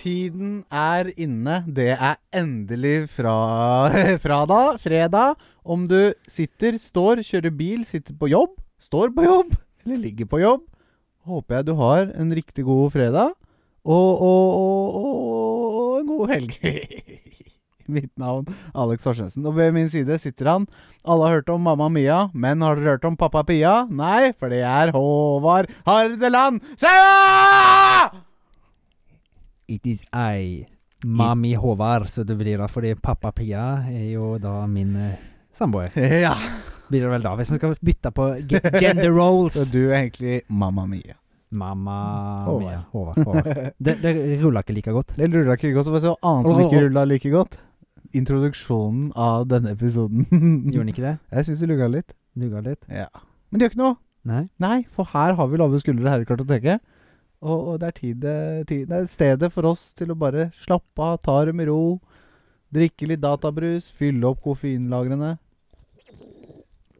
Tiden er inne. Det er endelig fra, fra da, fredag. Om du sitter, står, kjører bil, sitter på jobb, står på jobb eller ligger på jobb, håper jeg du har en riktig god fredag og, og, og, og, og en god helg. Mitt navn Alex Horsensen. Og ved min side sitter han. Alle har hørt om Mamma Mia, men har dere hørt om Pappa Pia? Nei, for det er Håvard Hardeland Saua! It is I, Mami Håvard, så det blir da fordi pappa Pia er jo da min eh, samboer. Ja. Blir det vel da, hvis man skal bytte på ge- gender roles. Så du er egentlig Mamma Mia. Mamma Håvard. Mia Håvard. Håvard. Det, det ruller ikke like godt. Det rulla ikke godt. Hva er det annet som Åh, ikke åh. rulla like godt? Introduksjonen av denne episoden. Gjorde den ikke det? Jeg syns det lugga litt. Dugga litt? Men det gjør ikke noe. Nei? Nei, for her har vi lave skuldre her i kartoteket. Og, og det er tid, tid, det er stedet for oss til å bare slappe av, ta det med ro. Drikke litt databrus, fylle opp koffeinlagrene.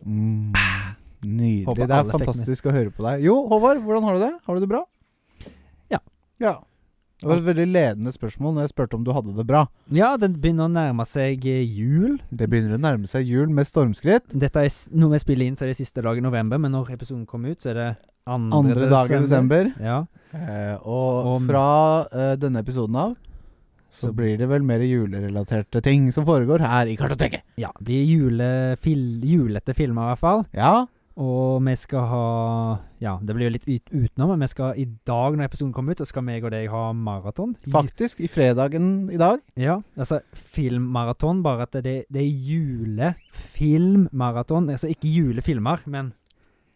Mm. Nydelig. Håper det alle er fikk med. fantastisk å høre på deg. Jo, Håvard, hvordan har du det? Har du det bra? Ja. ja. Det var et veldig ledende spørsmål når jeg spurte om du hadde det bra. Ja, den begynner å nærme seg eh, jul. Det begynner å nærme seg jul med stormskritt. Dette er s- Når vi spiller inn, så er det siste dag i november, men når episoden kommer ut, så er det andre, Andre dag i desember. Ja. Eh, og Om- fra eh, denne episoden av så, Så- blir det vel mer julerelaterte ting som foregår her i kartoteket. ja. Blir julefil, julete filmer, i hvert fall. Ja, Og vi skal ha Ja, det blir jo litt ut, utenom, men vi skal i dag, når episoden kommer ut, så skal meg og deg ha maraton. Ju- faktisk. I fredagen i dag. Ja, altså filmmaraton, bare at det, det er julefilmmaraton. Altså ikke julefilmer, men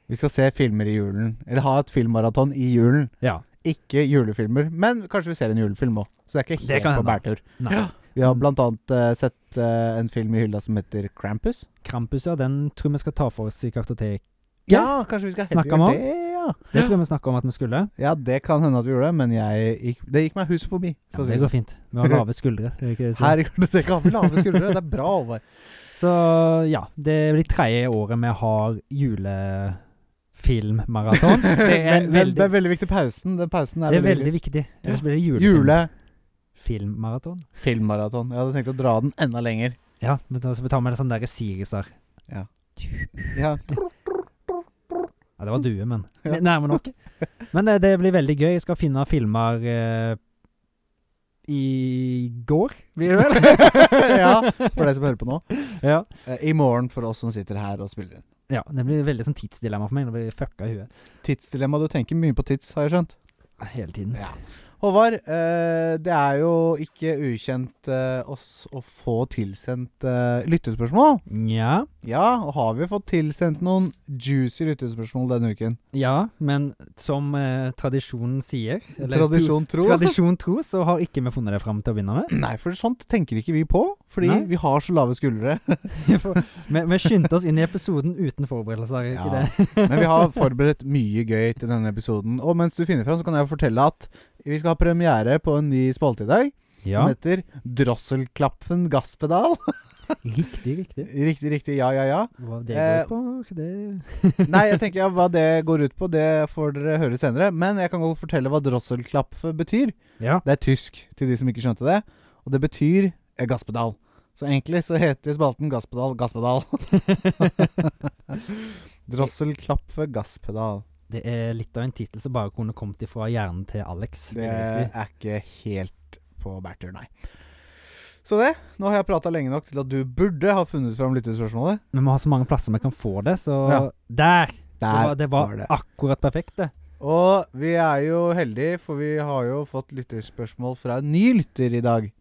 Vi skal se filmer i julen. Eller ha et filmmaraton i julen. Ja. Ikke julefilmer, men kanskje vi ser en julefilm òg. Så det er ikke Det helt kan på hende. bærtur. Nei. Mm. Vi har blant annet eh, sett eh, en film i hylla som heter Krampus. Krampus, ja, den tror vi skal ta for oss i kartotek. Ja, kanskje vi skal Snakka heller om gjøre det? Ja. Det tror jeg vi snakka om at vi skulle. ja, det kan hende at vi gjorde det, men jeg gikk, det gikk meg huset forbi. Ja, for å si det det går fint. Vi har lave skuldre. er det ikke det jeg sånn. sier? Her i kartoteket har vi lave skuldre. Det er bra, Håvard. Så ja, det blir tredje året vi har julefilmmaraton. Det er Men- men det veldig, er veldig viktig pausen. Den pausen er, det er veldig viktig. Ellers blir det julefilm. Filmmaraton? Julefilmmaraton. Jeg hadde tenkt å dra den enda lenger. Ja, men da så tar vi det sånn derre Siriser. Ja. Ja, det var due, men Mm. Ja. N- nærme nok. Men eh, det, det blir veldig gøy. Jeg skal finne filmer eh, i går, blir det vel? ja, for deg som hører på nå. ja. Eh, I morgen for oss som sitter her og spiller inn. ja. Det blir veldig sånn tidsdilemma for meg. Det blir fucka i huet Tidsdilemma. Du tenker mye på tids, har jeg skjønt. hele tiden. Ja. Håvard, eh, det er jo ikke ukjent eh, oss å få tilsendt eh, lyttespørsmål. Nja. Ja, og har vi fått tilsendt noen juicy lyttespørsmål denne uken? Ja, men som eh, tradisjonen sier eller Tradisjon tro- tro. Tradisjon tro, så har ikke vi funnet det fram til å begynne med. Nei, for sånt tenker ikke vi på. Fordi Nei. vi har så lave skuldre. For vi, vi skyndte oss inn i episoden uten forberedelser. er Ikke Ja. det? Men vi har forberedt mye gøy til denne episoden. Og mens du finner fram, så kan jeg fortelle at vi skal ha premiere på en ny spalte i dag. Ja, Som heter Drosselklapfen gasspedal. riktig, riktig. riktig, riktig. Ja, ja, ja. Hva det Eh, går på? Det Nei, jeg tenker ja, hva det går ut på, det får dere høre senere. Men jeg kan godt fortelle hva drosselklapfe betyr. Ja. Det er tysk, til de som ikke skjønte det. Og det betyr eh, gasspedal. Så egentlig så heter spalten Gasspedal, gasspedal. Drosselklapfe, gasspedal. Det er litt av en tittel som bare kunne kommet ifra hjernen til Alex. vil Det jeg si. er ikke helt på bærtur, nei. Så det. Nå har jeg prata lenge nok til at du burde ha funnet fram lyttespørsmålet. Men vi har så mange plasser vi kan få det, så Ja. Der! Det Der var, det var, var det. akkurat perfekt, det. Og vi er jo heldige, for vi har jo fått lytterspørsmål fra en ny lytter i dag.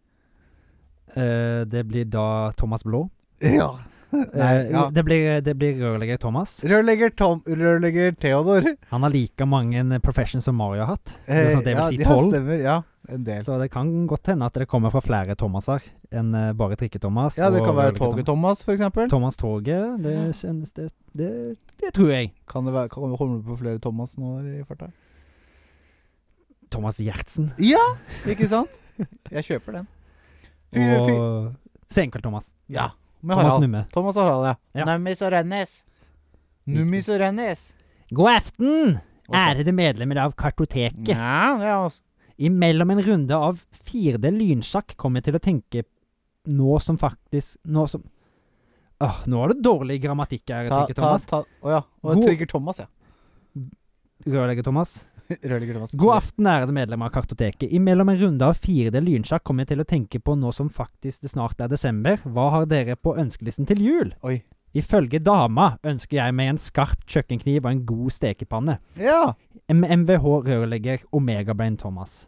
Eh, det blir da Thomas Blå. Ja. Nei, Eh, ja. Det blir, det blir rørlegger Thomas. Rørlegger Tom Rørlegger Theodor. Han har like mange eh, professions som Mario har hatt. Det er sånn at det vil ja, si ja, tolv. stemmer. Ja, en del. Så det kan godt hende at det kommer fra flere Thomaser enn eh, bare Trikke-Thomas. Ja, det og kan være Rørlegger Toget Thomas, for Thomas. eksempel. Thomas Toget. Det, kjennes- det, det, det tror jeg. Kan det være, kan det komme på flere Thomas nå i farta? Thomas Gjertsen. Ja, ikke sant? Jeg kjøper den. Fyr, fyr. Og Senkveld-Thomas. Ja. Med Thomas Harald. Numme. Thomas Harald, ja. Ja. Nummis og Rennes. Nummis og Rennes. God aften, ærede medlemmer av Kartoteket. Ja, det er altså- oss. I Imellom en runde av 4D lynsjakk kom jeg til å tenke nå som faktisk Nå som Åh, Nå har du dårlig grammatikk her, Ta, tenker ta, Thomas. ta Å ja. Og God- trigger Thomas, ja. Rørlegger Thomas. Rørlegger Thomas. God aften, ærede medlemmer av Kartoteket. Imellom en runde av 4D lynsjakk kom jeg til å tenke på nå som faktisk det snart er desember. Hva har dere på ønskelisten til jul? Oi. Ifølge dama ønsker jeg meg en skarp kjøkkenkniv og en god stekepanne. Ja. M- MVH-rørlegger Omegabrain Thomas.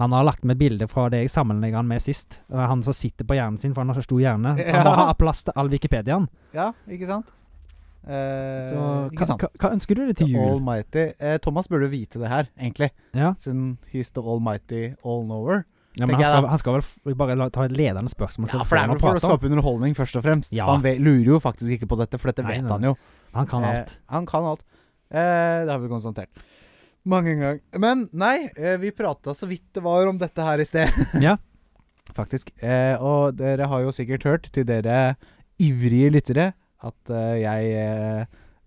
Han har lagt med bilder fra det jeg sammenlegger han med sist. Det er Han som sitter på hjernen sin, for han har så stor hjerne. Han må Ja. ha plass til all Wikipediaen. Ja, ikke sant? Eh, Så ikke hva, sant? hva, hva ønsker du deg til The jul? Almighty. Eh, Thomas burde vite det her, egentlig. Ja, Siden he's the almighty all-knower. ja men tenker han jeg skal, da. han skal vel f- bare la, ta et ledende spørsmål. så Ja, får for det er han vel å for å prate om. skape underholdning, først og fremst. Ja. Han ve- lurer jo faktisk ikke på dette, for dette Nei, vet nei. han jo. Han kan alt. Eh, han kan alt. Eh, det har vi konstatert. Mange ganger. Men nei, eh, vi prata så vidt det var om dette her i sted. Ja. Faktisk. Eh, og dere har jo sikkert hørt, til dere ivrige lyttere, at eh, jeg eh,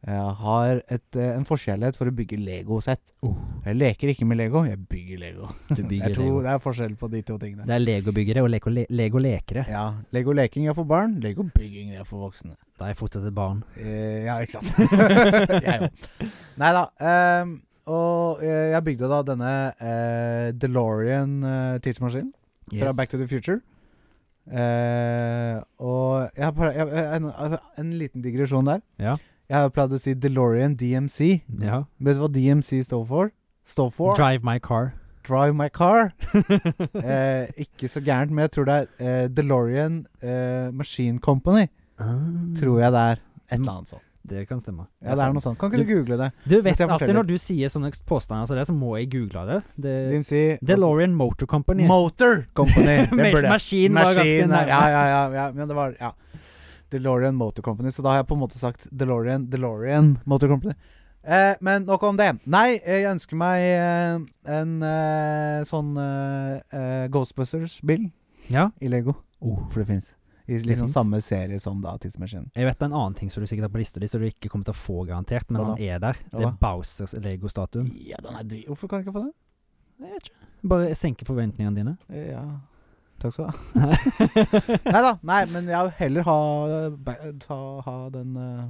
eh, har et, eh, en forskjellighet for å bygge Lego-sett. Oh. Jeg leker ikke med Lego, jeg bygger Lego. Du Jeg bygger tror Lego. Det er forskjell på de to tingene. Det er Lego-byggere og Lego, le, Lego lekere. Ja, Lego-leking er for barn, Lego-bygging er for voksne. Da er jeg fortsatt et barn. Eh, ja, ikke sant. jeg òg. Nei da. ehm, og eh, jeg bygde da denne eh, DeLorean-tidsmaskinen fra Yes. Back to the Future. Eh, og jeg har bare, jeg, jeg- en, en liten digresjon der. Ja. Jeg har pleid å si DeLorean DMC. Ja. Vet du hva DMC står for? Står for Drive my car. Drive My Car. Eh, ikke så gærent, men jeg tror det er eh, DeLorean eh, Machine Company. Ah. Mm. Tror jeg det er. Et eller annet sånt. Det kan stemme. Ja, det er noe sånt. Kan ikke du google det? Du vet Mens jeg alltid forteller. når du sier sånne påstander som det, så må jeg google det. det DMC DeLorean Motor Company. Motor altså- Company. Det Mas- burde jeg. Maskin var ganske Maskin, nærme. ja, ja, ja, ja. Men det var ja. DeLorean Motor Company. Så da har jeg på en måte sagt DeLorean DeLorean Motor Company. Eh, men nok om det. Nei, eh, jeg ønsker meg eh, en eh, sånn eh, eh, Ghostbusters-bil Ja. i Lego. For det fins. I liksom finnes. samme serie som da Tidsmaskinen. Jeg vet en annen ting som du sikkert har på lista di, som du ikke kommer til å få garantert, men Hva da? han er der. Hva Det er da? Bowsers Lego-statuen. Ja, den er drit... Hvorfor kan jeg ikke få den? Jeg vet ikke. Bare senke forventningene dine. Eh, Ja. Takk skal du ha. nei da. Nei, men jeg vil heller ha, eh, ba- ta, ha den eh,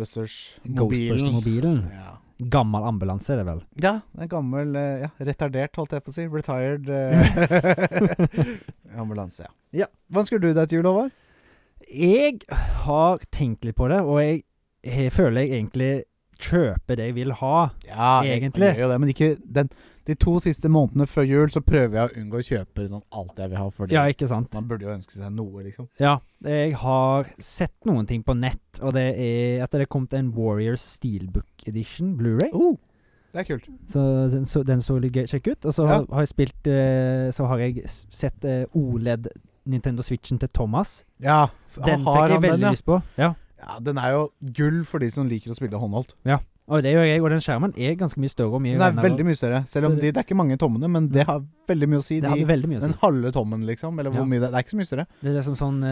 Ghostbusters-mobilen. Ghostbuster-mobilen. ja. Gammel ambulanse er det vel. ja, en gammel eh, ja, retardert, holdt jeg på å si. Retired eh, ambulanse, ja. Ja. Hva ønsker du deg til jul, Håvard? Jeg har tenkt litt på det, og jeg, jeg føler jeg egentlig kjøper det jeg vil ha. Ja, Egentlig. Jeg, gjør jo det, men ikke den, de to siste månedene før jul så prøver jeg å unngå å kjøpe sånn alt jeg vil ha, fordi Ja, ikke sant? man burde jo ønske seg noe, liksom. Ja, jeg har sett noen ting på nett, og det er at det er kommet en Warriors Steelbook Edition Blu-ray. Oh, det er kult. Så den så, den så litt gøy- kjekk ut. Og så Ja. har, har jeg spilt eh, Så har jeg s- sett eh, OLED Nintendo Switchen til Thomas. Ja, f- Den har fikk han jeg den, veldig ja? lyst på. Ja. Ja, den er jo gull for de som liker å spille håndholdt. Og det gjør jeg, og den skjermen er ganske mye større og mye Den er renere. veldig mye større. Selv om Så det- de, det er ikke mange tommene, men det har veldig mye å si. Det De, hadde veldig mye å den si. halve tommen, liksom. Eller hvor Ja. mye det er. Det er ikke så mye større, Det er liksom sånn eh, men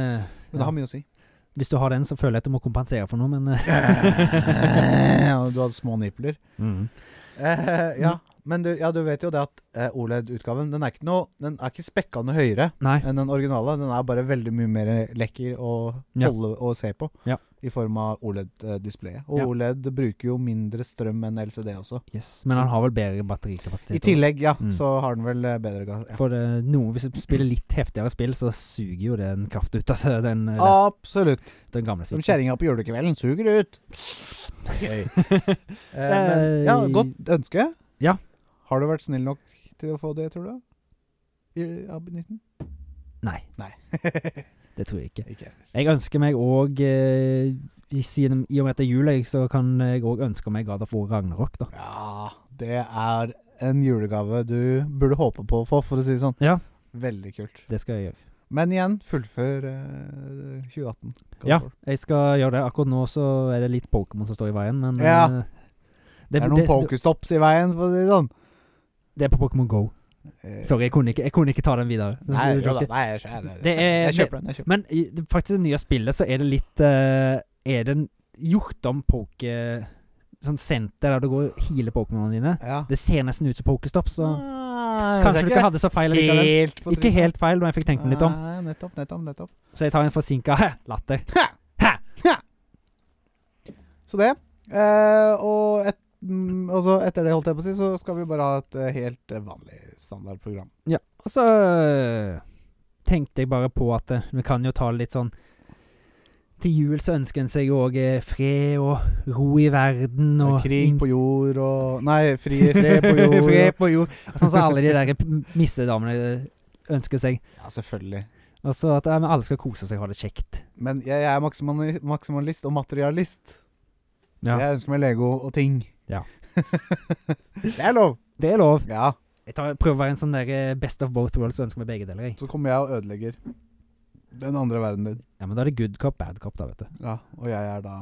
Ja. det har mye å si. Hvis du har den, så føler jeg at du må kompensere for noe, men eh, Ja, du hadde små nipler. mm. Eh, ja, men du, ja, du vet jo det at eh, OLED-utgaven Den er ikke noe Den er ikke spekka noe høyere Nei. enn den originale. Den er bare veldig mye mer lekker å Ja. holde og se på. Ja. I form av OLED-displayet. Og Ja. OLED bruker jo mindre strøm enn LCD også. Yes. Men han har vel bedre batterikapasitet. I også. tillegg, ja, Mm. så har den vel eh, bedre gass. Ja. For eh, noe, hvis du spiller litt heftigere spill, så suger jo den kraft ut av altså, den, eh, Absolutt. den gamle Ah, Som switchen. kjerringa på julekvelden suger det ut. Gøy. Eh, men, ja, Eh, godt ønske. ja. Har du vært snill nok til å få det, tror du? I- Av nissen? Nei, Nei. det tror jeg ikke. Ikke heller. Jeg ønsker meg òg eh, i siden- i og med at det er jul, jeg, så kan jeg òg ønske meg God of War Ragnarok, da. Ja, det er en julegave du burde håpe på å få, for å si det sånn. Ja. Veldig kult. Det skal jeg gjøre. Men igjen, fullfør eh, 2018. God Ja, for. jeg skal gjøre det. Akkurat nå så er det litt Pokémon som står i veien, men Ja. eh, Det, er noen pokestops i veien, for å si det sånn. det er på Pokémon Go. Eh, Sorry, jeg kunne ikke, jeg kunne ikke ta den videre. Nei, jo da, nei jeg, jeg, jeg, Det er- jeg kjøper den. Jeg kjøper den. Men i det, faktisk det nye spillet så er det litt eh, Er det en- gjort om poke... sånn senter der du går og healer Pokémonene dine. Ja. Det ser nesten ut som Pokestopp, så Ah, kanskje du ikke det hadde så feil er ikke likevel. helt på Ikke trynet. Ah. helt feil, men jeg fikk tenkt meg litt om. Nei, nettopp, nettopp, nettopp. Så jeg tar en forsinka latter. Så det. Eh, og, et, mm, og så etter det, holdt jeg på å si, så skal vi bare ha et eh, helt eh, vanlig standardprogram. Og så eh, tenkte jeg bare på at eh, vi kan jo ta det litt sånn Til jul så ønsker en seg jo òg fred og ro i verden og Eh, Krig på jord og Nei, fri, fred på jord. Fred på jord. Sånn som alle de der p- missedamene eh, ønsker seg. Ja, selvfølgelig. Og så Altså at ja, men alle skal kose seg og ha det kjekt. Men jeg, jeg er maksimali- maksimalist og materialist. Så Ja. jeg ønsker meg Lego og ting. Ja. det er lov! Det er lov. Ja. Jeg tar, prøver å være en sånn der eh, best of both worlds og ønsker meg begge deler. Jeg. Så kommer jeg og ødelegger den andre verdenen din. Ja, men da er det good cop, bad cop, da, vet du. Ja, og jeg er da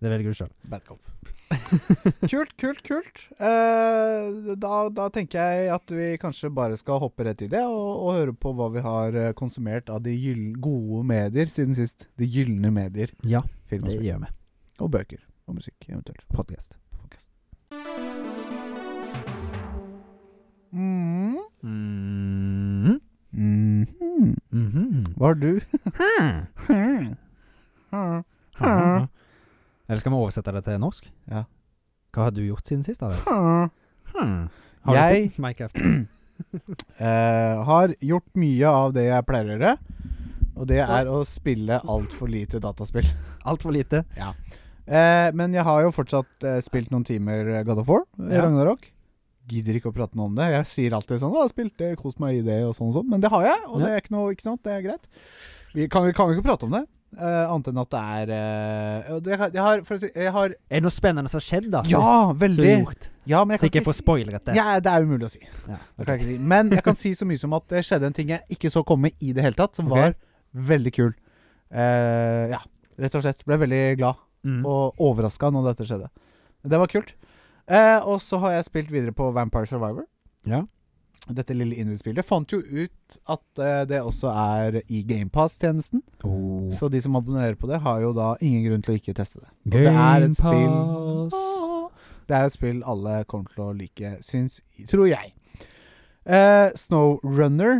Det velger du sjøl. Bad cop. kult, kult, kult. Eh, da, da tenker jeg at vi kanskje bare skal hoppe rett i det, og, og høre på hva vi har eh, konsumert av de gyll- gode medier siden sist. De gylne medier. Ja, Film og det spill. gjør vi. Og bøker. Og musikk, eventuelt. Podcast. Mm. Mm Mhm. Mm-hmm. Hva har du? Mm-hmm. Hmm. Hmm. Eller skal vi oversette det til norsk? Ja. Hva har du gjort siden sist? Alex? Hmm. Hmm. Har du Jeg- spilt Minecraft? Eh, har gjort mye av det jeg pleier å gjøre. Og det er å spille altfor lite dataspill. Altfor lite. Eh, men jeg har jo fortsatt eh, spilt noen timer eh, God of War, eh, Ja. Ragnarok. Gidder ikke å prate noe om det. Jeg sier alltid sånn 'Å, jeg har spilt det, kos meg i det', og sånn og sånn. Men det har jeg, og Ja. det er ikke noe ikke sant, det er greit. Vi kan, vi kan jo ikke prate om det. Eh, annet enn at det er eh, og det, Jeg har, for å si, jeg har Er det noe spennende som har skjedd, da? Ja, Ah, Så, veldig! gjort. Ja, men så jeg ikke kan jeg får ikke si spoilret det. ja, Det er umulig å si. Ja, Det ok. kan jeg ikke si. Men jeg kan si så mye som at det skjedde en ting jeg ikke så komme i det hele tatt, som Ok. var veldig kul. Eh, ja, rett og slett. Ble veldig glad Mm. og overraska når dette skjedde. Det var kult. Eh, og så har jeg spilt videre på Vampire Survivor. Ja. Dette lille indiespillet. Fant jo ut at eh, det også er i GamePass-tjenesten. Oh. Så de som abonnerer på det, har jo da ingen grunn til å ikke teste det. Og det er Game et spill Pass. Det er et spill alle kommer til å like, syns Tror jeg. Eh, Snowrunner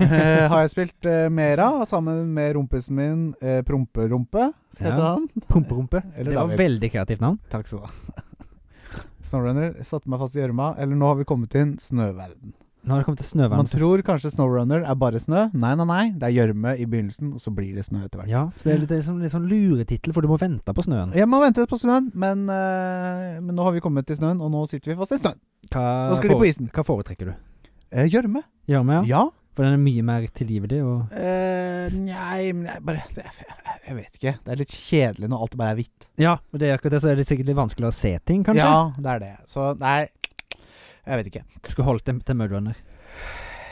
eh, har jeg spilt eh, mer av, sammen med rumpisen min eh, Promperumpe, heter Ja. han. Promperumpe. Eller Det var David. veldig kreativt navn. Takk skal du ha. Snowrunner satte meg fast i gjørma. Eller nå har vi kommet til snøverden. Nå har det kommet til snøvern. Man tror kanskje Snowrunner er bare snø. Nei, nei, nei. Det er gjørme i begynnelsen, og så blir det snø etter hvert. Ja, for det er litt, det er sånn- litt sånn luretittel, for du må vente på snøen. Jeg må vente på snøen, men, eh, men nå har vi kommet til snøen, og nå sitter vi fast i snøen. Hva, Nå skal de på fore- isen. hva foretrekker du? Eh, Gjørme? Gjørme, ja. ja. For den er mye mer tilgivelig. Og, Eh, nei, men jeg bare det, jeg, jeg- jeg vet ikke. Det er litt kjedelig når alt bare er hvitt. ja, og det er akkurat det, så er det sikkert litt vanskelig å se ting, kanskje. Ja, det er det. Så nei, jeg vet ikke. Du skulle holdt dem til Mudrunner.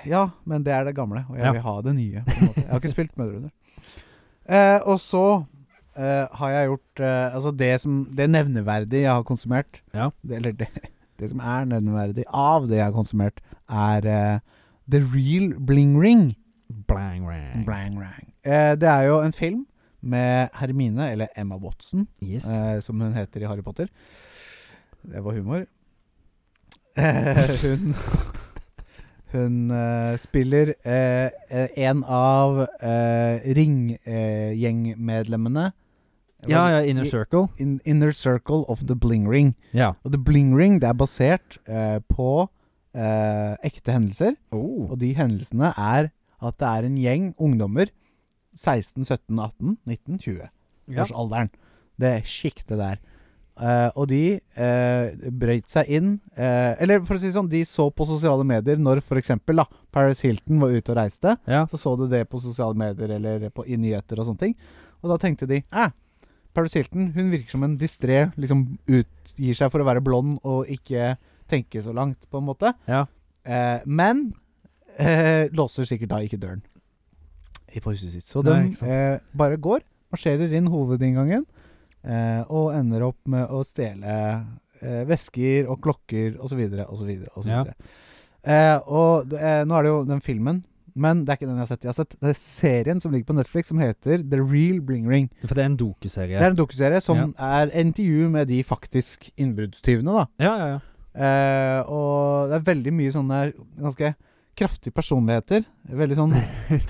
Ja, men det er det gamle, og jeg Ja. vil ha det nye. På en måte. Jeg har ikke spilt Mødrene. Eh, og så eh, har jeg gjort eh, Altså, det som Det nevneverdige jeg har konsumert Ja. det, Eller det, det som er nevneverdig av det jeg har konsumert, er eh, The Real Bling Ring. Blang, blang. Blang Rang. Eh, det er jo en film med Hermine, eller Emma Watson, Yes. eh, som hun heter i Harry Potter. Det var humor. Eh, hun hun eh, spiller eh, eh, en av eh, ringgjengmedlemmene. ja, ja, Inner Circle. In, inner Circle of the Bling Ring. Ja. Og The Bling Ring det er basert eh, på eh, ekte hendelser. Oh. Og de hendelsene er at det er en gjeng ungdommer 16, 17, 18, 19, 20 Ja. årsalderen. Det sjiktet der. Eh, og de eh, brøyt seg inn eh, Eller for å si det sånn, de så på sosiale medier når f.eks. Paris Hilton var ute og reiste. ja. Så så du det på sosiale medier eller på, i nyheter og sånne ting. Og da tenkte de eh, Paris Hilton hun virker som en distré, liksom utgir seg for å være blond og ikke tenke så langt, på en måte. Ja. Eh, men eh, låser sikkert da ikke døren i på huset sitt. Så de Nei, ikke sant. eh, bare går, marsjerer inn hovedinngangen eh, og ender opp med å stjele eh, vesker og klokker osv. osv. Og, så videre, og, så Ja. videre. eh, og eh, nå er det jo den filmen Men det er ikke den jeg har sett. Jeg har sett det er serien som ligger på Netflix som heter The Real Bling Ring. For det er en dokuserie. Det er en dokuserie som er intervju med de faktisk innbruddstyvene, da. Ja, ja, ja. Eh, og det er veldig mye sånne ganske kraftige personligheter. Veldig sånn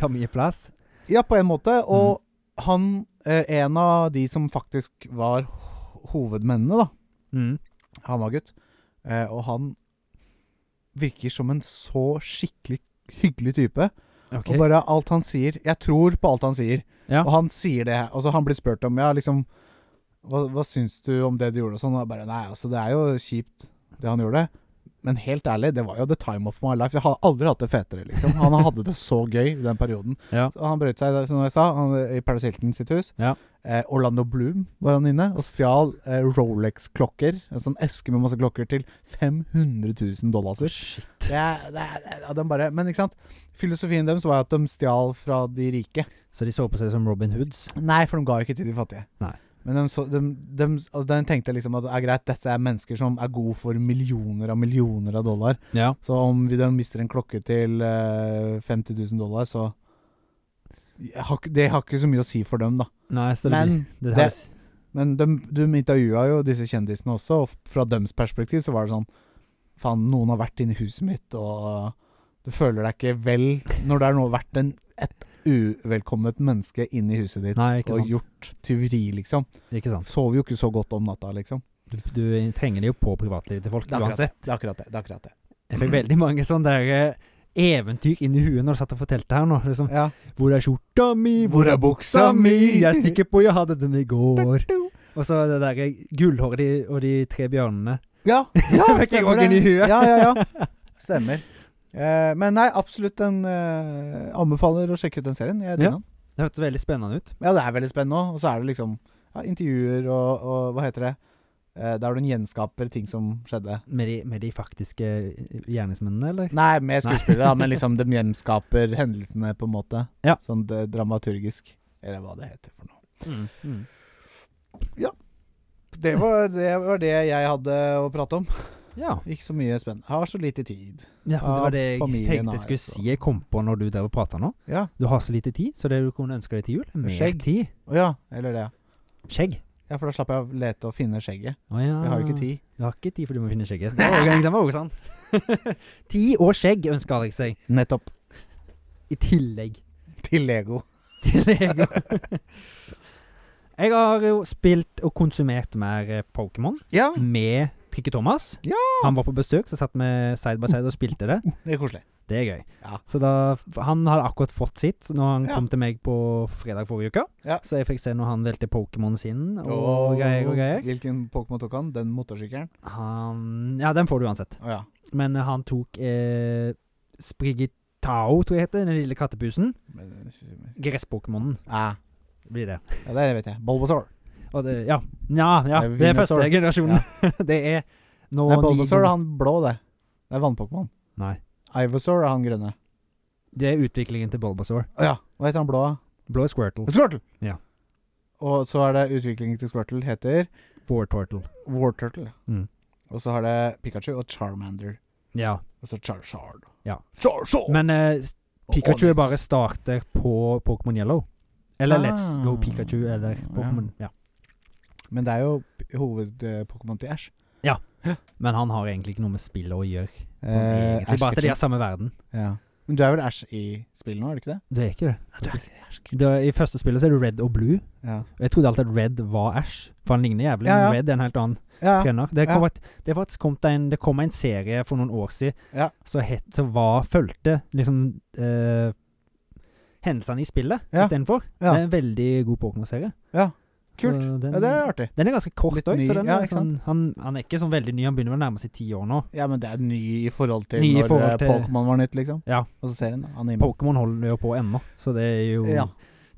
Tar mye plass. Ja, på en måte. Og han, eh, en av de som faktisk var ho- hovedmennene, da Mm. Han var gutt. Eh, og han virker som en så skikkelig hyggelig type. Ok. Og bare alt han sier Jeg tror på alt han sier. Ja. Og han sier det. Altså, han blir spurt om Ja, liksom hva, hva syns du om det du gjorde? Og sånn. Og jeg bare Nei, altså, det er jo kjipt, det han gjorde. Men helt ærlig, det var jo the time of my life. Jeg har aldri hatt det fetere, liksom. Han hadde det så gøy i den perioden. Ja. Så han brøt seg, som jeg sa, han, i Paris Hilton sitt hus. Ja. Eh, Orlando Bloom var han inne og stjal eh, Rolex-klokker. En sånn eske med masse klokker til 500 000 dollar. Å, Shit. Det er, det er, ja, de bare, men ikke sant? Filosofien deres var at de stjal fra de rike. Så de så på seg som Robin Hoods. Nei, for de ga ikke til de fattige. Nei. Men de, så, de, de, og de tenkte liksom at det er greit, dette er mennesker som er gode for millioner av millioner av dollar. Ja. Så om vi da mister en klokke til eh, 50 000 dollar, så jeg har, ikke- Det har ikke så mye å si for dem, da. Nei, så det Men, blir det, det- her s- men de, de intervjua jo disse kjendisene også, og fra deres perspektiv så var det sånn Faen, noen har vært inne i huset mitt, og du føler deg ikke vel når det har nå vært en, et uvelkomment menneske inne i huset ditt Nei, ikke og sant. gjort tyveri, liksom. Ikke sant. Sover jo ikke så godt om natta, liksom. Du, du trenger det jo på privatlivet til folk Det er akkurat det. uansett. Det er akkurat det. det, er akkurat det. Jeg fikk veldig mange sånne der eh, eventyr inn i huet når du satt og fortalte her nå. Liksom. Ja. Hvor er skjorta mi? Hvor er buksa mi? Jeg er sikker på jeg hadde den i går. Og så det der eh, gullhåret de, og de tre bjørnene. Ja, ja Fikk jeg stemmer også inn i huet. Ja, ja, ja. Stemmer. Eh, men nei, absolutt en eh, anbefaler å sjekke ut den serien. Jeg Ja. ja. Det hørtes veldig spennende ut. ja, det er veldig spennende òg. Og så er det liksom ja, intervjuer og, og hva heter det eh, Der du gjenskaper ting som skjedde. Med de, med de faktiske eh, gjerningsmennene, eller? Nei, med skuespillere, da, men liksom de gjenskaper hendelsene, på en måte. Ja. Sånn det, dramaturgisk. Eller hva det heter for noe. Mm. Det var, det var det jeg hadde å prate om. Ja. Ikke så mye spennende. Har så lite tid. ja, for det Ja, var det jeg familien altså. tenkte er jeg skulle så- si jeg kom på når du der og prata nå. Ja. Du har så lite tid, så det du kunne ønske deg til jul, er mer Skjegg. tid. Å ja. Eller det, ja. Skjegg. Ja, for da slapp jeg å lete og finne skjegget. Å ja. Vi har jo ikke tid. Du har ikke tid, for du må finne skjegget. Det var også- det var også sant. tid og skjegg ønsker Alex seg, Nettopp. i tillegg Til Lego. til Lego. Jeg har jo spilt og konsumert mer eh, Pokémon Ja, med Trikke Thomas. Ja! Han var på besøk, så satt vi side by side og spilte det. det er koselig. Det er gøy. Ja. Så da, Han hadde akkurat fått sitt når han Ja. kom til meg på fredag forrige uke. Ja. Så jeg fikk se når han velte Pokémon sin og Åh, greier og greier. Hvilken Pokémon tok han? Den motorsykkelen? Han, ja, den får du uansett. Å ja. Men eh, han tok eh, Sprigitao, tror jeg heter, den lille kattepusen. Men, Gresspokémonen Ah, blir det. ja, det vet jeg. Bulbasaur. Og det ja. ja, ja, Det er det er første Venusaur. generasjonen. det er nå Nei, Bulbasaur er ni- han blå, det. Det er vannpokémon. Nei. Ivosaur er han grønne. Det er utviklingen til Bulbasaur. Å ja. Hva heter han blå? da? Blå er Squirtle. Squirtle! Ja. Og så er det utviklingen til Squirtle heter War Turtle. Warturtle. Mm. Og så har det Pikachu og Charmander. Ja. Og så Charizard. Ja. Charizard! Men eh, s- Og Pikachu Onyx. er bare starter på Pokémon Yellow. Eller Ah. Let's Go Pikachu eller Pokémon. Ja. Men det er jo p- hoved-Pokémon til Ash. Men han har egentlig ikke noe med spillet å gjøre. Sånn, Eh, egentlig, bare at de Ash er samme verden. Ja. Men du er vel Ash i spillet nå, er du ikke det? Du er ikke det. du er Da, I første spillet så er du red og blue. Ja. Og Jeg trodde alltid at Red var Ash, for han ligner jævlig. Ja, ja. Men Red er en helt annen Ja. trener. Det, Ja. kom et, det, er faktisk kommet en, det kom en serie for noen år siden Ja. som het, som var fulgte liksom eh, hendelsene i spillet Ja. istedenfor. Ja. Det er en veldig god Pokémon-serie. Ja. Kult. Så Den, Ja, det er artig. den er ganske kort Litt òg, så ny, den ja, er ikke sånn, han, han er ikke sånn veldig ny. Han begynner vel å nærme seg ti år nå. Ja, men det er ny i forhold til Ny i når eh, forhold til- Pokémon var nytt, liksom. Ja. Og så serien, da. Anime. Pokémon holder jo på ennå, så det er jo Ja.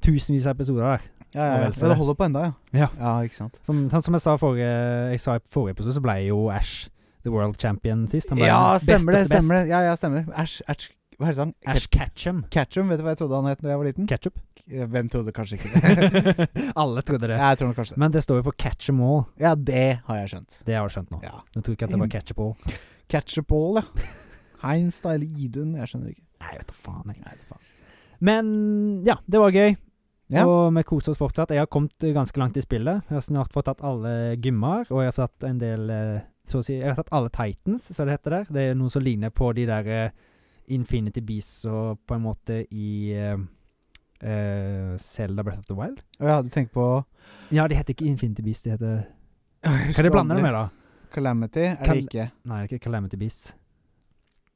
tusenvis av episoder der. Ja, ja, Og ja. vel, så ja, det det. holder på enda, ja. Ja. ikke sant. Som, sånn som jeg sa, forrige, jeg sa i forrige episode, så ble jo Ash the world champion sist. Han ble Ja, den stemmer det. beste stemmer det. Ja, ja, stemmer. Æsj, æsj Hva heter han? Ash Ketchum. Ket- Ketchum, vet du hva jeg trodde han het da jeg var liten? Ketchup. Hvem trodde kanskje ikke det? Alle trodde det. jeg tror kanskje det. Men det står jo for catch em all. Ja, det har jeg skjønt. Det har jeg skjønt nå. Ja. Mm. Jeg tror ikke at det var catch em all. Catchupall, ja. Heinz da, eller Idun, jeg skjønner ikke. Nei, vet da faen. Jeg. Nei, det faen. Men ja, det var gøy. Ja. Og vi koser oss fortsatt. Jeg har kommet eh, ganske langt i spillet. Jeg har snart fått tatt alle gymmer, og jeg har tatt en del eh, så å si, Jeg har tatt alle Titans, som det heter der. Det er noe som ligner på de der eh, Infinity Beasts og på en måte i eh, eh, Zelda Breath of the Wild. Å ja, du tenker på Ja, de heter ikke Infinity Beasts, de heter Hva er det jeg blander det med, da? Calamity er Cal- det ikke. Nei, det er ikke Calamity Beasts.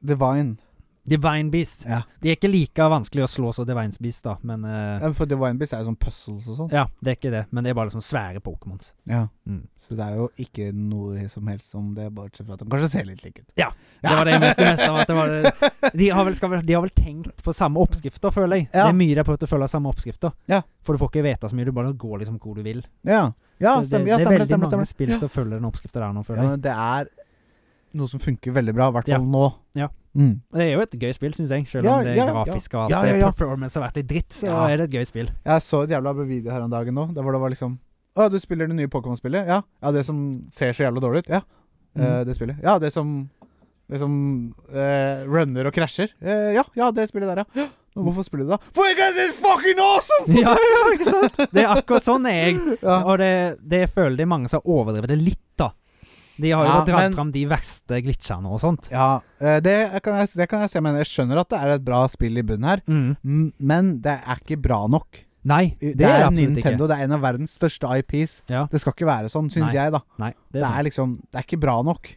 Divine. Divine Beasts. Ja. De er ikke like vanskelig å slå som Divine Beasts, da, men eh, Ja, For Divine Beast er jo sånn puzzles og sånn. Ja, det er ikke det, men det er bare liksom svære Pokémons. Ja. Mm. Så det er jo ikke noe som helst om det, bortsett fra at de kanskje ser litt like ut. Ja, det var det mest- det meste av at det var det- De har vel, skal, vel- de har vel tenkt på samme oppskrifter, føler jeg. Ja. Det er mye de har prøvd å følge av samme oppskrifter. Ja. For du får ikke vite så mye, du bare går liksom hvor du vil. Ja, ja Så stemmer. Ja, det, det er stemmer, veldig det, stemmer, mange stemmer. spill som følger den oppskriften der nå, Ja, føler jeg. men det er noe som funker veldig bra, i hvert Ja. fall nå. Ja. Mm. Og Det er jo et gøy spill, syns jeg. Selv Ja, om det er ja, ja. grafisk og alt Ja, ja, ja. det performance har vært litt dritt, så Ja. er det et gøy spill. Jeg så et jævla bra video her om dagen nå, der hvor det var liksom Å, du spiller det nye Pokémon-spillet? Ja. ja. Det som ser så jævla dårlig ut? Ja. Eh, Mm. det spillet. Ja, det som Det som eh, runner og krasjer? Eh, ja, ja, det spillet der, ja. ja. Men hvorfor spiller du det da? For because it's fucking awesome! Ja, ja, ikke sant? Det er akkurat sånn er jeg. Ja. Og det, det føler de mange som har overdrevet det litt, da. De har jo Ja, dratt men- fram de verste glitchene og sånt. ja eh, det, kan jeg, det kan jeg se, men jeg skjønner at det er et bra spill i bunnen her. Mm. Mm, Men det er ikke bra nok. Nei, Det, det, er det er absolutt Nintendo. ikke. Det er en av verdens største IPs. Ja. Det skal ikke være sånn, syns Nei, jeg, da. Nei, Det det er er, sant. liksom Det er ikke bra nok.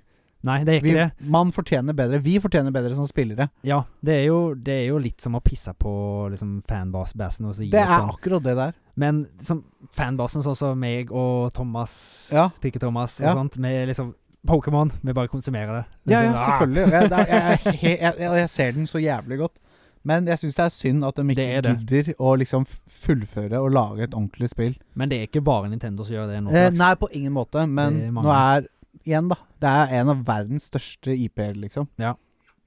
Nei, det er Vi, ikke det. man fortjener bedre. Vi fortjener bedre som spillere. Ja, det er jo, det er jo litt som å pisse på liksom, fanbasen og si Det litt er sånn. akkurat det der. Men som fanbasen, sånn som meg og Thomas, Ja. Trikke-Thomas og Ja. sånt, vi er liksom Pokémon, vi bare konsumerer det. Det Ja, er ja, sånn, ah, selvfølgelig. Jeg, det er, jeg, er he- jeg, jeg, jeg ser den så jævlig godt. Men jeg syns det er synd at de Det er ikke det. gidder å liksom f- fullføre og lage et ordentlig spill. Men det er ikke bare Nintendo som gjør det nå. Eh, Lars. nei, på ingen måte, men Det er mange. nå er Igjen, da. Det er en av verdens største IP-er, liksom. Ja.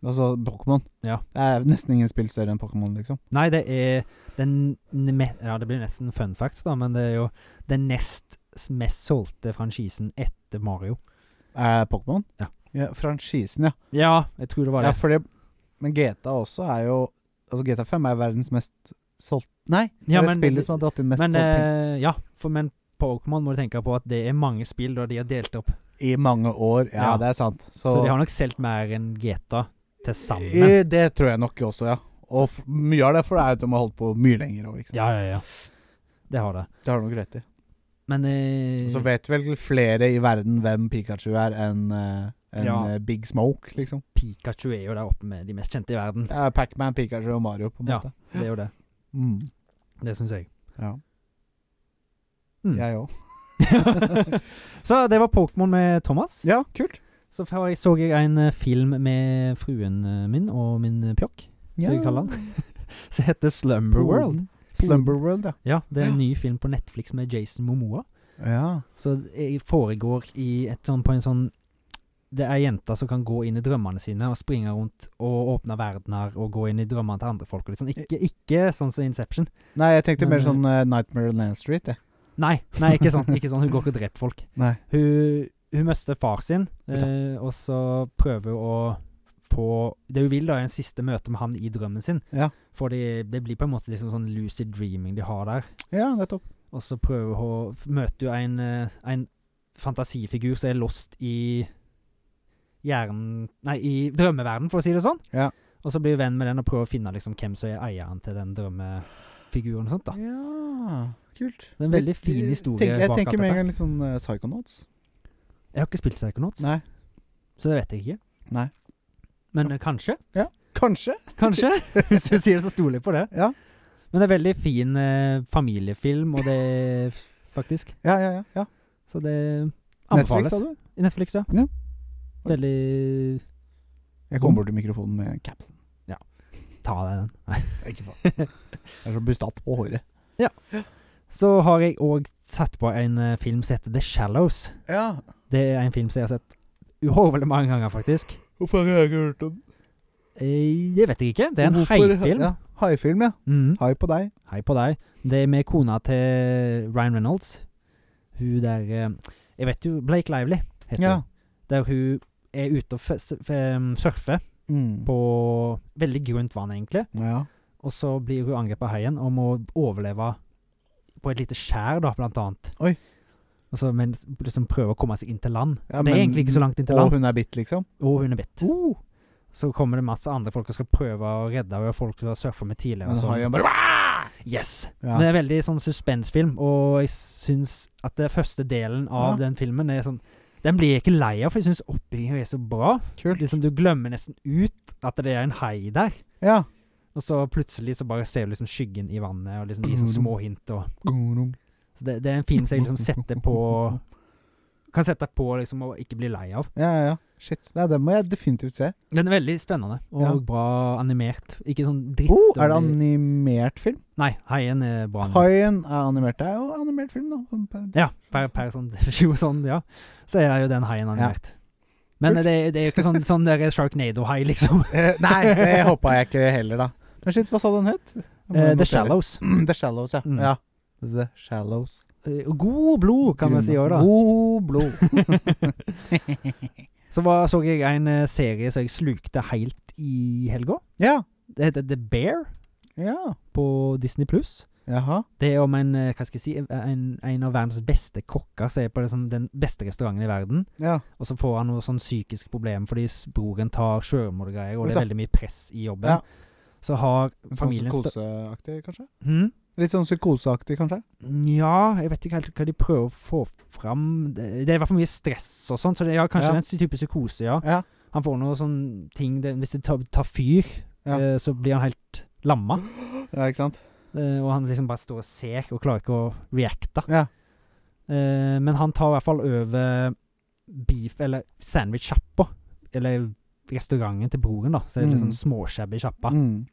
Altså Pokémon. Ja. Det er nesten ingen spill større enn Pokémon, liksom. Nei, det er den ne- me- Ja, det blir nesten fun facts, da, men det er jo den nest s- mest solgte franchisen etter Mario. Eh, Pokémon? Ja. Franchisen, ja. Ja, jeg tror det var ja det. fordi, men GTA også er jo Altså GTA 5 er verdens mest solgt Nei, det Ja, er men- spillet som har dratt inn mest men solgt penger eh, ja, for, men Pokémon må du tenke på at det er mange spill da de har delt opp. i mange år. Ja, ja. det er sant. Så, Så, de har nok solgt mer enn GTA til sammen. Eh, det tror jeg nok også, ja. Og f mye av det, for det er jo at de har holdt på mye lenger òg, ikke sant. Ja, ja, ja. Det har det. Det har du nok rett i. Men eh, Så vet vel flere i verden hvem Pikachu er enn eh, enn, Ja. eh, Big Smoke, liksom. Pikachu er jo der oppe med de mest kjente i verden. Det er Pacman, Pikachu og Mario, på en Ja. måte. Det er jo det. Mm. Det syns jeg. Ja. Mm. Jeg òg. så det var Pokémon med Thomas. Ja, kult. Så får jeg, så jeg en eh, film med fruen eh, min og min eh, pjokk, som jeg kaller han. som heter Slumber World. Slumberworld, ja. Ja, det er en ny film på Netflix med Jason Momoa. ja. Så det foregår i et sånn, på en sånn Det er jenter som kan gå inn i drømmene sine og springe rundt og åpne verden her og gå inn i drømmene til andre folk. Og litt sånn. ikke, ikke sånn som Inception. Nei, jeg tenkte Men, mer sånn eh, Nightmare on Land Street, jeg. Nei, nei ikke sånn. Ikke sånn. Hun går ikke og dreper folk. Nei. Hun, hun mister far sin, Vet eh, og så prøver hun å få Det hun vil, da, er en siste møte med han i drømmen sin. Ja. For det, det blir på en måte liksom sånn lucid dreaming de har der. Ja, nettopp. Og så prøver hun f- Møter hun en, eh, en fantasifigur som er lost i hjernen Nei, i drømmeverdenen, for å si det sånn. Ja. Og så blir hun venn med den og prøver å finne liksom hvem som er eieren til den drømmefiguren og sånt. da. Ja, kult. Det er en veldig fin historie Tenk, jeg bak eh, alt tenker med en dette. gang litt sånn eh, Psychonauts. Jeg har ikke spilt Psychonauts, Nei. så det vet jeg ikke. Nei. Men eh, kanskje. Kanskje. Kanskje. Hvis du sier det, så stoler jeg på det. Ja. Men det er veldig fin eh, familiefilm, og det faktisk. Ja, ja, ja. ja. Så det Netflix, anbefales. sa du? I Netflix, ja. Ja. Veldig Jeg kom bort til mikrofonen med capsen. Ta deg den. Nei. Ikke faen. Jeg er så bustat på håret. Så har jeg òg satt på en eh, film som heter The Shallows. Ja. Det er en film som jeg har sett uhorvelig mange ganger, faktisk. Hvorfor har jeg ikke hørt om Eh, Det vet jeg ikke. Det er en Hvorfor- haifilm. Ja, haifilm, ja. Mm. Hai på deg. Hei på deg. Det er med kona til Ryan Reynolds. Hun der eh, Jeg vet jo Blake Lively heter Ja. hun. Der hun er ute og f f em, surfer Mm. på veldig grunt vann, egentlig. Ja. Og så blir hun angrepet av haien og må overleve på et lite skjær, da, blant annet. Oi. Altså, men liksom prøve å komme seg inn til land. Ja, det er men- egentlig ikke så Uh. langt inn til Og land. hun er bitt, liksom? Og hun er bitt. Så kommer det masse andre folk og skal prøve å redde henne, og folk som har surfa med tidligere. Men Og sånn. haien bare "Wah!" Yes! ja. Men det er veldig sånn suspensfilm, og jeg syns at den første delen av Ja. den filmen er sånn Den blir jeg ikke lei av, for jeg syns oppbyggingen er så bra. Kult. Liksom Du glemmer nesten ut at det er en hai der, Ja. og så plutselig så bare ser du liksom skyggen i vannet, og liksom de sånne Mm. små hint og Så det, det er en film som jeg liksom setter på Kan sette på liksom og ikke bli lei av. Ja, ja, ja. Shit. Nei, den må jeg definitivt se. Den er veldig spennende og Ja. bra animert. Ikke sånn dritt. Oh, er det dårlig- animert film? Nei, haien er bra. animert. Haien er animert. Det er jo animert film, da. Sånn per- Ja, per, per sånn definisjon, sånn, ja. Så er jo den haien animert. Men Kult. det, det er jo ikke sånn, sånn der Sharknado-hai, liksom. Eh, nei, det håpa jeg ikke heller, da. Men shit, hva sa den het? Jeg må Eh, The notere. Shallows. The Shallows, ja. Mm. ja. The Shallows. Eh, God blod, kan man si òg, da. God blod. Så var, så jeg en eh, serie som jeg slukte helt i helga. ja. Det heter The Bear Ja. på Disney Pluss. Jaha. Det er om en, eh, hva skal jeg si, en, en av verdens beste kokker som er på liksom, den beste restauranten i verden. Ja. Og så får han noe sånn psykisk problem fordi s- broren tar sjølmord og greier, og det Ja. er veldig mye press i jobben. Ja. Så har Sånn familien stå- psykoseaktig, kanskje? Hm? Litt sånn psykoseaktig, kanskje? Ja, jeg vet ikke helt hva de prøver å få fram. Det, det er i hvert fall mye stress og sånn, så det er kanskje Ja. den type psykose, ja. Ja. Han får noe sånn ting det, Hvis det tar, tar fyr, Ja. eh, så blir han helt lamma. Ja, ikke sant? Eh, og han liksom bare står og ser, og klarer ikke å reacte. Ja. Eh, men han tar i hvert fall over beef, eller sandwich-sjappa. Eller restauranten til broren, da. Så det er litt Mm. sånn småshabby sjappa. Mm.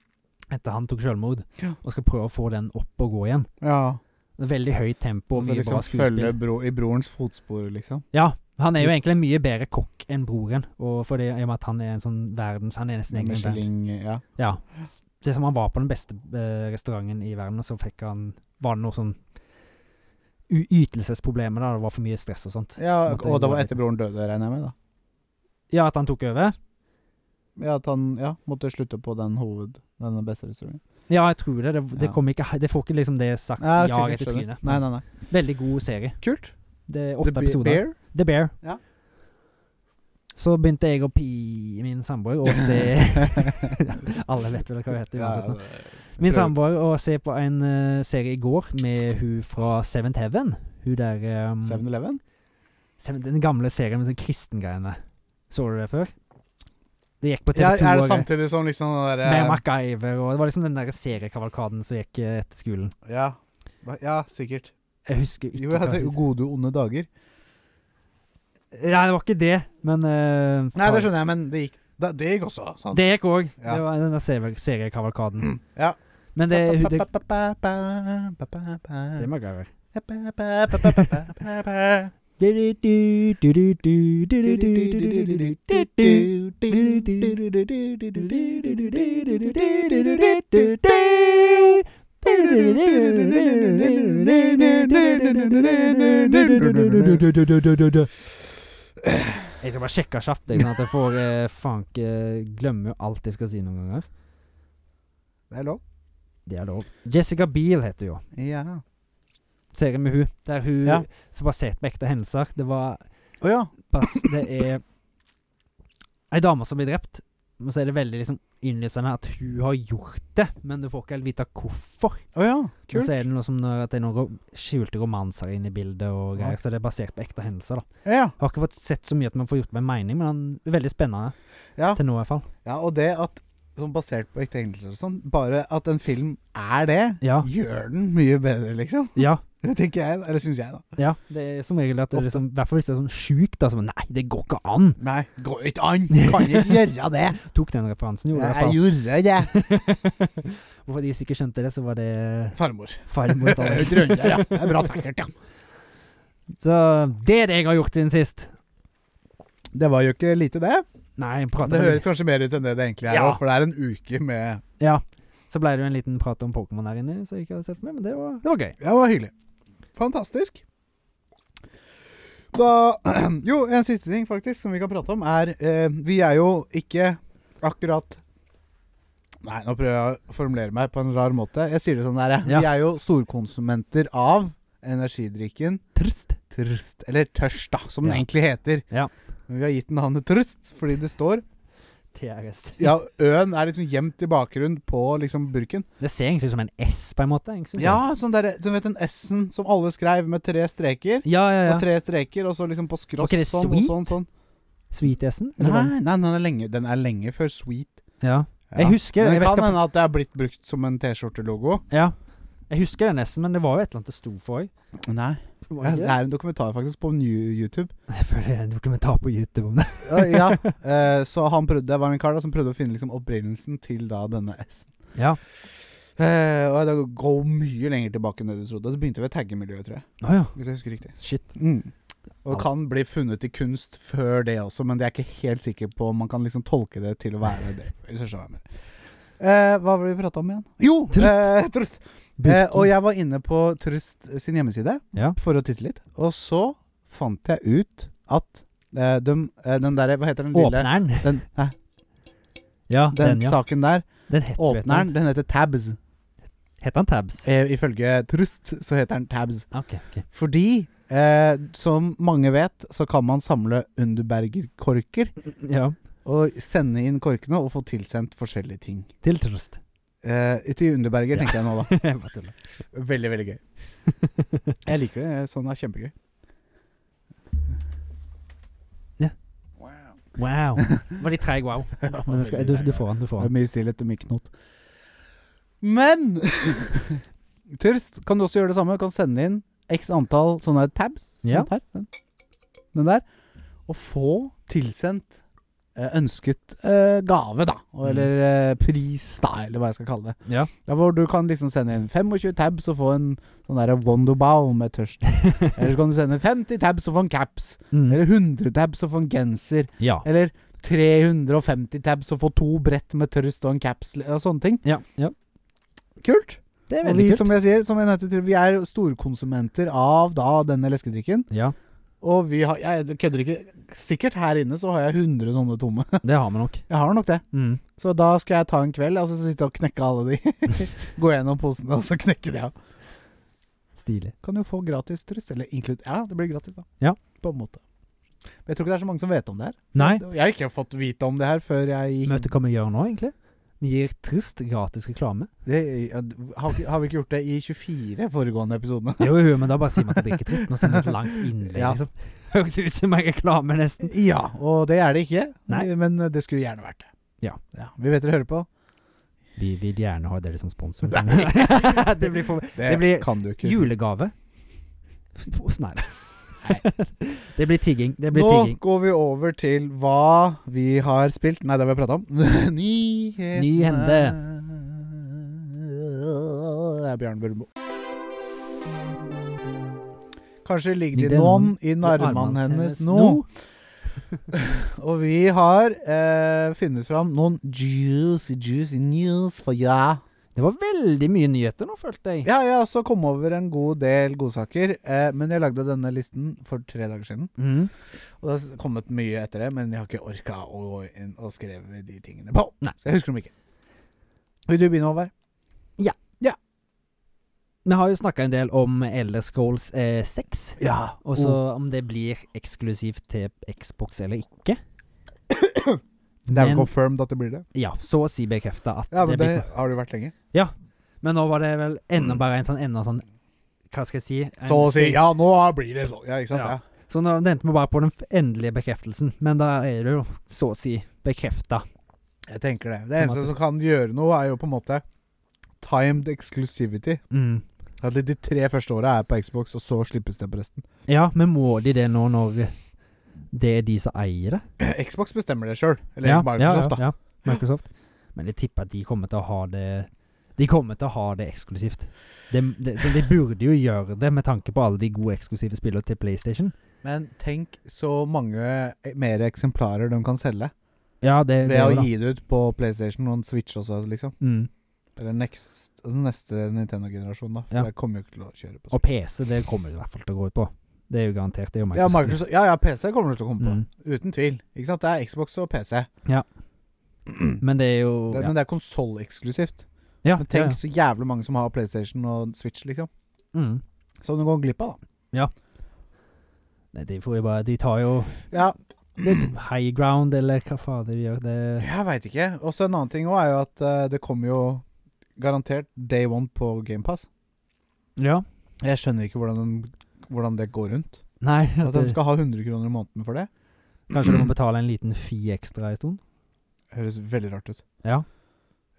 Etter han tok selvmord. Ja. Og skal prøve å få den opp og gå igjen. Ja. Det er Veldig høyt tempo Og og så mye liksom bra skuespill. følge bro, i brorens fotspor, liksom. Ja, han er jo Hvis- egentlig en mye bedre kokk enn broren, og for det, i og med at han er en sånn verdens Han er nesten egen verden. Michelin Ja. Ja. Det er som han var på den beste eh, restauranten i verden, og så fikk han Var det noe sånn u- ytelsesproblemer, da? Det var for mye stress og sånt. ja. Måtte Og det gå var litt. etter broren døde, regner jeg med, da. Ja, at han tok over? Ja, at han ja, måtte slutte på den hoved... Denne beste restauranten. Ja, jeg tror det. Det, det Ja. kommer ikke he- Det får ikke liksom det sagt Ja, ok, ja jeg rett i skjønner. trynet. Nei, nei, nei. Veldig god serie. Kult. Det er The åtte Be- episoder. Bear? The Bear. Ja. Så begynte jeg og pi min samboer å se Alle vet vel hva hun heter uansett. nå. Min samboer og se på en eh, serie i går med hun fra Seventh Heaven. Hun der um, 7-Eleven? Seven- Den gamle serien med sånn kristengreiene. Så du det før? Det gikk på Ja, TV2 er det og- samtidig som liksom den med derre MacGyver og Det var liksom den der seriekavalkaden som gikk eh, etter skolen. ja. Hva- ja, sikkert. Jeg husker ikke Jo, jeg hadde hva- gode og onde dager. Ja, det var ikke det, men eh, Nei, det skjønner jeg, men det gikk, da, det gikk også. Sånn. Det gikk òg. Ja. Det var den der serie- seriekavalkaden. ja. Men det, hun- det, det er det MacGyver. Jeg skal bare sjekke kjapt, jeg, sånn at jeg får eh, faen ikke glemme alt jeg skal si noen ganger. er lov. Det er lov. Jessica Biel heter hun jo. Ja. Serien med hun Der hun Ja. som basert på ekte hendelser. Det var Å ja. Pass, det er ei dame som blir drept. Men så er det veldig liksom innlysende at hun har gjort det, men du får ikke helt vite hvorfor. Å ja. Men Kult. så er det noe som når- at det er noen rom- skjulte romanser inne i bildet, og Ja. greier, så det er basert på ekte hendelser. da Ja. Jeg har ikke fått sett så mye at man får gjort meg mening, men han er veldig spennende. Ja. Til nå, i hvert fall. ja, og det at Sånn basert på ekte hendelser og sånn, bare at en film er det, Ja. gjør den mye bedre, liksom. Ja. Det tenker jeg, eller syns jeg, da. ja det er som regel at det er Ofte. liksom I hvert fall hvis det er sånn sjukt, da. Som nei, det går ikke an! Nei, går ikke an! Kan ikke gjøre det! Tok den referansen, jo. i hvert Jeg gjorde det! fall. Hvorfor de ikke skjønte det, så var det Farmor. farmor. Trønder, ja. Det er bra tankert, ja. Så det er det jeg har gjort siden sist. Det var jo ikke lite, det. Nei, jeg prater Det om- høres kanskje mer ut enn det det egentlig er, Ja. også, for det er en uke med Ja. Så ble det jo en liten prat om Pokémon her inne, så jeg ikke hadde sett med, men det var, det var gøy. Ja, det var hyggelig. Fantastisk. Da Jo, en siste ting faktisk som vi kan prate om, er eh, Vi er jo ikke Akkurat. Nei, nå prøver jeg å formulere meg på en rar måte. Jeg sier det sånn der, jeg. Ja. Vi er jo storkonsumenter av energidrikken Trist. Trøst. Eller Tørst, da, som den Ja. egentlig heter. Ja. Men vi har gitt den navnet Trøst fordi det står TRS. Ja, Ø-en er liksom gjemt i bakgrunnen på liksom burken. Det ser egentlig ut som en S, på en måte. ikke synes Ja, sånn der, du vet den S-en som alle skrev med tre streker? jeg? ja, ja. ja. Og tre streker, og så liksom på skross Ok, det er sånn og sweet? sånn. sånn. Sweet-S-en? eller hva? Nei, nei, den er lenge, den er lenge før Sweet. Ja. Jeg husker- Men jeg det vet kan hva- hende at det er blitt brukt som en T-skjortelogo. ja. Jeg husker den S-en, men det var jo et eller annet det sto for òg. Nei. Ja, det er en dokumentar faktisk på New YouTube. Jeg føler det er en dokumentar på YouTube om det. ja, eh, Så han prøvde, det var en kar da som prøvde å finne liksom opprinnelsen til da denne S-en. Ja. Eh, og det går mye lenger tilbake enn det du trodde. Det begynte ved taggemiljøet, tror jeg. Å ja. Hvis jeg husker riktig. Shit. Mm. Og kan bli funnet i kunst før det også, men jeg er ikke helt sikker på om man kan liksom tolke det til å være det. Hvis du skjønner hva jeg mener. Eh, hva var det vi prata om igjen? Jo! Trøst. Eh, trøst. Eh, Burken. og jeg var inne på Trøst sin hjemmeside Ja. for å titte litt, og så fant jeg ut at eh, de, eh, den derre Hva heter den lille Åpneren. Den, nei, Ja, den den, ja. saken der. Den het, Åpneren, den heter Tabs. Heter han Tabs? Eh, ifølge Trøst så heter den Tabs. Ok, ok. Fordi, eh, som mange vet, så kan man samle Underberger-korker. Ja. Og sende inn korkene og få tilsendt forskjellige ting. Til trøst. Eh, til Underberger, Ja. tenker jeg nå, da. Jeg bare tuller. Veldig, veldig gøy. Jeg liker det. eh, Sånn er kjempegøy. Wow. Var de treig wow? Men det skal, du, du får han, du får Det er han. mye stillhet og mye knot. Men Tørst, kan du også gjøre det samme? Du kan sende inn x antall sånne tabs. sånn Ja. her, den, den der. Og få tilsendt eh, ønsket eh, gave, da. Og, Mm. eller eh, pris, da, eller hva jeg skal kalle det. Ja. Ja, hvor du kan liksom sende inn 25 tabs og få en sånn der Wonderbow med tørst. Eller så kan du sende 50 tabs og få en caps. Mm. Eller 100 tabs og få en genser. Ja. Eller 350 tabs og få to brett med tørst og en caps og sånne ting. Ja. ja. Kult. Det er Og vi, veldig kult. som jeg sier, som jeg nevnte til, vi er jo storkonsumenter av da denne leskedrikken. Ja, Og vi har Jeg kødder ikke. Sikkert her inne så har jeg 100 sånne tomme. det har vi nok. Jeg har nok det. Mm. Så da skal jeg ta en kveld altså sitte og knekke alle de. Gå gjennom posene og så knekke de av. Stilig. Kan jo få gratis trøst. Eller inkludert Ja, det blir gratis, da. Ja. På en måte. Men jeg tror ikke det er så mange som vet om det her. Nei, Jeg har ikke fått vite om det her før jeg gikk vet du hva vi gjør nå, egentlig? Vi gir trist gratis reklame. Det, ja, d- har, vi- har vi ikke gjort det i 24 foregående episodene? Jo, jo, men da bare sier vi at det ikke er trist. Nå sender vi et langt innlegg, Ja. liksom. Høres ut som en reklame, nesten. Ja, og det er det ikke. Nei. Men eh, det skulle gjerne vært det. Ja. vi vet dere hører på. Vi vil gjerne ha dere som sponsor. Nei. det blir for Det, blir kan du ikke. Julegave? Nei. Nei. Det blir tigging. Det blir Nå tigging. går vi over til hva vi har spilt. Nei, det har vi prata om. Nyhetene. Det er Bjørn Burmo. Kanskje ligger det noen i armene hennes nå. Og vi har eh, funnet fram noen juicy, juicy news for ya. Det var veldig mye nyheter nå, følte jeg. Ja, jeg har også kommet over en god del godsaker, eh, men jeg lagde denne listen for tre dager siden. Mm. Og det har s- kommet mye etter det, men jeg har ikke orka å gå inn og skrive de tingene på. Nei. Så jeg husker dem ikke. Vil du begynne, Håvard? Vi har jo snakka en del om Elder Scrolls eh, 6, Ja. og så om det blir eksklusivt til Xbox eller ikke. Det er Men- jo confirmed at det blir det. Ja, så å si bekrefta at Ja, men det blir det har det vært lenge. Men nå var det vel enda bare en sånn enda sånn Hva skal jeg si? En Så å si. stil- Ja, nå blir det sånn. Ja, ikke sant? Ja. Ja. Så nå endte vi bare på den f- endelige bekreftelsen, men da er det jo så å si bekrefta. Jeg tenker det. Det eneste som kan gjøre noe, er jo på en måte timed exclusivity. Mm. At de tre første åra er på Xbox, og så slippes det på resten. Ja, men må de det nå når det er de som eier det? Xbox bestemmer det sjøl. Eller ja, Microsoft, ja, ja, ja, Microsoft. Men jeg tipper at de kommer til å ha det De kommer til å ha det eksklusivt. De, de, så de burde jo gjøre det med tanke på alle de gode eksklusive spillene til PlayStation. da. Men tenk så mange eh, mer eksemplarer de kan selge. Ja, det, det Ved er jo å da. gi det ut på PlayStation og en Switch også, liksom. Mm. Eller next, altså neste Nintendo-generasjon, da. For Ja. det kommer jo ikke til å kjøre på Og PC, det kommer det i hvert fall til å gå ut på. Det er jo garantert. Det er jo Ja, Microsoft. Microsoft, Mm. ja, ja, PC kommer det til å komme på. Uten tvil. Ikke sant? Det er Xbox og PC. Ja. Men det er jo Det, ja. Men det er konsolleksklusivt. Ja, Men ja, ja. tenk så jævlig mange som har PlayStation og Switch, liksom. Mm. Som du går glipp av, da. Nei, de får jo bare De tar jo Ja, det er typ high ground, eller hva fader de gjør. Det jeg veit ikke. Og så en annen ting òg er jo at eh, det kommer jo garantert day one på GamePass. Ja. Jeg skjønner ikke hvordan, de, hvordan det går rundt. Nei, At at de det- skal ha 100 kroner i måneden for det, kanskje du må betale en liten fi ekstra en stund. høres veldig rart ut. Ja.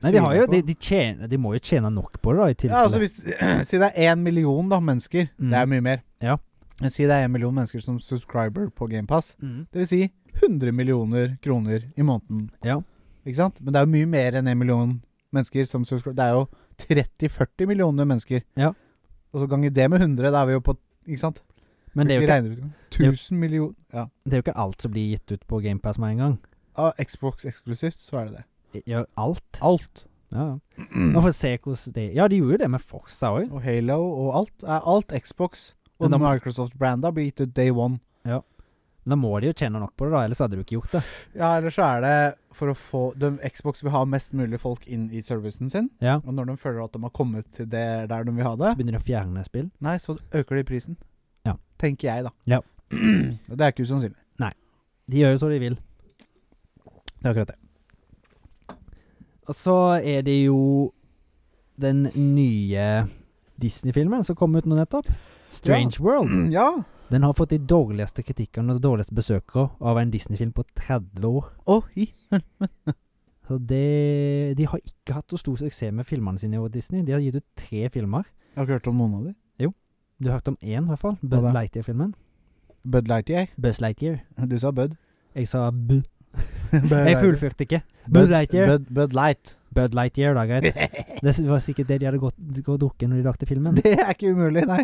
Nei, de har Tviler jo på. De, de, tjener, de må jo tjene nok på det, da, i tilfelle. Ja, altså hvis, Si det er én million da, mennesker. Mm. Det er mye mer. Ja. Men si det er én million mennesker som subscriber på GamePass. mm. Det vil si 100 millioner kroner i måneden. Ja. Ikke sant? Men det er jo mye mer enn én million mennesker som subscriber. Det er jo 30-40 millioner mennesker. Ja. Og så ganger det med 100, da er vi jo på Ikke sant? Men det er, jo Vi ikke, regner ut 1000 millioner Ja. det er jo ikke alt som blir gitt ut på GamePass med en gang. Av Xbox eksklusivt, så er det det. De Gjør alt. Alt. Ja. ja. Nå får vi se hvordan det Ja, de gjorde jo det med Forza òg. Og Halo og alt. Er alt Xbox og Men da må- Microsoft-branda blir gitt ut day one. Da må de jo tjene nok på det, da, ellers hadde du ikke gjort det. Ja, eller så er det for å få de, Xbox vil ha mest mulig folk inn i servicen sin. Ja. Og når de føler at de har kommet til det der de vil ha det, Så begynner de å fjerne spill. nei, så øker de prisen. Ja. Tenker jeg, da. Ja. Og det er ikke usannsynlig. De gjør jo som de vil. Det er akkurat det. Og så er det jo den nye Disney-filmen som kom ut nå nettopp. Strange World. Ja. Den har fått de dårligste kritikkene og de dårligste besøkere av en Disney-film på 30 år. Å, hi. Så det, de har ikke hatt så stor suksess med filmene sine i år, Disney. De har gitt ut tre filmer. Jeg har ikke hørt om noen av de. Du har hørt om én, i hvert fall. Bud Hva da? Lightyear-filmen. Bud Lightyear. Buzz Lightyear. Du sa Bud. Jeg sa bu. Bud Jeg Lightyear. fullførte ikke. Bud Lightyear. Bud, Bud Light. Bud Lightyear, da, greit. Det var sikkert det de hadde gått, gått og drukket når de lagde filmen. Det er ikke umulig, nei.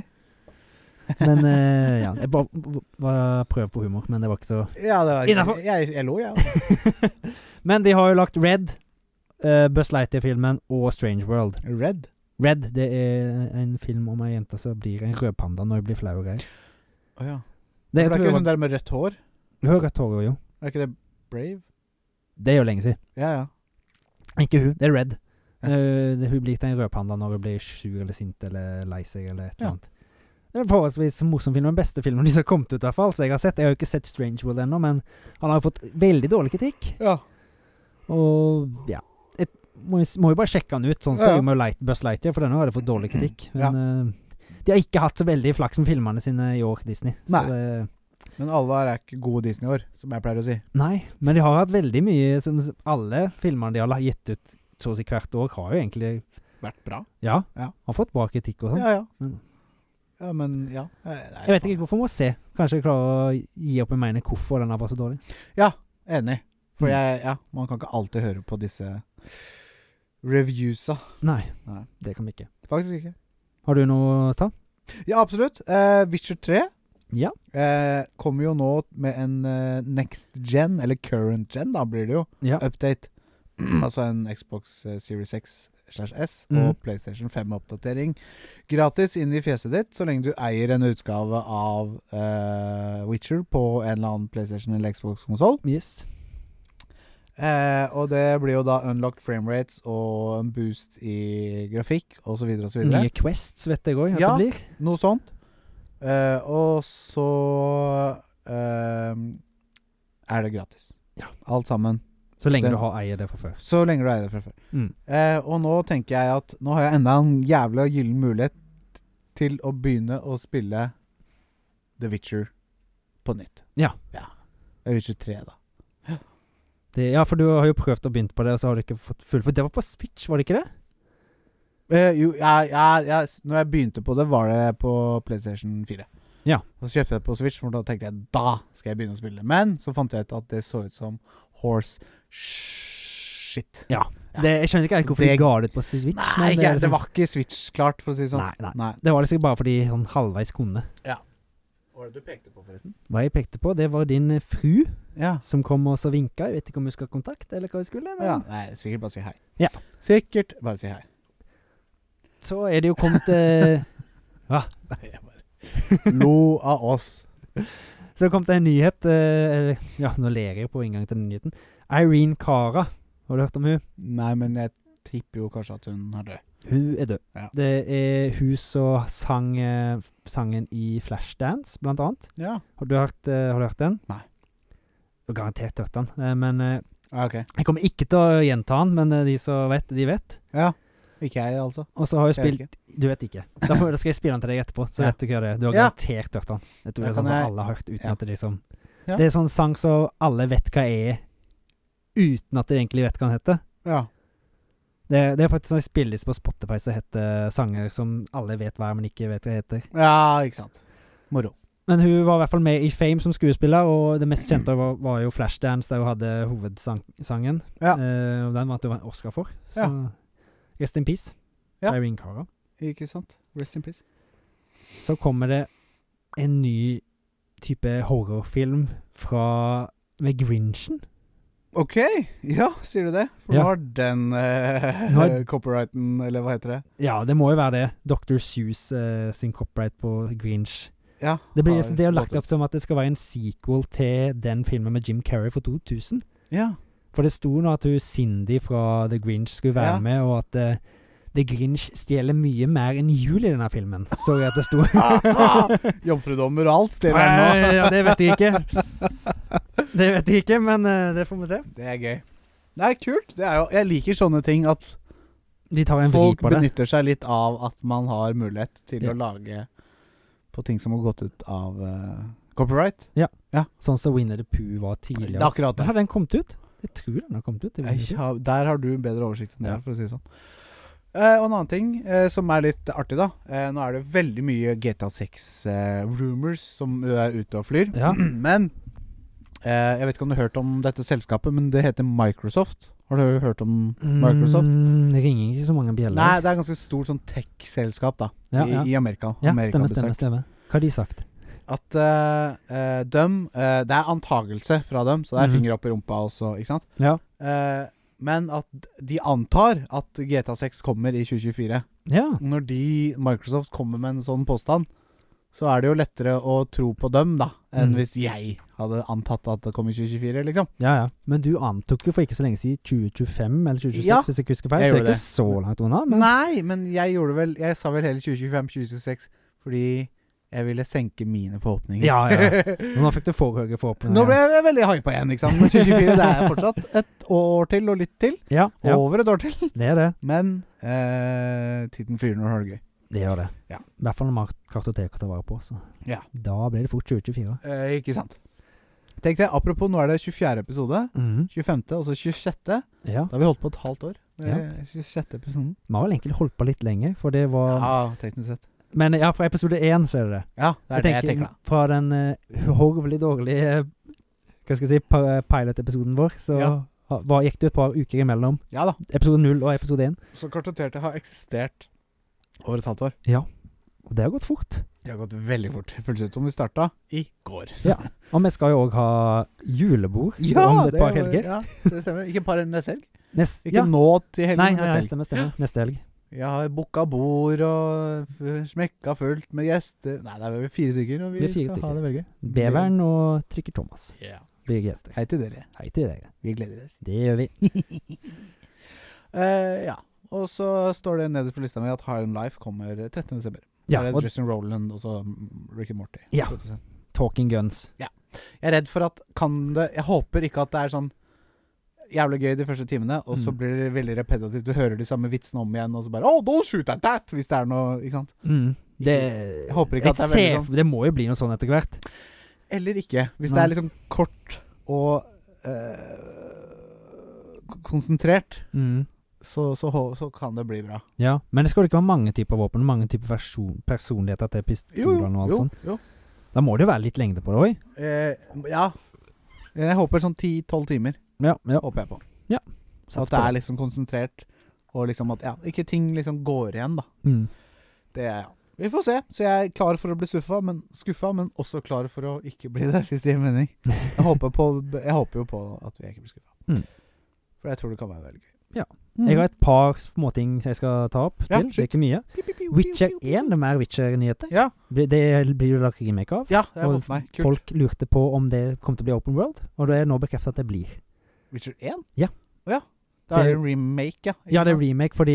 Men eh, ja, jeg bare bare prøv på humor, men det var ikke så Ja, det var, Innenfor. jeg, jeg, jeg lo, jeg. Men de har jo lagt Red, uh, Buzz Lightyear-filmen og Strange World. også. Red. Red det er en film om ei jente som blir en rødpanda når hun blir flau og greier. Å ja. For Det er det er ikke hun hun der med rødt hår? har rødt hår, jo. Er ikke det Brave? Det er jo lenge siden. Ja, ja. Ikke hun, det er Red. Ja. Eh, det, hun blir til en rødpanda når hun blir sur eller sint eller lei seg eller et Ja. eller annet. Det er en forholdsvis morsom film, den beste filmen de som har kommet ut, i hvert fall. Så jeg har sett. Jeg har jo ikke sett Strange World ennå, men han har fått veldig dårlig kritikk. ja. Og ja Jeg må, jo- må jo bare sjekke han ut, sånn som Ja, ja. jeg med Light, Buzz Lightyear, for denne har det fått dårlig kritikk. Men eh, de har ikke hatt så veldig flaks med filmene sine i år, Disney. Nei. Så det, Men alle her er ikke gode Disney-år, som jeg pleier å si. nei. Men de har hatt veldig mye som s- Alle filmene de har la- gitt ut så å si hvert år, har jo egentlig Vært bra. Ja, Ja. har fått bra kritikk og sånn. Ja, ja. Mm. Ja, men ja. Nei, Jeg vet ikke hvorfor, må se. Kanskje jeg klarer å gi opp en mening hvorfor den her var så dårlig. Enig. For Mm. jeg, ja, man kan ikke alltid høre på disse reviewsa. Nei, Nei. det kan vi ikke. Faktisk ikke. Har du noe å ta? Ja, absolutt. Eh, Witcher 3 Ja. eh, kommer jo nå med en eh, next gen, eller current gen, da blir det jo, Ja. update. altså en Xbox eh, Series X slash S Mm. og PlayStation 5-oppdatering gratis inn i fjeset ditt så lenge du eier en utgave av eh, Witcher på en eller annen PlayStation eller Xbox-konsoll. Yes. Eh, og det blir jo da unlocked frame rates og en boost i grafikk osv. osv. Nye Quests vet jeg òg at Ja. det blir. Noe sånt. Eh, og så eh, er det gratis. Ja. Alt sammen. Så lenge Den- du har eier det fra før. Så lenge du eier det fra før. Mm. Eh, og nå tenker jeg at nå har jeg enda en jævla gyllen mulighet til å begynne å spille The Witcher på nytt. Ja. The Witcher 3, da. Det, ja, for du har jo prøvd og begynt på det, og så har du ikke fått fullført. Det var på Switch, var det ikke det? Eh, jo, ja, ja, ja, s- når jeg begynte på det, var det på PlayStation 4. Ja. Og så kjøpte jeg det på Switch, for da tenkte jeg da skal jeg begynne å spille. Men så fant jeg ut at det så ut som horse shit. Ja. det jeg skjønner ikke helt Så hvorfor det- de ga det ut på Switch. Nei, men det, er det liksom- var ikke Switch-klart, for å si det sånn. Nei, nei. Nei. Det var liksom bare fordi de sånn halvveis kunne. Hva var det du pekte på, forresten? Hva jeg pekte på, det var din eh, fru Ja. som kom og så vinka. Jeg vet ikke om hun skal ha kontakt, eller hva hun skulle. Men. ja. Nei, sikkert bare si hei. Ja. Sikkert bare si hei. Så er det jo kommet eh, Nei, jeg bare lo av oss. Så kom det en nyhet eh, eller- Ja, nå ler jeg jo på inngangen til den nyheten. Irene Cara Har du hørt om hun? Nei, men jeg tipper jo kanskje at hun er død. Hun er død. Ja. Det er hun som sang eh, f- sangen i Flashdance, blant annet. Ja. Har du hørt, eh, har du hørt den? Nei. Du har garantert hørt den. Eh, men eh, Ja, Ah, ok. jeg kommer ikke til å gjenta den, men eh, de som vet, de vet. Ja. Ikke jeg, altså. Og så har hun Jeg vet spilt Du vet ikke. Da, får, da skal jeg spille den til deg etterpå, så Ja. vet du hva det er. Du har Ja. garantert hørt den. Da Jeg tror det er kan sånn som jeg- alle har hørt, uten Ja. at det liksom Ja. Det er sånn sang som alle vet hva er, uten at de egentlig vet hva den heter. Ja. Det, det er faktisk en spilleliste på Spotify som heter sanger som alle vet hver, men ikke vet hva heter. ja, ikke sant. Moro. Men hun var i hvert fall med i Fame som skuespiller, og det mest kjente var, var jo Flashdance, der hun hadde hovedsangen. Ja. Eh, og den vant hun en Oscar for. Så Rest in Peace. Ja. Irene Cara. Ikke sant. Rest in peace. Så kommer det en ny type horrorfilm fra med Grinchen. Ok, ja, sier du det? For Ja. nå har den eh, Nå har- copyrighten, eller hva heter det? Ja, det må jo være det. Dr. Seuss eh, sin copyright på Grinch. Ja, Det blir har det er jo lagt gått opp som at det skal være en sequel til den filmen med Jim Carrey for 2000. Ja, For det sto nå at hun Cindy fra The Grinch skulle Ja. være med, og at eh, The Grinch stjeler mye mer enn jul i denne filmen. Så jeg at det sto Jomfrudommer og alt stiller den Nei, ja, det vet jeg ikke. Det vet jeg ikke, men eh, det får vi se. nå. Det er gøy. Det er kult. Det er jo, jeg liker sånne ting, at De tar en vri folk på det. benytter seg litt av at man har mulighet til Ja. å lage på ting som har gått ut av eh, copyright. Sånn som Winner the Pooh var Det tidligere. er akkurat det. Har den kommet ut? Jeg tror den har kommet ut. i Winnie Jeg, the Pooh. har- der har du bedre oversikt enn jeg, Ja. har, for å si det sånn. Eh, og en annen ting eh, som er litt artig, da. Eh, nå er det veldig mye GTA 6-rumors eh, som eh, er ute og flyr. Ja. Men eh, jeg vet ikke om du har hørt om dette selskapet, men det heter Microsoft. Har du hørt om Microsoft? Mm, det ringer ikke så mange bjeller. Nei, det er et ganske stort sånn tech-selskap da Ja, i, ja. i Amerika. ja Amerika stemmer, stemmer, stemmer. Hva har de sagt? At eh, eh, dem eh, Det er antagelse fra dem, så det er Mhm. finger opp i rumpa også, ikke sant? Ja. Eh, men at de antar at GTA 6 kommer i 2024. ja. Når de, Microsoft kommer med en sånn påstand, så er det jo lettere å tro på dem, da, enn Mm. hvis jeg hadde antatt at det kom i 2024, liksom. Ja, ja. Men du antok jo for ikke så lenge siden 2025 eller 2026, Ja, hvis jeg ikke husker feil. jeg Så gjorde det det. er ikke så langt unna. Men Nei, men jeg gjorde vel Jeg sa vel heller 2025-2026 fordi jeg ville senke mine forhåpninger. Ja, ja. nå fikk du for høye forhåpninger. Nå ble jeg veldig hypa igjen, ikke sant. Men 2024 det er fortsatt et år til, og litt til. ja, ja, Over et år til. det er det. Men eh, tiden flyr når du har det gøy. Det gjør det. Ja. I hvert fall når vi har kartoteket å ta vare på. Så. Ja. Da blir det fort 2024. Eh, ikke sant. Tenk deg, Apropos, nå er det 24. episode. 25. og så 26. Da Ja. har vi holdt på et halvt år. Det Ja. er 26. episoden. Vi har vel egentlig holdt på litt lenger, for det var Ja, teknisk sett. Men ja, fra episode én så er det det. Ja, det er det jeg tenker, da. Fra den uh, horvelig dårlige eh, Hva skal jeg si pa- pilot-episoden vår, så Ja. ha- hva, gikk det et par uker imellom. Ja da. Episode null og episode én. Så kartoterte har eksistert over et halvt år. Og det har gått fort. Det har gått veldig fort. Føles ut som vi starta i går. Ja. Og vi skal jo òg ha julebord om et par det- helger. Ja, det stemmer. Ikke et par neste helg. Nest, Ikke ja. nå til helgen, Nei, men neste nei, nei, helg. stemmer, stemmer. Neste helg. Jeg har booka bord og f- smekka fullt med gjester. Nei, det er vel fire stykker, og vi, Vi er skal fire ha stykker. det veldig gøy. Beveren og Trykker Thomas blir gjester. Hei til dere. Hei til deg. Vi gleder oss. Det gjør vi. Eh, ja. Og så står det nederst på lista mi at High On Life kommer 13.12. Ja, Der er og Justin Roland og så mm, Ricky Morty. Ja. produsent. Talking Guns. Jeg er redd for at kan det Jeg håper ikke at det er sånn jævlig gøy de første timene, og så Mm. blir det veldig repetitivt. Du hører de samme vitsene om igjen, og så bare Oh, don't shoot at that! Hvis det er noe Ikke sant? Det, Mm. Jeg håper ikke at det er ser- veldig Det må jo bli noe sånn etter hvert. Eller ikke. Hvis det Nei. er liksom kort og eh, k- konsentrert, så, så, hå- så kan det bli bra. Ja, Men det skal jo ikke være mange typer våpen mange typer versjon, personligheter til pistolene og alt sånt. jo. Da må det jo være litt lengde på det òg. Eh, ja. Jeg håper sånn 10-12 timer. Ja, ja. Håper jeg på. Så Sats at det på er liksom konsentrert, og liksom at ja, ikke ting liksom går igjen, da. Mm. Det er ja. Vi får se. Så jeg er klar for å bli skuffa, men, skuffa, men også klar for å ikke bli det, hvis det gir mening. Jeg håper, på, jeg håper jo på at vi ikke blir skuffa. Mm. For jeg tror det kan være veldig gøy. Ja. Mm. Jeg har et par småting jeg skal ta opp Ja, til. Det er skyt. ikke mye. Piu, piu, piu, Witcher piu, piu. 1, det er mer Witcher-nyheter. Ja. Det det blir jo lagt remake av. ja, det har jeg Og fått med meg. Kult. Folk lurte på om det kom til å bli open world, og det er nå bekreftet at det blir. Witcher 1? Ja. Å ja. Da er Det- det en remake, ja. ikke Ja, det er sant? remake, fordi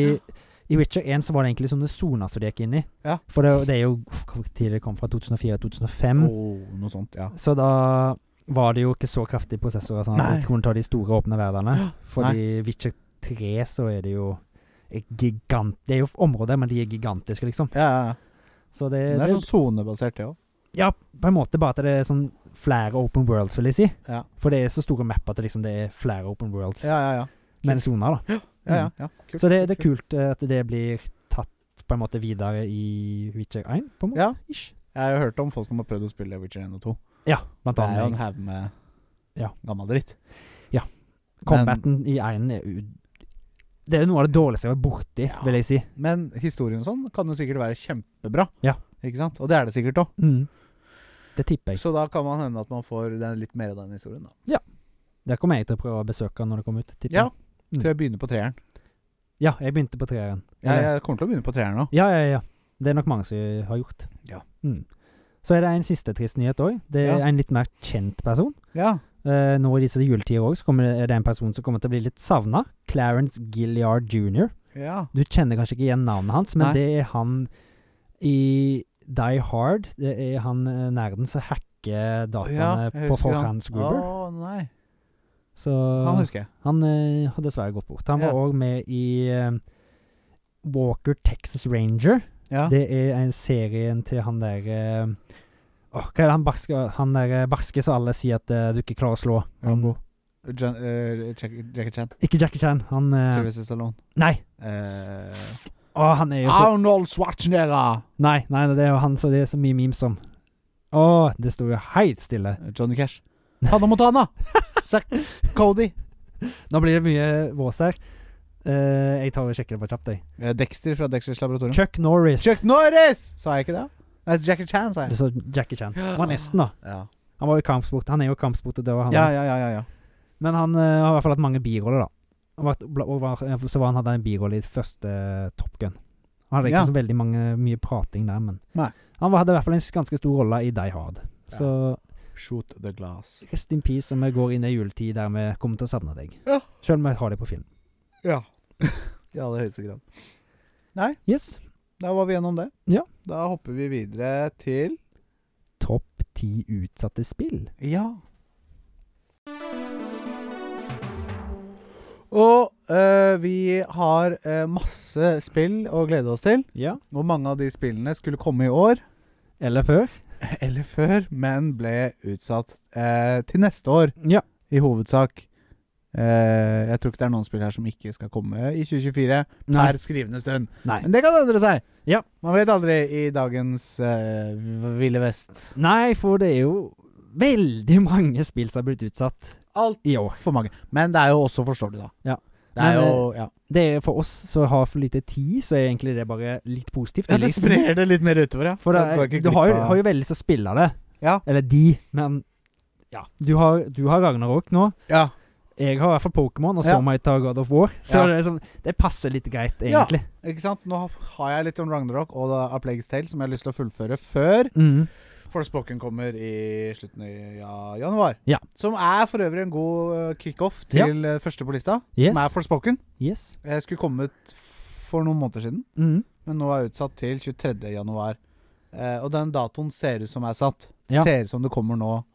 i Witcher 1 så var det egentlig sånne soner som de gikk inn i. Ja. For det, det er jo uff, Hvor tid det kom fra? 2004-2005? Åh, noe sånt, ja. Så da var det jo ikke så kraftige prosessorer sånn at Nei. du kunne ta de store åpne verdenene. Fordi Witcher 3 så er det jo et gigant... Det er jo områder, men de er gigantiske, liksom. Ja, ja, ja. Så det, Men Det det er sånn sonebasert, det òg. Ja, på en måte bare at det er sånn flere open worlds, vil jeg si. Ja. For det er så store mapper at det liksom det er flere open worlds Ja, ja, ja. med soner, da. ja, ja, ja. Kult, Så det, kult, det er kult eh, at det blir tatt på en måte videre i Witcher 1, på en måte. Ja. Ish. Jeg har jo hørt om folk som har prøvd å spille Witcher 1 og 2. Ja, blant Det er jo en annet. haug med Ja. gammel dritt. Combaten i 1 er u... Det er noe av det dårligste jeg har vært borti, Ja. vil jeg si. Men historien og sånn kan jo sikkert være kjempebra. Ja. Ikke sant? Og det er det sikkert òg. Mm. Det tipper jeg. Så da kan man hende at man får den, litt mer av den historien. da Det kommer jeg til å prøve å besøke når det kommer ut. tipper Ja. jeg. Mm. Tror jeg begynner på treeren. ja, jeg begynte på treeren. Ja, Eller- jeg kommer til å begynne på treeren nå. Ja, ja, ja. Det er nok mange som har gjort. Ja. Mm. Så er det en siste trist nyhet òg. Det er Ja. en litt mer kjent person. Ja. Eh, nå i disse juletider òg er det en person som kommer til å bli litt savna. Clarence Gilliard jr. Ja. Du kjenner kanskje ikke igjen navnet hans, men Nei. det er han i Die Hard. Det er han eh, nerden som hacker dataene Ja, jeg på husker han. Forhands Gruber. Å nei. Så Han husker jeg. han eh, har dessverre gått bort. Han var Ja. òg med i eh, Walker Texas Ranger. Ja. Det er en serien til han der eh, åh, Hva er det han barske Han der eh, barske som alle sier at eh, du ikke klarer å slå? Han, Rambo. Jan, eh, Jack- Jackie Chan. ikke Jackie Chan. Han eh, Sylvester Stallone. Nei! Eh, Å, han er jo så Arnold Schwarzenegger! Nei, nei, det er jo han som det er så mye memes om. Å, det sto jo helt stille. Johnny Cash. Hanna Montana! Zack Cody. Nå blir det mye vås her. Eh, jeg tar og sjekker det bare kjapt, jeg. Eh, Dexter fra Dexters laboratorium. Chuck Norris. Chuck Norris! Sa jeg ikke det? Nei, Jackie Chan, sa jeg. Det står Jackie Chan. Det var nesten, da. Ja, Han var jo kampsport. Han er jo kampsport og død, han. ja, ja. ja, ja, ja. Men han eh, har i hvert fall hatt mange biroller, da. Og vært- bla- og var, eh, så var han hadde en birolle i første eh, Top Gun. Han hadde ikke Ja. så veldig mange, mye prating der, men Nei. han var, hadde i hvert fall en s- ganske stor rolle i Die Hard. Så Shoot the glass. rest in peace om vi går inn i juletid der vi kommer til å savne deg. Ja. Selv om vi har deg på film. Ja. I aller høyeste grad. Yes. Da var vi gjennom det. Ja. Da hopper vi videre til Topp ti utsatte spill. Ja. Og eh, vi har eh, masse spill å glede oss til. Ja. Og mange av de spillene skulle komme i år, Eller før. eller før, men ble utsatt eh, til neste år. Ja. i hovedsak. Eh, jeg tror ikke det er noen spill her som ikke skal komme i 2024 Nei. per skrivende stund. Nei. Men det kan endre seg! Ja. Man vet aldri i dagens eh, v- ville vest. Nei, for det er jo veldig mange spill som har blitt utsatt Alt i år. for mange. Men det er jo også forståelig, da. Ja. Det er Men, eh, jo ja. Det er For oss som har for lite tid, så er egentlig det bare litt positivt. ja, det liksom- sprer det litt mer utover, ja. For det, Da går ikke du har jo, glipp av- har jo veldig lyst til å spille det. Ja. Eller de, men ja. Du har, du har Ragnarok nå. ja. Jeg har i hvert fall Pokémon, og så Ja. må jeg ta God of War. Så Ja. det, er sånn, det passer litt greit, Ja. egentlig. Ikke sant? Nå har jeg litt om Ragnarok og da A Plague's Tale som jeg har lyst til å fullføre før Mm. Forspoken kommer i slutten av ja, januar. Ja. Som er for øvrig en god eh, kickoff Ja. til eh, første på lista, Yes. som er Forspoken. yes. Jeg skulle komme ut for noen måneder siden, Mm. men nå er jeg utsatt til 23. januar. Eh, og den datoen ser ut som er satt. Ja. Ser ut som det kommer nå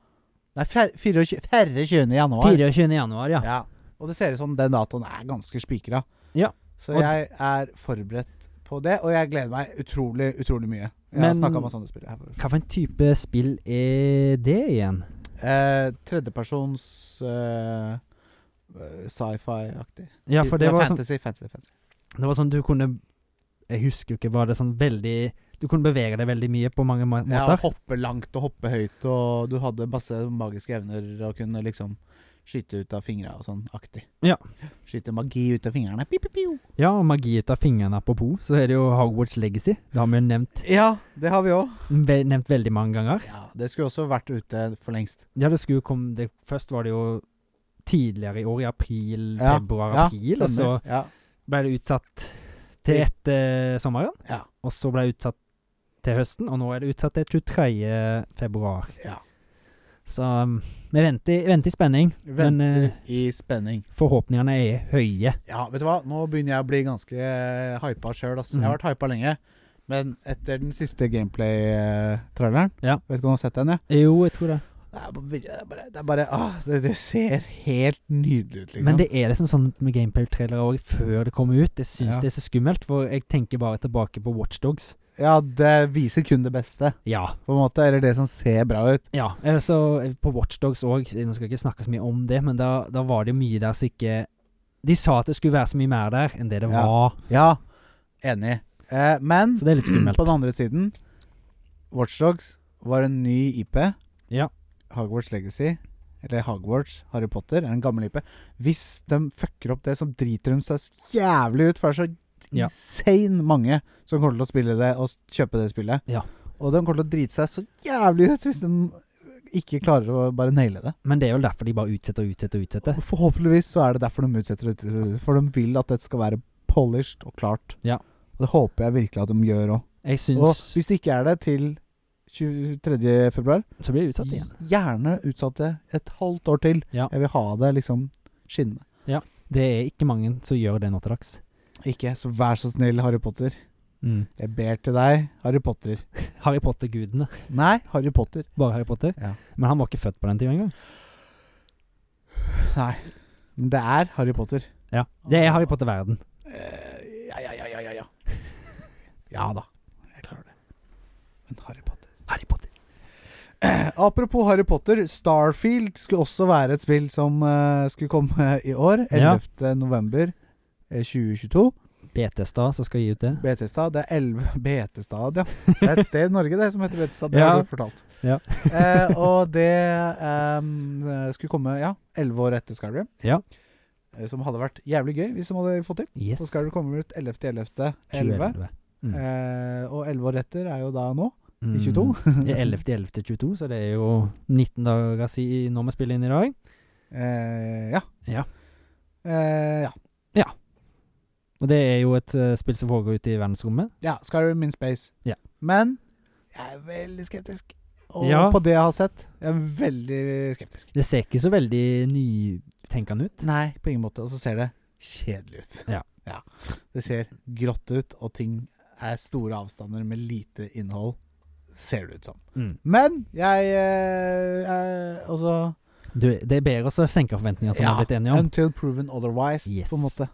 Nei, fer- 24. 24. januar. 24. januar, ja. Ja. Og det ser ut som den datoen er ganske spikra. Ja. Så Og- jeg er forberedt på det, og jeg gleder meg utrolig, utrolig mye. Jeg har Men- snakka om sånne spill her før. Hva for en type spill er det igjen? Eh, tredjepersons eh, eh, sci-fi-aktig. Ja, for det var sånn, fantasy, fantasy, fantasy. det var sånn du kunne Jeg husker jo ikke, var det sånn veldig Du kunne bevege deg veldig mye på mange må- Ja, måter. hoppe langt og hoppe høyt, og du hadde masse magiske evner og kunne liksom skyte ut av fingra og sånn aktig. Ja. Skyte magi ut av fingrene. Piu, piu, piu. Ja, og magi ut av fingrene, apropos, så er det jo Hogwarts Legacy. Det har vi jo nevnt, Ja, det har vi òg. ve nevnt veldig mange ganger. Ja, det skulle også vært ute for lengst. Ja, det skulle jo komme det, Først var det jo tidligere i år, i april, Ja, Ja, februar-april. og så stemmer. ja. ble det utsatt til etter eh, sommeren. Ja. Og så ble det utsatt til høsten, og nå er det utsatt til 23. februar. Ja. Så um, vi venter, venter i spenning. Men, Venter eh, i spenning. Forhåpningene er høye. Ja, vet du hva? Nå begynner jeg å bli ganske eh, hypa sjøl. ass. Mhm. Jeg har vært hypa lenge. Men etter den siste gameplay-traileren Ja. Vet ikke om du har sett den? Ja. Jo, jeg tror det. Det er bare, det er bare, det, er bare ah, det, det ser helt nydelig ut, liksom. Men det er liksom sånn med gameplay-trailere òg, før det kommer ut. Jeg syns Ja. det er så skummelt, for jeg tenker bare tilbake på Watchdogs. ja, det viser kun det beste, Ja. på en måte. Eller det som ser bra ut. ja. eh, Så eh, på Watchdogs òg, eh, nå skal jeg ikke snakke så mye om det, men da, da var det jo mye der som ikke De sa at det skulle være så mye mer der enn det det Ja. var. Ja, enig. Eh, men Så det er litt skummelt. på den andre siden Watchdogs var en ny IP. Ja. Hogwarts Legacy, eller Hogwarts Harry Potter, er en gammel IP. Hvis de fucker opp det, så driter de seg så jævlig ut. For det er så Ja. insane mange som kommer til å spille det og s- kjøpe det spillet. Ja. Og de kommer til å drite seg så jævlig ut hvis de ikke klarer å bare naile det. Men det er jo derfor de bare utsetter og utsetter og utsetter. Og forhåpentligvis så er det derfor de utsetter det. utsetter det, For de vil at dette skal være polished og klart. Ja. Og det håper jeg virkelig at de gjør òg. Jeg Og syns hvis det ikke er det til 23. februar, Så blir det utsatt igjen. gjerne utsatt det et halvt år til. Ja. Jeg vil ha det liksom skinnende. Det er ikke mange som gjør det nå til dags. Ikke så vær så snill, Harry Potter. Mm. Jeg ber til deg, Harry Potter. Harry Potter-gudene. Nei, Harry Potter. Bare Harry Potter. Ja. Men han var ikke født på den tida engang. Nei. Men det er Harry Potter. Ja. Det er Harry Potter-verden. Eh, ja, ja, ja, ja, ja, ja. Ja da. Jeg klarer det. Men Harry Potter Harry Potter. Eh, Apropos Harry Potter, Starfield skulle også være et spill som eh, skulle komme i år. Ja. 11. november eh, 2022. BT-stad som skal gi ut det. Betestad, det er 11 Betestad, ja. Det er et sted i Norge det som heter Betestad, det Ja. har du fortalt. Ja. eh, og det ehm, skulle komme ja, 11 år etter Skyrim, Ja. eh, som hadde vært jævlig gøy hvis de hadde fått til. Yes. Så Skyrim kommer ut 11.11.11. 2011. Eh, og 11 år etter er jo da nå, i Mm. 22. Det er 11.11.22, så det er jo 19 dager siden når vi spiller inn i dag. Eh, ja. Ja. Eh, ja. Og det er jo et eh, spill som foregår ute i verdensrommet. ja. Skyrim in space. Ja. Men jeg er veldig skeptisk. Og Ja. på det jeg har sett, jeg er veldig skeptisk. Det ser ikke så veldig nytenkende ut. Nei, på ingen måte. Og så ser det kjedelig ut. Ja. Det ser grått ut, og ting er store avstander med lite innhold, ser det ut som. Mm. Men jeg eh, eh, Altså Du, det er bedre å senke forventninger, som vi ja, har blitt enige om. Until proven otherwise, Yes. på en måte.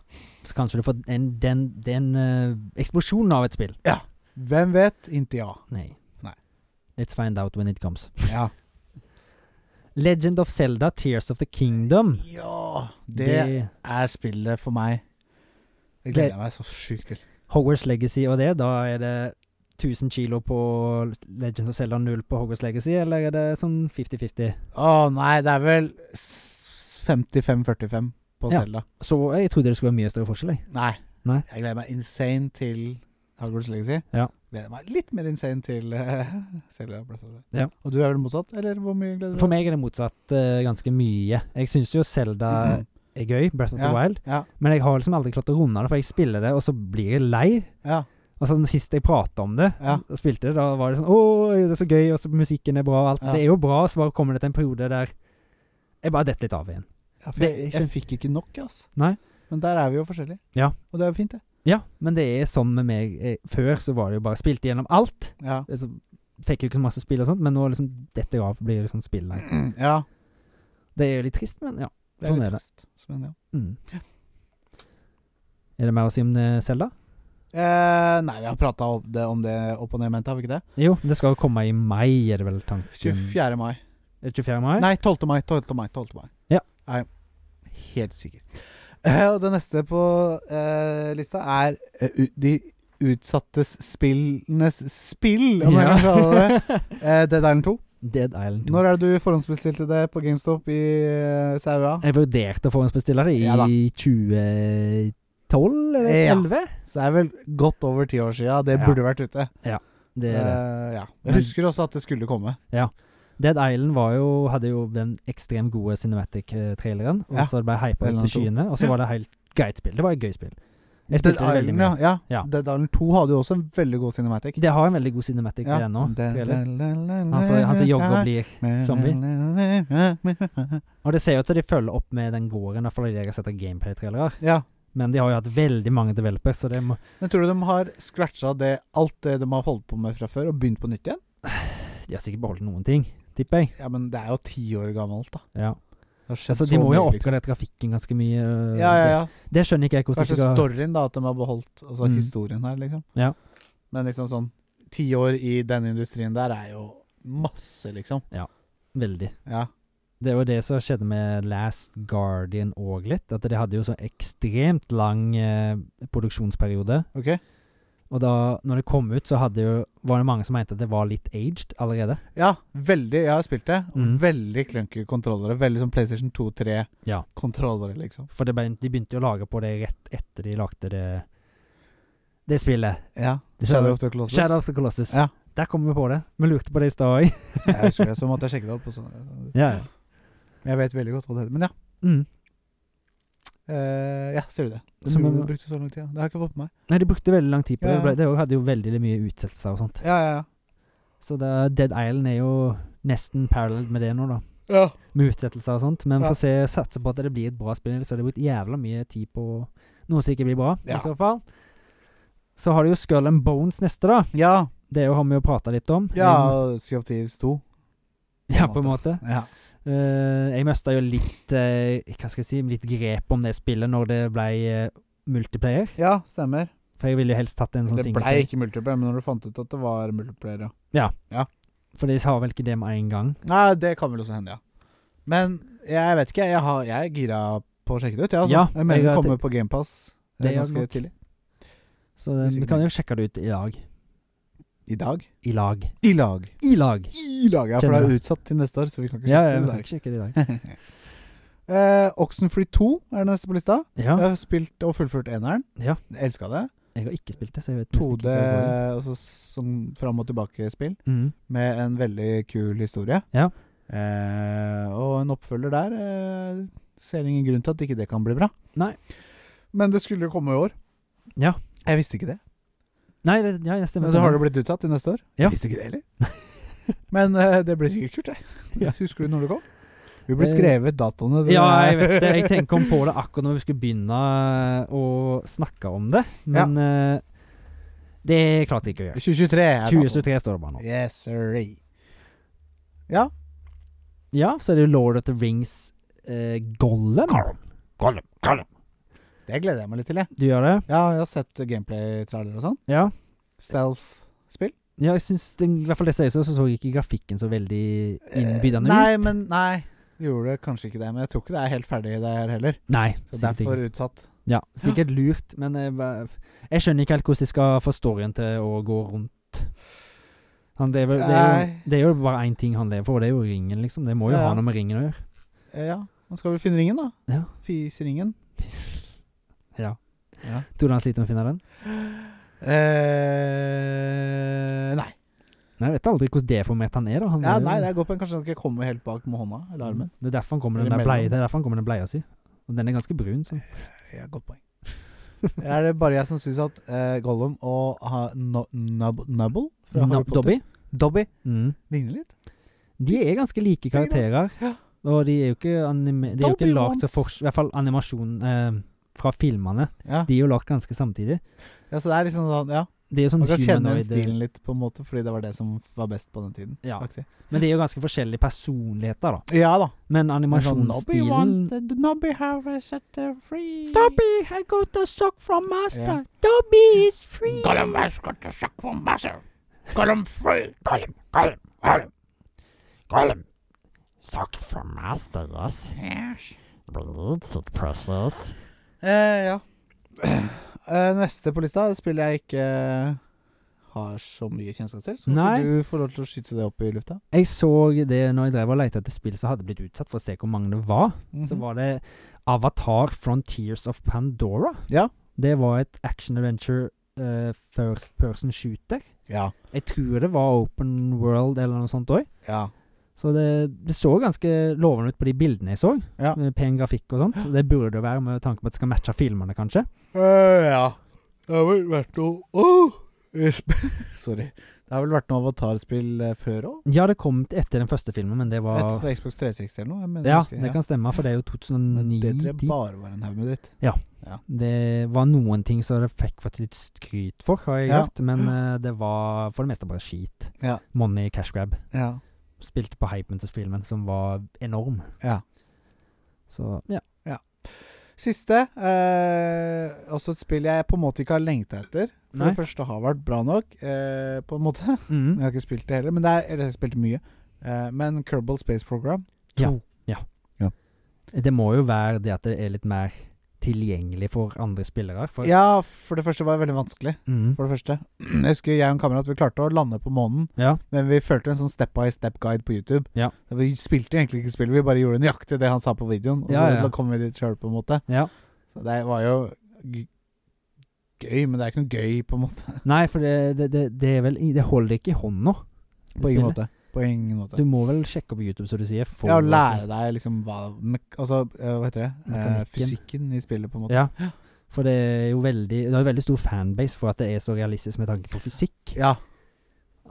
Så kanskje du får en, den, den eh, eksplosjonen av et spill. Hvem vet? Inntil ja. Nei. Nei. Let's find out when it comes. Ja. Legend of Zelda, Tears of the Kingdom. ja det, Det, er spillet for meg. Det gleder jeg meg så sjukt til. Hogwarts Legacy og det, da er det 1000 kilo på Legends of Zelda 0 på Hogwarts Legacy, eller er det sånn 50-50? Å nei, det er vel s- 55-45 på Ja. Selda. Så jeg trodde det skulle være mye større forskjell, jeg. Nei. Nei. Jeg gleder meg insane til Hogwarts Legacy. Ja. Gleder meg litt mer insane til uh, Selda. Breath of the Wild. Ja. Og du er vel motsatt, eller hvor mye gleder du For meg er det motsatt eh, ganske mye. Jeg syns jo Zelda Mhm. er gøy, Breath of the Ja. Wild, Ja. men jeg har liksom aldri klart å runde det, for jeg spiller det, og så blir jeg lei. ja. Altså, den siste jeg prata om det, Ja. og spilte det, da var det sånn Å, det er så gøy, og så musikken er bra, og alt. Ja. Det er jo bra, så bare kommer det til en periode der jeg bare detter litt av igjen. ja for Det- jeg, jeg fikk ikke nok, altså. Nei. Men der er vi jo forskjellige. Ja. Og det er jo fint, det. Ja, men det er sånn med meg. eh, Før så var det jo bare spilte gjennom alt. Ja. så Altså, fikk jo ikke så masse spill og sånt, men nå liksom detter jeg av blir liksom spill. her. ja. Det er jo litt trist, men ja. Det er Sånn er litt det. trist. Men ja. Mm. Er det mer å si om eh, Zelda? Eh, nei, vi har prata om det, om det opp og ned mente, har vi ikke det? Jo, det skal jo komme i mai, er det vel tanken? 24. mai. Er det 24. mai? Nei, 12. mai. 12. mai, 12. mai. Ja. Jeg er helt sikker. Eh, og det neste på eh, lista er eh, u- de utsattes spillenes spill, om jeg kan kalle det. Ja. Eh, Dead Island 2. Dead Island 2. Når er det du forhåndsbestilte det på GameStop i eh, Saua? Jeg vurderte å forhåndsbestille det i Ja da. 2012 eller Ja. 2011. Så det er vel godt over ti år sia. Det Ja. burde vært ute. Det er det. Eh, ja. Jeg Men- husker også at det skulle komme. Dead Island var jo, hadde jo den ekstremt gode cinematic-traileren. Og Ja. så ble det hypa Dead Island ut til to. skyene, og så Ja. var det helt greit spill. Det var et gøy spill. Jeg Dead spilte det veldig Island, ja. mye. ja. Ja. Dead Island 2 hadde jo også en veldig god cinematic. Det har en veldig god cinematic, Ja. det nå. Dead trailer. Island- Han som- han som jogger og blir zombie. Og det ser jo ut til at de følger opp med den gården, i hvert fall i det jeg har sett av gameplay-trailere. Ja. Men de har jo hatt veldig mange developers, så det må Men tror du de har scratcha det, alt det de har holdt på med fra før, og begynt på nytt igjen? De har sikkert beholdt noen ting, tipper jeg. Ja, men det er jo ti år gammelt, da. Ja. Det har skjedd Altså, de så må jo mye, ha liksom. oppgradert grafikken ganske mye. øh, Ja, ja, ja. Det, det skjønner ikke jeg hvordan de Kanskje skal storyen, da, at de har beholdt altså Mm. historien her, liksom. Ja. Men liksom sånn Ti år i den industrien der er jo masse, liksom. Veldig. Ja. Det var det som skjedde med Last Guardian òg, litt. At det hadde jo så ekstremt lang eh, produksjonsperiode. OK? Og da når det kom ut, så hadde jo, var det mange som mente at det var litt aged allerede. Ja, veldig. Jeg har spilt det. og Mm. Veldig clunky kontrollere. Veldig sånn PlayStation 2-3 Ja. kontrollere, liksom. For det ble, de begynte jo å lage på det rett etter de lagde det Det spillet. Ja. Det ser Shadow jo- of the Colossus. Shadow of the Colossus. Ja. Der kom vi på det. Vi lurte på det i stad òg. jeg husker det, så måtte jeg sjekke det opp. Og så- ja. ja. jeg vet veldig godt hva det heter. Men ja. Mm. Eh, ja, ser du det. Det Som mulig om- du brukte så lang tid. ja. Det har jeg ikke fått med meg. Nei, de brukte veldig lang tid på det. Ja, Det, ja. ble, det hadde jo veldig mye utsettelser og sånt. Ja, ja, Så det, Dead Island er jo nesten parallell med det nå, da. ja. Med utsettelser og sånt. Men Ja. vi får se, satse på at det blir et bra spill. Så har de brukt jævla mye tid på noe som ikke blir bra, Ja. i så fall. Så har du jo Skull and Bones neste, da. Ja, Det har vi jo prata litt om. ja Um, og Sea of Thieves 2. ja, på en måte. Ja. Eh, jeg mista jo litt eh, Hva skal jeg si Litt grep om det spillet når det ble eh, multiplayer. ja, stemmer. For jeg ville jo helst tatt en sånn det blei singleplayer. ikke multiplayer, men når du fant ut at det var multiplayer, ja. For de har vel ikke det med en gang. Nei, det kan vel også hende, ja. Men jeg vet ikke. Jeg, har, jeg er gira på å sjekke det ut, jeg. Altså. Ja, jeg mener jeg det vet- kommer på GamePass Det gjør det ganske nok. tidlig. Så det, Hvis vi ikke kan det- jo sjekke det ut i lag. I dag. I lag. I lag. I lag! I lag, ja. For Kjenner det er det. utsatt til neste år, så vi kan ikke Ja, sjekke ja, vi det kan i ikke sjekke det i dag. dag. Eh, Oxenfree 2 er det neste på lista. Jeg Ja, har spilt og fullført eneren. Ja. Elska det. jeg har ikke spilt det, så jeg vet nesten 2D, ikke hva det går i. altså sånn fram og tilbake-spill, Mm. med en veldig kul historie. Ja. Eh, og en oppfølger der eh, ser ingen grunn til at ikke det kan bli bra. Nei. Men det skulle jo komme i år. Ja. Jeg visste ikke det. Nei, det, ja, jeg stemmer. Men sånn. så har det stemmer. blitt utsatt til neste år. Ja. Jeg visste ikke det heller. Men eh, det blir sikkert kult, det. Ja. Husker du når det kom? Vi ble Eh, skrevet datoene. det Ja, der. jeg vet det. Jeg tenker om på det akkurat når vi skulle begynne eh, å snakke om det, men eh, det klarte jeg ikke å gjøre. 2023 er datoen. 2023 står det bare nå. Yes, sirree. Ja, så er det jo Lord of the Rings eh, Gollum. Gollum, Gollum. Det gleder jeg meg litt til, jeg. Du gjør det? Ja, jeg har sett gameplay-trailer og sånn. Ja. Stealth-spill. Ja, jeg synes den, I hvert fall det ser ut som, så så ikke grafikken så veldig innbydende Eh, Nei, ut. men nei. Gjorde kanskje ikke det. Men jeg tror ikke det er helt ferdig der heller. Nei, Så sikkert ikke. derfor utsatt. Ja, sikkert lurt, men jeg, ba- jeg skjønner ikke helt hvordan de skal få storyen til å gå rundt. Han, det, er vel, det, er jo, Nei. det er jo bare én ting han lever for, og det er jo ringen, liksom. Det må jo Ja. ha noe med ringen å gjøre. Eh, ja. Nå skal vi finne ringen, da. Ja. Fiseringen. ja. Ja. Tror du han sliter med å finne den? Eh, nei. Nei, Jeg vet aldri hvordan deformert han er, da. Han Ja, er jo- nei, det er godt, men kanskje han ikke kommer helt bak med hånda eller armen. Mm. Det er derfor han kommer med Eller den der bleia, mellom. det er derfor han kommer med den bleia si. Og den er ganske brun, så. Ja, godt poeng. er det bare jeg som syns at eh, Gollum og ha, no, Nub, Nubble fra Harry Nob- Potter Dobby? Dobby Mm. ligner litt? De er ganske like Tenk det. karakterer. Ja. Og de er jo ikke, anime, de er jo ikke Dobby lagt så wants- for... I hvert fall animasjonen eh, fra filmene. Ja. De er jo lagt ganske samtidig. ja, så det er liksom sånn Ja, Det er jo sånn man kan kjenne igjen humanoid- stilen litt, på en måte, fordi det var det som var best på den tiden. Ja. Aktig. Men det er jo ganske forskjellige personligheter, da. ja da. Men Men sånn, Nobby animasjonsstilen want- the Nobby have a set uh, free. I got a sock from master. Dobby is free. Gollum eh, has got a sock from master. Gollum free. Gollum, Gollum, Gollum. Gollum. Socks from Master, yes. Yes. We need it, precious. Eh, ja. Eh, neste på lista er et spill jeg ikke eh, har så mye kjennskap til. Så Nei. kan du får lov til å skyte det opp i lufta. Jeg så det når jeg drev og lette etter spill som hadde blitt utsatt, for å se hvor mange det var. Mm-hmm. Så Mhm. var det Avatar Frontiers of Pandora. Ja. Det var et action adventure eh, first person shooter. Ja. Jeg tror det var open world eller noe sånt òg. Ja. Så det, det så ganske lovende ut på de bildene jeg så. Ja. Med pen grafikk og sånt. Det burde det være med tanke på at det skal matche filmene, kanskje. Eh, ja. Det har vel vært noe Sorry. Det har vel vært noe avatarspill eh, før òg? Ja, det kom t- etter den første filmen, men det var Etter Xbox 360 eller noe? Jeg mener, Ja, jeg husker- det kan stemme, for det er jo Men det tror jeg 2009-10. bare var en haug med dritt. Det var noen ting som det fikk faktisk litt skryt for, har jeg Ja. hørt, men eh, det var for det meste bare skit. Ja. Money cash grab. Ja. Spilte på hypen til filmen, som var enorm. Ja. Så ja. Siste, eh, også et spill jeg på en måte ikke har lengta etter. For Nei. det første har vært bra nok, eh, på en måte. Jeg Mm. har ikke spilt det heller, men det er, eller jeg har spilt mye. Eh, men Kerbal Space Program Det må jo være det at det er litt mer tilgjengelig for andre spillere. For, Ja, for det første var det veldig vanskelig. Mm. For det første. Jeg husker jeg og en kamerat vi klarte å lande på månen, ja. men vi fulgte en sånn step by step-guide på YouTube. Ja. Vi spilte egentlig ikke spillet, vi bare gjorde nøyaktig det han sa på videoen, og Ja, så ja. kom vi dit sjøl, på en måte. Ja. Så det var jo g gøy, men det er ikke noe gøy, på en måte. Nei, for det, det, det, det er vel i- Det holder ikke i hånda. det På ingen spillet. måte. På ingen måte. Du må vel sjekke på YouTube, som du sier. for Ja, å- å lære deg liksom hva mek Altså, eh, hva heter det? Eh, Mekanikken. fysikken i spillet, på en måte. Ja. For det er jo veldig Det er veldig stor fanbase for at det er så realistisk med tanke på fysikk. Ja.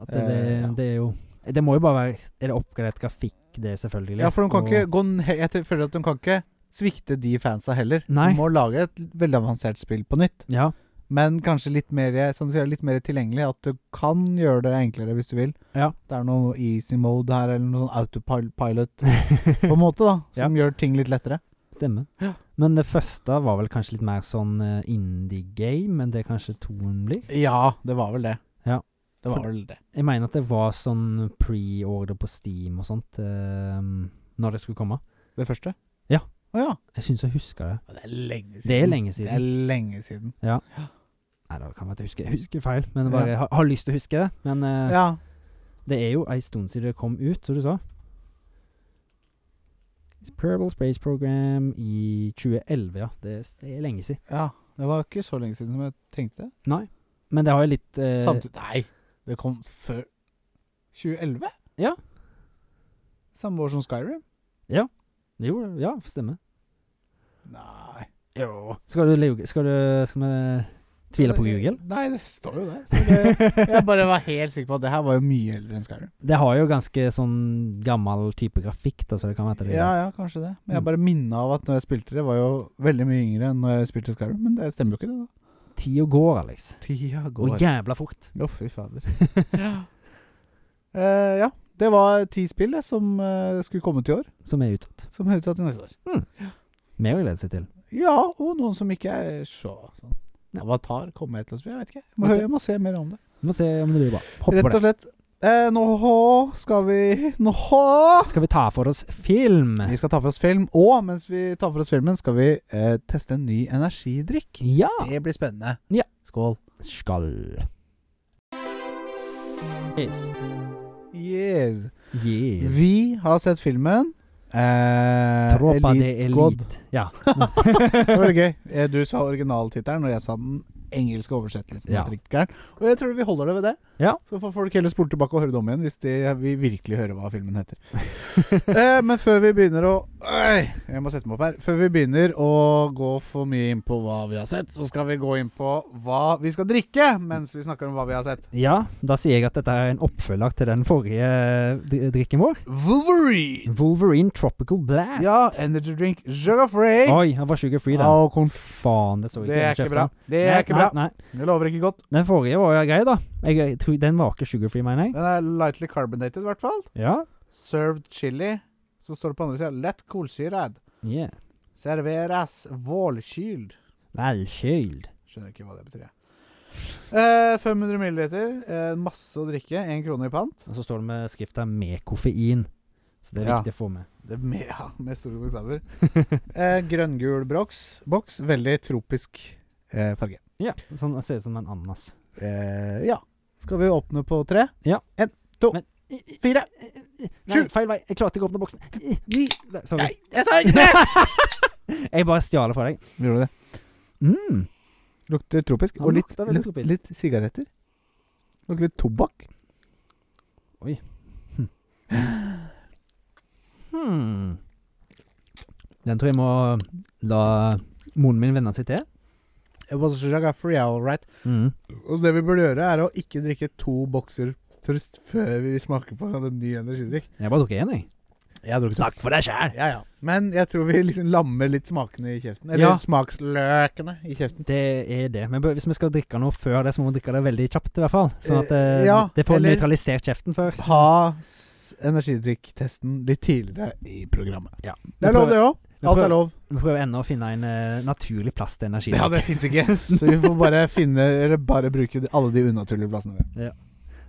At det, Eh, ja. det, det er jo Det må jo bare være Er det oppgradert grafikk, det, selvfølgelig? liksom, ja, for de kan og- ikke gå n- Jeg t- føler at de kan ikke svikte de fansa heller. Nei. De må lage et veldig avansert spill på nytt, Ja. men kanskje litt mer, som du sier, litt mer tilgjengelig. At du kan gjøre det enklere hvis du vil. Ja. Det er noe easy mode her, eller noe sånn autopilot, på en måte, da. Som gjør ting litt lettere. Stemmer. Ja. Men det første var vel kanskje litt mer sånn eh, indie game enn det kanskje toen blir? Ja, det var vel det. Ja. Det var For- vel det. Jeg mener at det var sånn pre-order på Steam og sånt eh, når det skulle komme. Det første? Ja. Å ja. Jeg syns jeg husker det. Ja, Det er lenge siden. Det er lenge Det er siden. lenge siden. Nei, det kan være at jeg husker, jeg husker feil, men jeg bare har, har lyst til å huske det. Men eh, Ja. det er jo ei stund siden det kom ut, som du sa. Purple Space Program i 2011, ja. Det, er s- det er lenge siden. Ja, det var ikke så lenge siden som jeg tenkte. Nei. Men det har jo litt eh, Samtidig Nei, det kom før 2011? Ja. Samme år som Skyrim? Jo, ja, stemmer. Nei. Jo. Skal du leuge Skal du Skal vi tvile på Google? Nei, det står jo der. Så det, jeg bare var helt sikker på at det her var jo mye eldre enn Skyrim. Det har jo ganske sånn gammel type grafikk, da, så det kan være at det er Ja, ja, kanskje det. Men jeg Mm. bare minna av at når jeg spilte det, var jo veldig mye yngre enn når jeg spilte Skyrim. Men det stemmer jo ikke, det. da Tida går, Alex. Tida Går jævla fort. Å, fy fader. ja. Eh, ja. Det var ti spill det, som eh, skulle komme til i år, Som er utsatt. som er utsatt til neste år. Mer å glede seg til. Ja, og noen som ikke er så sånn. Ja. Avatar kommer jeg til å spille, jeg vet ikke. Jeg må, Vet høre, du- jeg må se mer om det. Vi må se om det blir bra. Hopper Rett på og det. slett. Eh, nå skal vi Nå Skal vi ta for oss film? Vi skal ta for oss film, og mens vi tar for oss filmen, skal vi eh, teste en ny energidrikk. Ja. Det blir spennende. Ja. Skål. Skal. Yes. Yes. yes. Vi har sett filmen. Eh, Tropa de Squad. elite. Ja. Det var litt gøy. Eh, Du sa originaltittelen, og jeg sa den engelske oversettelsen. Ja. av tittelen. Og jeg tror vi holder det ved det. Ja. Så får folk heller spole tilbake og høre det om igjen hvis de vil virkelig høre hva filmen heter. eh, men før vi begynner å Øy, Jeg må sette meg opp her. Før vi begynner å gå for mye inn på hva vi har sett, så skal vi gå inn på hva vi skal drikke mens vi snakker om hva vi har sett. ja, da sier jeg at dette er en oppfølger til den forrige eh, dri- drikken vår. Wolverine! Wolverine Tropical Blast. Ja, energy drink sugar free. Oi, han var sugar free, den. Å, kon- Faen, det så ikke det er jeg ikke kjøpte bra. den. Det er Nei, ikke bra. nei, Nei. Det lover ikke godt. Den forrige var jo grei, da. Jeg, jeg tror, den var ikke sugar free, mener jeg. Den er lightly carbonated, i hvert fall. Ja. Served chili. Så står det på andre sida lett kolsyrad. Yeah. Serveres vålkyld. Velkyld. Skjønner ikke hva det betyr, jeg. Eh, 500 milliliter, eh, masse å drikke, én krone i pant. Og så står det med skrifta 'med koffein'. Så det er Ja. viktig å få med. Det er med, ja, med store bokstaver. Eh, Grønngul boks, boks. Veldig tropisk eh, farge. Ja. Sånn det ser ut som en ananas. Eh, ja. Skal vi åpne på tre? Ja. En, to, Men- fire, Nei, Sju. feil vei. Jeg klarte ikke å åpne boksen. ni Der, Sorry. Nei, jeg sa ikke det! Jeg bare stjal det fra deg. Gjorde det. Mm. Lukter tropisk. Han Og litt, lukter veldig luk- tropisk. litt sigaretter. Lukter litt tobakk. Oi. Hmm. Den tror jeg må la moren min venne seg til. It was sugar free, all right. Mm. Og det vi burde gjøre, er å ikke drikke to bokser Trøst før vi smaker på en ny energidrikk. Jeg bare drukket én, jeg. Jeg har drukket Snakk for deg sjæl! Ja, ja. Men jeg tror vi liksom lammer litt smakene i kjeften. Eller Ja. smaksløkene i kjeften. Det er det. Men bør- hvis vi skal drikke noe før det, så må vi drikke det veldig kjapt, i hvert fall. Sånn at Eh, eh, ja, det får eller- nøytralisert kjeften før. Ha s- energidrikktesten litt tidligere i programmet. Ja. Det er lov, det òg. Vi Alt er prøver- lov. Vi prøver ennå å finne en eh, naturlig plass til energi. Ja, det fins ikke. Så vi får bare finne Eller bare bruke de- alle de unaturlige plassene. vi har.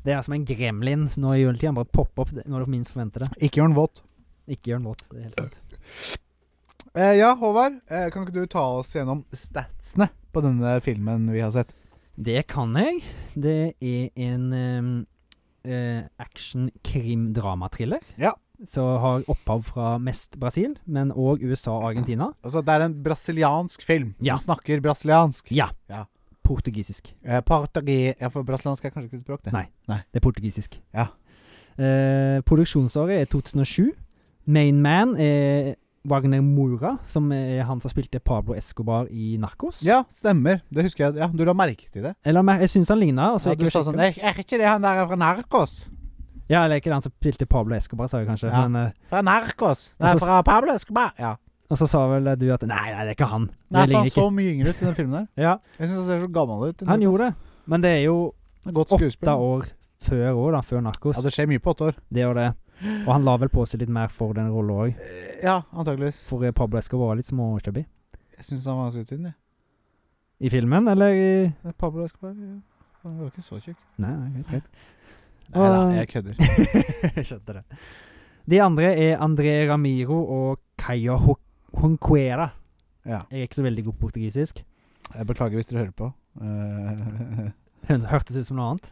Det er som en gremlin nå i juletiden. Bare poppe opp det- når du minst forventer det. Ikke gjør den våt. Ikke gjør den våt. Det er helt sant. Eh, ja, Håvard. Eh, kan ikke du ta oss gjennom statsene på denne filmen vi har sett? Det kan jeg. Det er en eh, eh, action-krim-dramatriller. Ja. Som har opphav fra mest Brasil, men òg USA og Argentina. Altså, det er en brasiliansk film. Ja. Som snakker brasiliansk. Ja. Ja. Portugisisk. Eh, Partagi Ja, for brasiliansk er kanskje ikke et språk, det. Nei. Det er portugisisk. Ja. Eh, produksjonsåret er 2007. Main man er Wagner Moura, som er han som spilte Pablo Escobar i Narcos. Ja, stemmer. Det husker jeg. Ja, Du la merke til det? Eller mer- jeg syns han ligna. Ja, du sa sånn Er er ikke det han der fra Narcos? Ja, eller ikke den som spilte Pablo Escobar, sa jeg kanskje. Ja. Men, eh, Fra Narcos? Nei, Altså, fra Pablo Escobar? Ja. og så sa vel du at Nei, nei, det er ikke han. Det Nei, for ligner han så ikke. mye yngre ut i den filmen der. Ja, Jeg syns han ser så gammel ut. i han Narcos. gjorde det. Men det er jo Det er Godt skuespill. åtte år før òg, da. Før Narcos. Ja, det... det skjer mye på åtte år. er jo det. Og han la vel på seg litt mer for den rolla òg. Eh, Ja, antakeligvis. For eh, Pablo Escobar var litt småchubby Jeg syns han var ganske tynn, jeg. i filmen, eller i Ja. Pablo Escobar ja. Han var ikke så tjukk. Nei, nei, greit, greit. Nei da, Ah. jeg kødder. Jeg skjønte det. De andre er André Ramiro og Kaya Honquera. Ja. Jeg er ikke så veldig god på portugisisk. Jeg beklager hvis dere hører på. Eh, Hun hørtes ut som noe annet.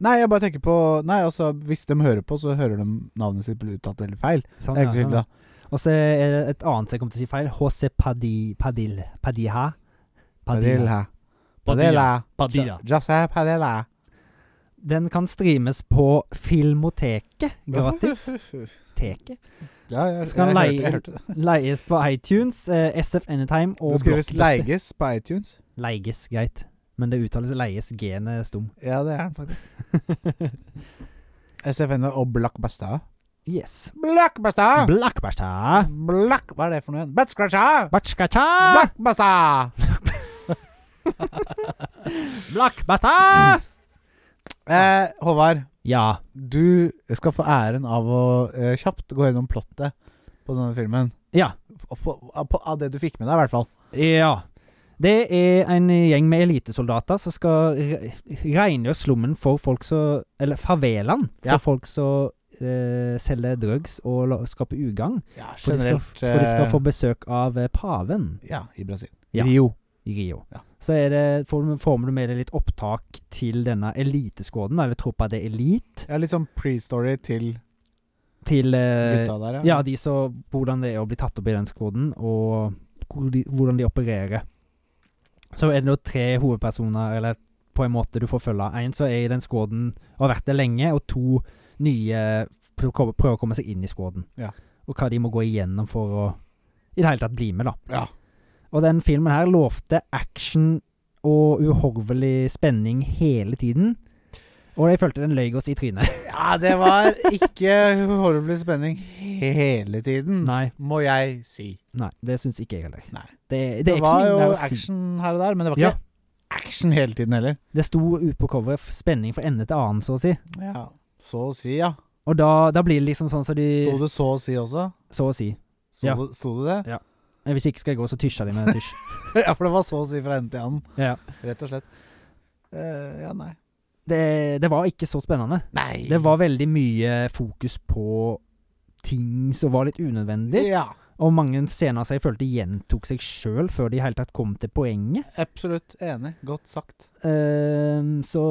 Nei, jeg bare tenker på Nei, altså, hvis de hører på, så hører de navnet sitt bli uttalt veldig feil. Sånn, Det er ikke så ja, ille, da. ja. Og så er det et annet som jeg kommer til å si feil. José Padi, Padil, Padiha. Padilla. Padilla. José Padilla. Den kan streames på Filmoteket gratis. Teket. Ja, jeg, jeg, Skal han hørte- leie- jeg hørte det. Leies på iTunes, eh, SF Anytime og Det skrives Blockbuster. leiges på iTunes. Leiges, greit. Men det uttales leies g-ene stum. Ja, det er den faktisk. SFN og Blockbuster. yes. Blockbuster! Blackbuster. Black... Hva er det for noe igjen? Buttscratcher! Batskacha! Blockbuster! Blackbuster! Eh, Håvard, Ja. du skal få æren av å eh, kjapt gå gjennom plottet på denne filmen. Ja. F- På, på, av det du fikk med deg, i hvert fall. Ja. Det er en gjeng med elitesoldater som skal re- rengjøre slummen for folk som Eller favelaen for Ja. folk som eh, selger drugs og la- skaper ugagn. Ja, For, de skal- for de eh, skal få besøk av eh, paven Ja, i Brasil. Ja. Rio. i Rio. Ja. Så er det, får, får du med deg litt opptak til denne eliteskåden, eller troppa de elite, Ja, litt sånn pre-story til til eh, gutta der, Ja, de så hvordan det er å bli tatt opp i den skoden, og hvor de, hvordan de opererer. Så er det nå tre hovedpersoner, eller på en måte du får følge. En som er i den skoden og har vært der lenge, og to nye prø- prø- prøver å komme seg inn i skoden. Ja. Og hva de må gå igjennom for å i det hele tatt bli med, da. Ja. Og den filmen her lovte action og uhorvelig spenning hele tiden. Og jeg følte den løy oss i trynet. Ja, det var ikke horribel spenning hele tiden, Nei, må jeg si. nei, det syns ikke jeg heller. Nei. Det, det, Det er ikke så var mye jo mer å si. action her og der, men det var Ja. ikke action hele tiden heller. Det sto ute på coveret f- spenning fra ende til annen, så å si. Ja. Så å si, ja. Og da, da blir det liksom sånn som de Sto det så å si også? Så å si. Sto, Ja. det, sto det det? Eh, Hvis ikke skal jeg gå, så tysjer de med en tysj. ja, for det var så å si fra ende til annen, ja. rett og slett. Eh, ja, nei. det, det var ikke så spennende. Nei. Det var veldig mye fokus på ting som var litt unødvendig, Ja, og mange scener som jeg følte gjentok seg sjøl før de i hele tatt kom til poenget. absolutt enig. Godt sagt. Ehm, så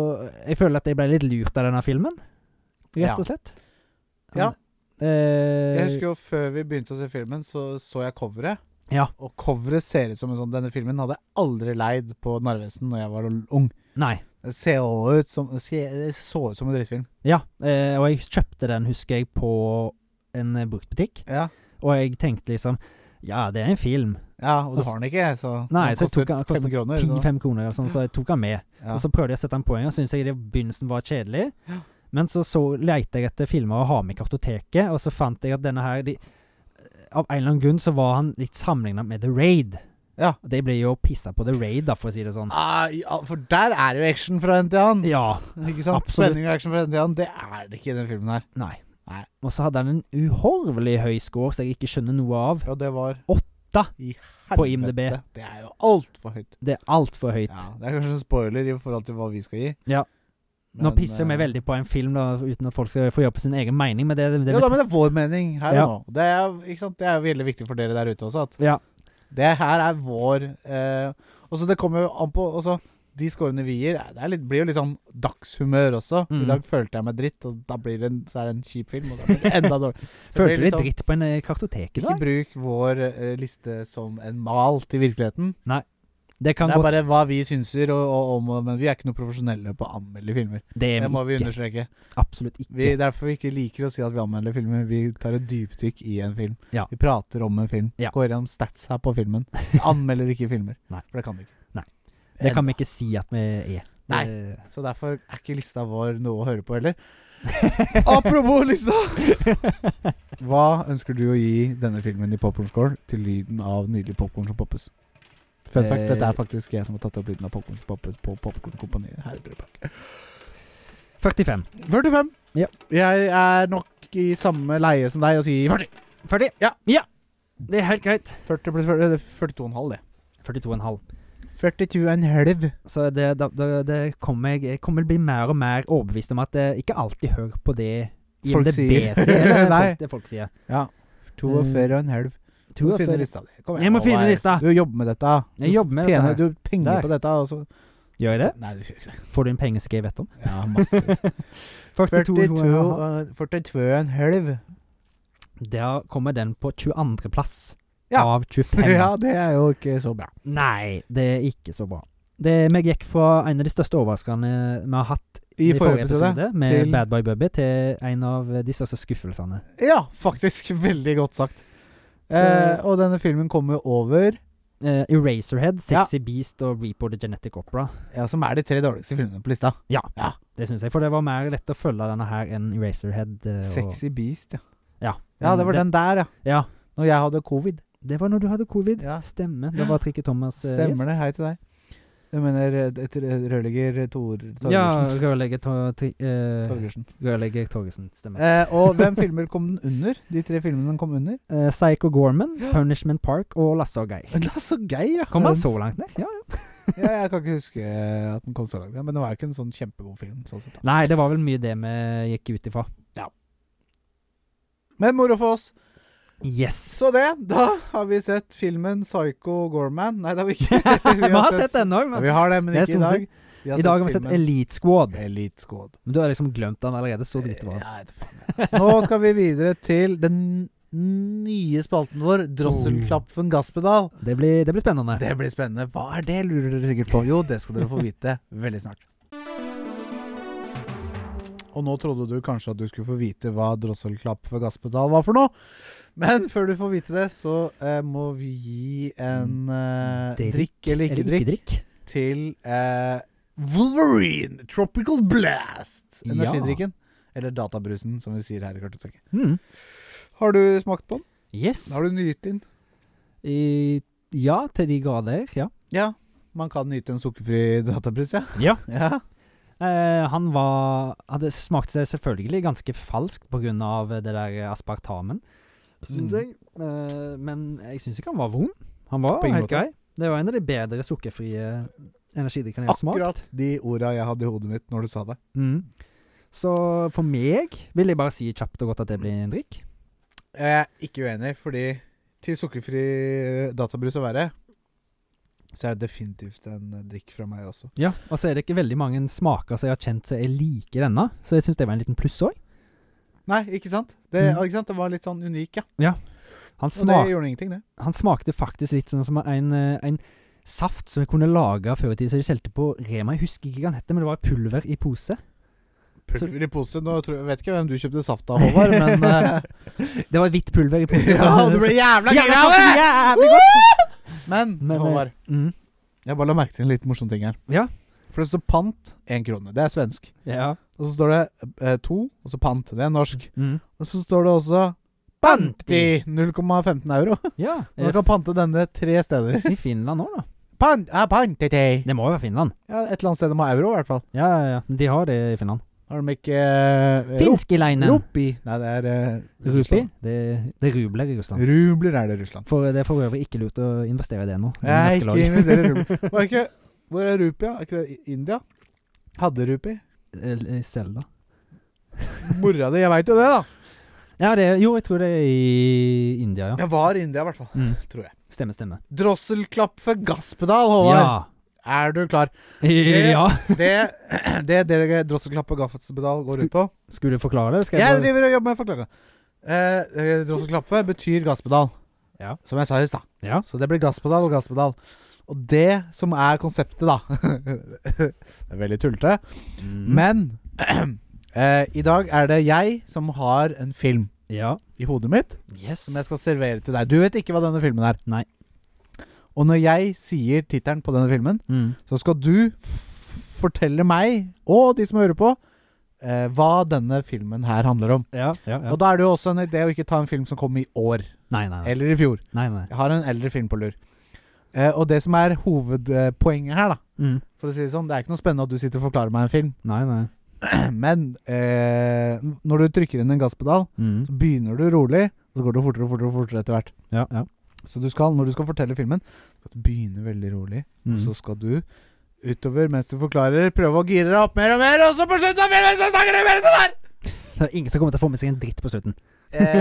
jeg føler at jeg ble litt lurt av denne filmen, Ja. rett og slett. Ja. Eh, Jeg husker jo før vi begynte å se filmen, så så jeg coveret. Ja. Og coveret ser ut som en sånn Denne filmen hadde jeg aldri leid på Narvesen når jeg var ung. Nei. Det ser også ut som, det ser- det så ut som en drittfilm. Ja, eh, og jeg kjøpte den, husker jeg, på en eh, bruktbutikk. Ja. Og jeg tenkte liksom Ja, det er en film. Ja, og du Altså- har den ikke, så Nei, den så jeg koster tok han- fem kostet kroner. så- 10-5 kroner eller sånn, så jeg tok han med. ja. Og så prøvde jeg å sette en poeng, og syntes jeg det i begynnelsen var kjedelig. Ja. Men så, så leite jeg etter filmer å ha med i kartoteket, og så fant jeg at denne her de, Av en eller annen grunn så var han litt sammenligna med The Raid. Ja. Og De ble jo pissa på The Raid, da, for å si det sånn. Ah, ja, for der er det jo action fra den til annen. Ja. Ikke sant? absolutt. Spenning og action fra den til annen. Det er det ikke i den filmen her. Nei. Nei. Og så hadde han en uhorvelig høy score, så jeg ikke skjønner noe av. Og det var Åtte i på IMDb. helvete. Det er jo altfor høyt. Det er altfor høyt. Ja, det er kanskje en spoiler i forhold til hva vi skal gi. Ja. Nå Men, pisser vi eh, veldig på en film, da, uten at folk skal få gjøre på sin egen mening, men det, det, det Jo da, men det er vår mening her Ja. og nå. Det er, ikke sant? det er jo veldig viktig for dere der ute også. At Ja. Det her er vår eh, Og så det kommer jo an på også, De scorene vi gir, det er litt, blir jo litt sånn dagshumør også. Mm. I dag følte jeg meg dritt, og da blir det en, så er det en kjip film. Og da blir det enda dårligere. Følte du litt litt sånn- dritt på en eh, kartotek i Ikke dag? bruk vår eh, liste som en mal til virkeligheten. Det kan Det er godt bare hva vi synser, og, og, om og, men vi er ikke noe profesjonelle på å anmelde filmer. Det Det er må vi vi ikke. understreke. Absolutt ikke. Vi, derfor vi ikke liker å si at vi anmelder filmer. Vi tar et dypdykk i en film. Ja. Vi prater om en film. Ja. Går gjennom stats her på filmen. Vi anmelder ikke filmer. Nei. For det kan vi ikke. Nei. Det kan vi ikke si at vi er. Nei. Det- Så derfor er ikke lista vår noe å høre på heller. Apropos lista! Hva ønsker du å gi denne filmen i popkornscore til lyden av nydelig popkorn som poppes? Fun fact, Eh. dette er faktisk jeg som har tatt opp lyden av popkorn som poppes på Popkornkompaniet her i Drøbak. 45. 45. Ja. Jeg er nok i samme leie som deg og sier 40. 40. Ja. Det er helt greit. 40 pluss 40, det er 42,5 det. 42,5. 42,5. Så det, da, da, det kommer jeg, jeg kommer til å bli mer og mer overbevist om at eh, ikke alltid hør på det Folk IMDb sier. sier. Eller Nei. folk, det folk sier. Ja. Mm. 42,5. Du må finne lista di. Kom igjen, Jeg må finne Håvard. lista. Du jobber med dette. Du Jeg jobber med dette tjener, her. Du penger Der. på dette. Og så, Gjør jeg det? Nei, du gjør ikke det. Får du en pengeske jeg vet om? Ja, masse. 42,5. 42,5. Der kommer den på 22. plass Ja. av 25. Ja, det er jo ikke så bra. Nei, det er ikke så bra. Det, vi gikk fra en av de største overraskerne vi har hatt I forrige episode. med til- Bad Boy Bubby, til en av de største skuffelsene. Ja, faktisk. Veldig godt sagt. Eh, og denne filmen kommer jo over Eh, Eraserhead, Sexy Beast og Repo the Genetic Opera. Ja, som er de tre dårligste filmene på lista. Det syns jeg, for det var mer lett å følge denne her enn Eraserhead. eh, og- Sexy Beast, ja. Ja. Ja, det var Det- den der, ja. Ja. Når jeg hadde covid. Det var når du hadde covid. Ja. Stemmer. Det var Trikke Thomas. eh, Stemmer gjest. det. Hei til deg. Jeg mener eh, det- rørlegger Tor Torgersen. Ja, rørlegger Tor- Tri- eh, Torgersen. Rørlegger Torgersen. Stemmer. Eh, og hvem filmer kom den under? De tre filmene den kom under? Eh, Psycho Gorman, Punishment Park og Lasse og Geir. Lasse og Geir, ja. Kom han Den- så langt ned? Ja, ja. ja, jeg kan ikke huske at den kom så langt. ja, Men det var jo ikke en sånn kjempegod film. Sånn sett, da. Nei, det var vel mye det vi gikk ut ifra. Men moro for oss. Yes. Så det. Da har vi sett filmen 'Psycho Gorman'. Nei, det har vi ikke. Vi har sett den òg, Ja, men vi har det, men Det er ikke i dag. sånn i dag har vi sett filmen Elite Squad. Elite Squad. Men du har liksom glemt den allerede, så drit var den. Ja, jeg vet faen. Nå skal vi videre til den nye spalten vår, Drosselklapfen gasspedal. Det blir, det blir spennende. Det blir spennende. Hva er det, lurer dere sikkert på. Jo, det skal dere få vite veldig snart. Og nå trodde du kanskje at du skulle få vite hva drosselklapp for gasspedal var for noe. Men før du får vite det, så eh, må vi gi en eh, Drikk drikk eller ikke drikk til eh, Wolverine Tropical Blast. Ja. Energidrikken. Eller databrusen, som vi sier her i Kartoteket. Mm. Har du smakt på den? Yes. Har du nytt den? I, ja, til de grader. Ja. Ja. Man kan nyte en sukkerfri databrus, ja. Ja. ja. Eh, han var Hadde smakt seg selvfølgelig ganske falskt pga. det der aspartamen, syns jeg. Eh, men jeg syns ikke han var vond. Han var På ingen helt måte. grei. Det var en av de bedre sukkerfrie energidrikkene jeg har smakt. Akkurat de orda jeg hadde i hodet mitt når du sa det. Mm. Så for meg vil jeg bare si kjapt og godt at det blir en drikk. Jeg er ikke uenig, fordi til sukkerfri eh, databrus å være, så er det definitivt en eh, drikk fra meg også. Ja, Og så er det ikke veldig mange smaker som jeg har kjent som jeg liker ennå, så jeg syns det var en liten pluss òg. Nei, ikke sant? Det, Mm. ikke sant? det var litt sånn unik, ja. Han, Og det smak, gjorde ingenting, det. han smakte faktisk litt sånn som en, eh, en saft som jeg kunne lage før i tida, som de solgte på Rema. Jeg husker ikke hva han het, men det var pulver i pose. Pulver i pose. Nå tror jeg, vet ikke hvem du kjøpte saft av, Håvard, men eh, Det var hvitt pulver i pose. ja, så- Du ble jævla Jævla gira av saft, det! jævlig godt! Men, Men, eh, Håvard, Mm. jeg bare la merke til en liten morsom ting her. Ja. For det står pant én krone. Det er svensk. Ja. Og så står det eh, to, og så pant. Det er norsk. Mm. Og så står det også Panti! 0,15 euro. ja. Man Er kan pante denne tre steder. det i Finland òg, da? Pant, ah, pantiti. Det må jo være Finland. Ja, et eller annet sted det må ha euro, i hvert fall. Ja, ja, ja. De har det i Finland. Har de ikke eh, Finskileinen. Rupi. Nei, det er eh, Rupi. Russland. Det, det er rubler i Russland. Rubler er det i Russland. For det er for øvrig ikke lurt å investere i det nå. Det er Jeg neste ikke lag. investerer i rubler. Var det ikke, hvor er rupi? ja? Er ikke det i India? Hadde rupi? Eller Selda. Mora di, jeg veit jo det, da. Ja, det, er- jo, jeg tror det er i India, ja. Jeg var i India, i hvert fall. Mm. Tror jeg. Stemme, stemme. Drosselklapp for gasspedal, Håvard. Ja. Er du klar? ja. Det det, det drosselklapp og gasspedal går ut på Skulle du forklare det? Skal jeg Jeg bare- driver og jobber med å forklare. Eh, eh, drosselklappe betyr gasspedal, Ja. som jeg sa i stad. Ja. Så det blir gasspedal og gasspedal. Og det som er konseptet, da Det er veldig tullete. Mm. Men eh, i dag er det jeg som har en film Ja. i hodet mitt Yes. som jeg skal servere til deg. Du vet ikke hva denne filmen er. Nei. Og når jeg sier tittelen på denne filmen, Mm. så skal du f fortelle meg, og de som hører på, eh, hva denne filmen her handler om. Ja, ja, ja. Og da er det jo også en idé å ikke ta en film som kom i år, Nei, nei, nei. eller i fjor. nei, nei. Jeg har en eldre film på lur. Eh, og det som er hovedpoenget her, da Mm. For å si det sånn, det er ikke noe spennende at du sitter og forklarer meg en film. Nei, nei. Men eh, når du trykker inn en gasspedal, Mm. så begynner du rolig, og så går det fortere og fortere og fortere etter hvert. Ja, ja. Så du skal, når du skal fortelle filmen, skal du begynne veldig rolig, og Mm. så skal du utover mens du forklarer, prøve å gire deg opp mer og mer, og så på slutten av filmen så snakker du mer sånn her! Det er ingen som kommer til å få med seg en dritt på slutten.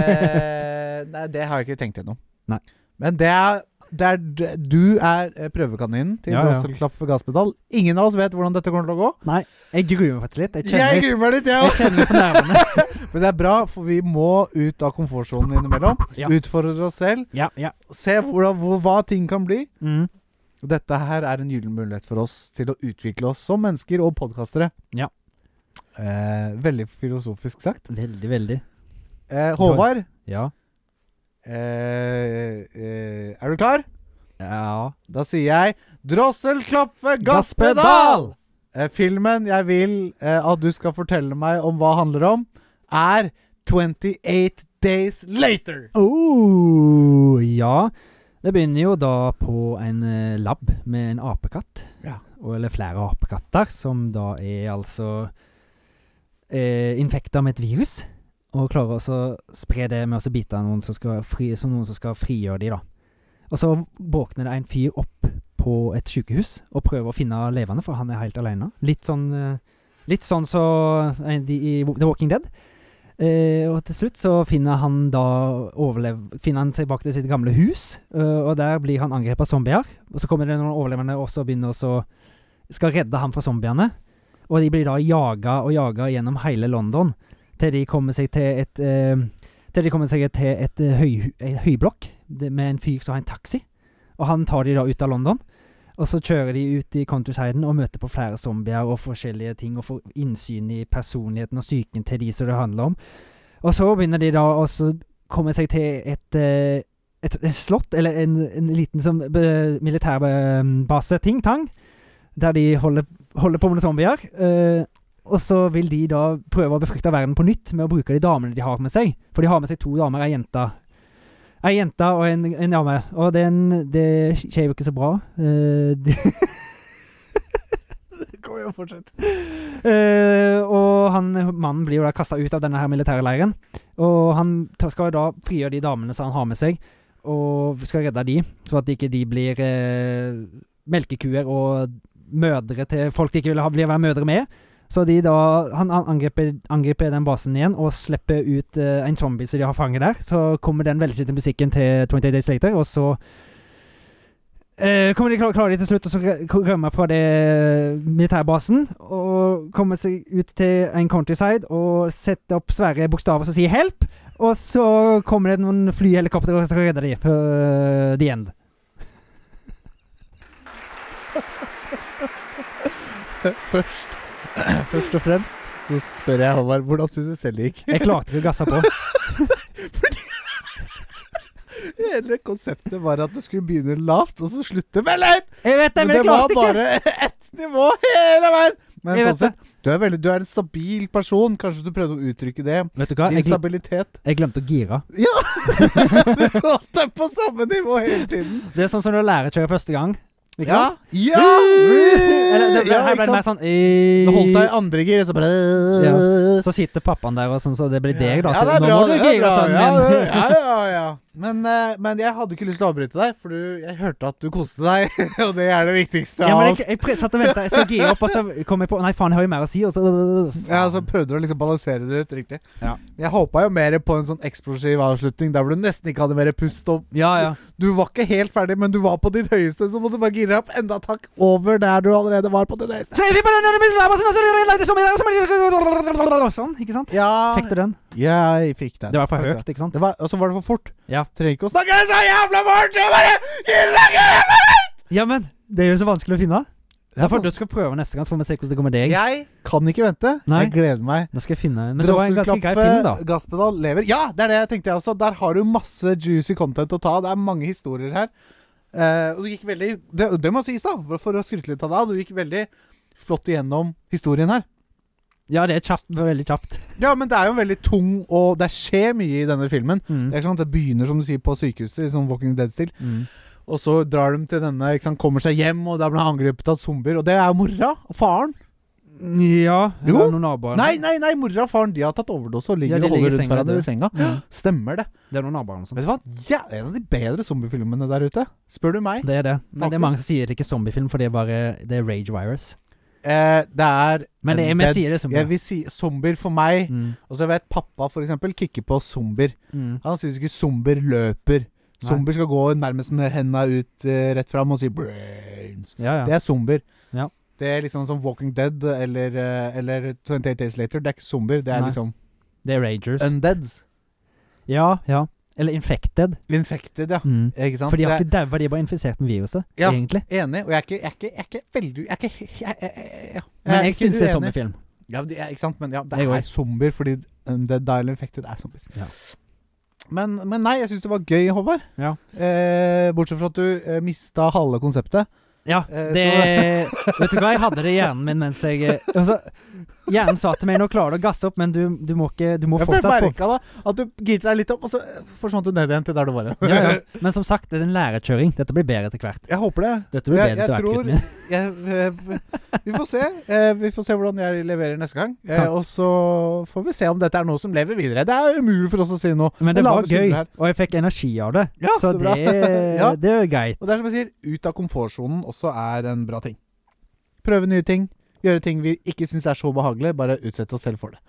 Eh, nei, det har jeg ikke tenkt gjennom. Nei. Men det er, det er d- Du er eh, prøvekaninen til Ja, ja. drosselklapp for gasspedal. Ingen av oss vet hvordan dette kommer til å gå. Jeg gruer meg faktisk litt. Jeg kjenner, Jeg gruer meg litt, jeg jeg òg. kjenner på nervene. Men det er bra, for vi må ut av komfortsonen innimellom. Ja. Utfordre oss selv. Ja, ja. Se hvordan, hvor, hva ting kan bli. Mm. Og Dette her er en gyllen mulighet for oss til å utvikle oss som mennesker og podkastere. Ja. Eh, veldig filosofisk sagt. Veldig, veldig. Eh, Håvard, Ja. eh, eh, er du klar? Ja. Da sier jeg drosselklappe gasspedal! Gasspedal! Eh, filmen jeg vil eh, at du skal fortelle meg om hva handler om, er 28 Days Later. Oh, ja. Det begynner jo da på en eh, lab med en apekatt. Ja. Og, eller flere apekatter, som da er altså eh, infekta med et virus. Og klarer også å spre det med å så bite av noen som skal, fri, som noen som skal frigjøre de da. Og så våkner det en fyr opp på et sykehus og prøver å finne levende, for han er helt alene. Litt sånn eh, Litt sånn så eh, de i The Walking Dead. Eh, og til slutt så finner han da overlev Finner han seg bak til sitt gamle hus, eh, og der blir han angrepet av zombier. Og så kommer det noen overlevende og så begynner også skal redde ham fra zombiene. Og de blir da jaga og jaga gjennom hele London til de kommer seg til et eh, Til de kommer seg til et eh, høy, eh, høyblokk det- med en fyr som har en taxi. Og han tar de da ut av London. Og så kjører de ut i countrysiden og møter på flere zombier og forskjellige ting, og får innsyn i personligheten og psyken til de som det handler om. Og så begynner de da å så komme seg til et eh, et, et slott, eller en, en liten sånn be- militærbase, ting tang, der de holder, holder på med noen zombier. eh, og så vil de da prøve å befrukte verden på nytt med å bruke de damene de har med seg. For de har med seg to damer, ei jente. Ei jente og en, en dame. Og den, det skjer jo ikke så bra. Eh, de, Kom igjen, fortsett. Eh, og han, mannen blir jo da kasta ut av denne her militære leiren. Og han ta- skal da frigjøre de damene som han har med seg, og skal redde de, så at ikke de blir eh, melkekuer og mødre til folk de ikke vil ha, vil være mødre med. Så de da, han an- angriper, angriper den basen igjen og slipper ut eh, en zombie som de har fanget der. Så kommer den velkjente musikken til 28 Days Later, og så Eh, kommer de klar, klarer de til slutt å så rø- rømme fra det eh, militærbasen og komme seg ut til en countryside og sette opp svære bokstaver som sier 'help', og så kommer det noen flyhelikoptre og skal redde dem. Uh, the end. Først, først og fremst så spør jeg Håvard hvordan syns du selv det gikk. Jeg klarte ikke å gasse på. Hele konseptet var at du skulle begynne lavt, og så slutte veldig høyt! Jeg vet det, Men men det jeg var klarte ikke! bare ett nivå hele veien! Men Jeg sånn vet det. sett, du er, veldig, du er en stabil person. Kanskje du prøvde å uttrykke det. Vet du hva, Din jeg, glem- stabilitet. jeg glemte å gire. Ja! du holdt deg på samme nivå hele tiden. Det er sånn som når du lærer å kjøre første gang. Ikke Ja! sant? Ja! Eller, det, det, ja her ikke ble det mer sant? sånn Du holdt deg i eh, andre gir, og så bare Så sitter pappaen der og sånn, så det blir deg, da. Ja, Så det er nå bra. må du Det er gire bra. sånn, Ja, men det- ja, ja, ja. Men, eh, men jeg hadde ikke lyst til å avbryte deg, for du, jeg hørte at du koste deg, og det er det viktigste. Ja, av men alt. jeg, jeg pre- satt og venta. Jeg skal gire opp, og så kom jeg på Nei, faen, jeg har jo mer å si. Og så Ja, så prøvde du å liksom balansere det ut riktig. Ja. Jeg håpa jo mer på en sånn eksplosiv avslutning der hvor du nesten ikke hadde mer pust. Og Ja, ja. du var ikke helt ferdig, men du var på ditt høyeste, så måtte du bare gire opp enda takk over der du allerede var på ditt høyeste. Så er vi på den der med lava, sånn, og så er det lagd i sommer, og så er det- Sånn, ikke sant? Ja, Fikk du den? jeg fikk den. Det var for Takk skal du ha. høyt, ikke sant? Det var- Og så var det for fort. Ja. Trenger ikke å snakke så jævla fort! Jeg bare gir deg ikke! Ja, men det er jo så vanskelig å finne. Ja, Derfor du skal prøve neste gang, så får vi se hvordan det går med deg. Jeg kan ikke vente. Nei. Jeg gleder meg. Nå skal jeg finne en. Men det var en ganske grei film, da. Drosselklappe, Gasspedal lever. Ja, det er det jeg tenkte jeg også. Der har du masse juicy content å ta. Det er mange historier her. Eh, og du gikk veldig Det, det må sies, da, for- for å skryte litt av deg. Du gikk veldig flott igjennom historien her. Ja, det er kjapt, det var veldig kjapt. Ja, men det er jo en veldig tung, og det skjer mye i denne filmen. Det Mm. er ikke sant, det begynner, som du sier, på sykehuset, i sånn Walking Dead-stil. Mm. Og så drar de til denne, ikke sant, kommer seg hjem, og der blir han angrepet av zombier. Og det er jo mora og faren. Ja, det Jo. var noen naboer. Nei, nei, nei, mora og faren de har tatt overdose og ligger Ja, de og holder ligger i rundt senga, hverandre du. i senga. Mm. Stemmer det. Det er noen naboer og sånt. Vet du hva? Ja, det er en av de bedre zombiefilmene der ute. Spør du meg. Det er det. Men det er Faktisk. mange som sier det ikke er zombiefilm, for det er bare det er rage virus. Eh, det er Men det er- men jeg sier det som- Jeg vil si zombier for meg. Mm. Og så vet pappa for eksempel kicker på zombier. Mm. Han syns ikke zombier løper. Nei. Zombier skal gå nærmest med henda ut eh, rett fram og si 'brains'. Ja, Det ja. er zombier. Ja. Det er liksom som Walking Dead eller, eh, eller 28 Days Later. Det er ikke zombier, det er Nei. liksom Det er ragers. undeads. Ja, ja. Eller infected. Infected, ja. Mm. Ikke sant? For de har Så jeg- ikke daua, de er bare infisert med viruset, Ja. egentlig. Enig. Og jeg er ikke, jeg er ikke, jeg er ikke veldig Jeg er ikke he- jeg- jeg- jeg- ja. Men jeg ikke syns det er sånn uenig. zombiefilm. Ja, det er, ikke sant? Men ja, det Jeg går. er zombier, fordi um, The Dial Infected er zombies. Ja. Men, men nei, jeg syns det var gøy, Håvard. Ja. Eh, bortsett fra at du eh, mista halve konseptet. Ja, Eh, det Vet du hva, jeg hadde det i hjernen min mens jeg eh, altså, Hjernen sa til meg 'nå klarer du å gasse opp, men du, du må ikke Du må Ja, for jeg fortsatt få merka da at du girte deg litt opp, og så eh, forsvant du ned igjen til der du var. igjen. ja, ja. Men som sagt, det er en lærekjøring. Dette blir bedre etter hvert. Jeg håper det. Dette blir Jeg- bedre jeg etter hvert, tror- gutten Jeg, min. eh, vi får se. Eh, vi får se hvordan jeg leverer neste gang. Eh, Kan- og så får vi se om dette er noe som lever videre. Det er umulig for oss å si noe. Jeg Men det laver var gøy, skuldre her. og jeg fikk energi av det. Ja, så så bra. det, Ja. det er jo greit. Og det er som jeg sier, ut av komfortsonen også er en bra ting. Prøve nye ting. Gjøre ting vi ikke syns er så behagelig. Bare utsette oss selv for det.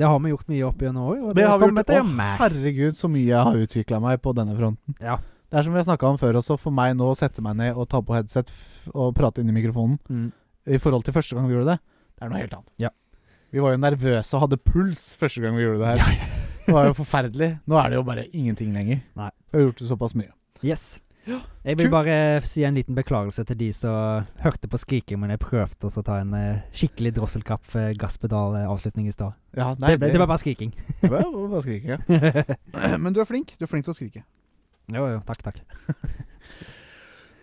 Det har vi gjort mye opp gjennom år, og Det det, har vi kommer gjort. til å Å, gjøre mer. Herregud, så mye jeg har utvikla meg på denne fronten. Ja. Det er som vi har snakka om før også, for meg nå å sette meg ned og ta på headset f og prate inn i mikrofonen Mm. i forhold til første gang vi gjorde det, det er noe helt annet. Ja. Vi var jo nervøse og hadde puls første gang vi gjorde det her. Det var jo forferdelig. Nå er det jo bare ingenting lenger. Nei. Vi har gjort det såpass mye. Yes. Jeg Kult. vil bare si en liten beklagelse til de som hørte på skriking, men jeg prøvde også å ta en eh, skikkelig drosselkapp-gasspedal-avslutning eh, i stad. Ja, nei, Det, ble- det var bare skriking. det var bare å skrike. Eh, Men du er flink. Du er flink til å skrike. jo, jo. Takk, takk.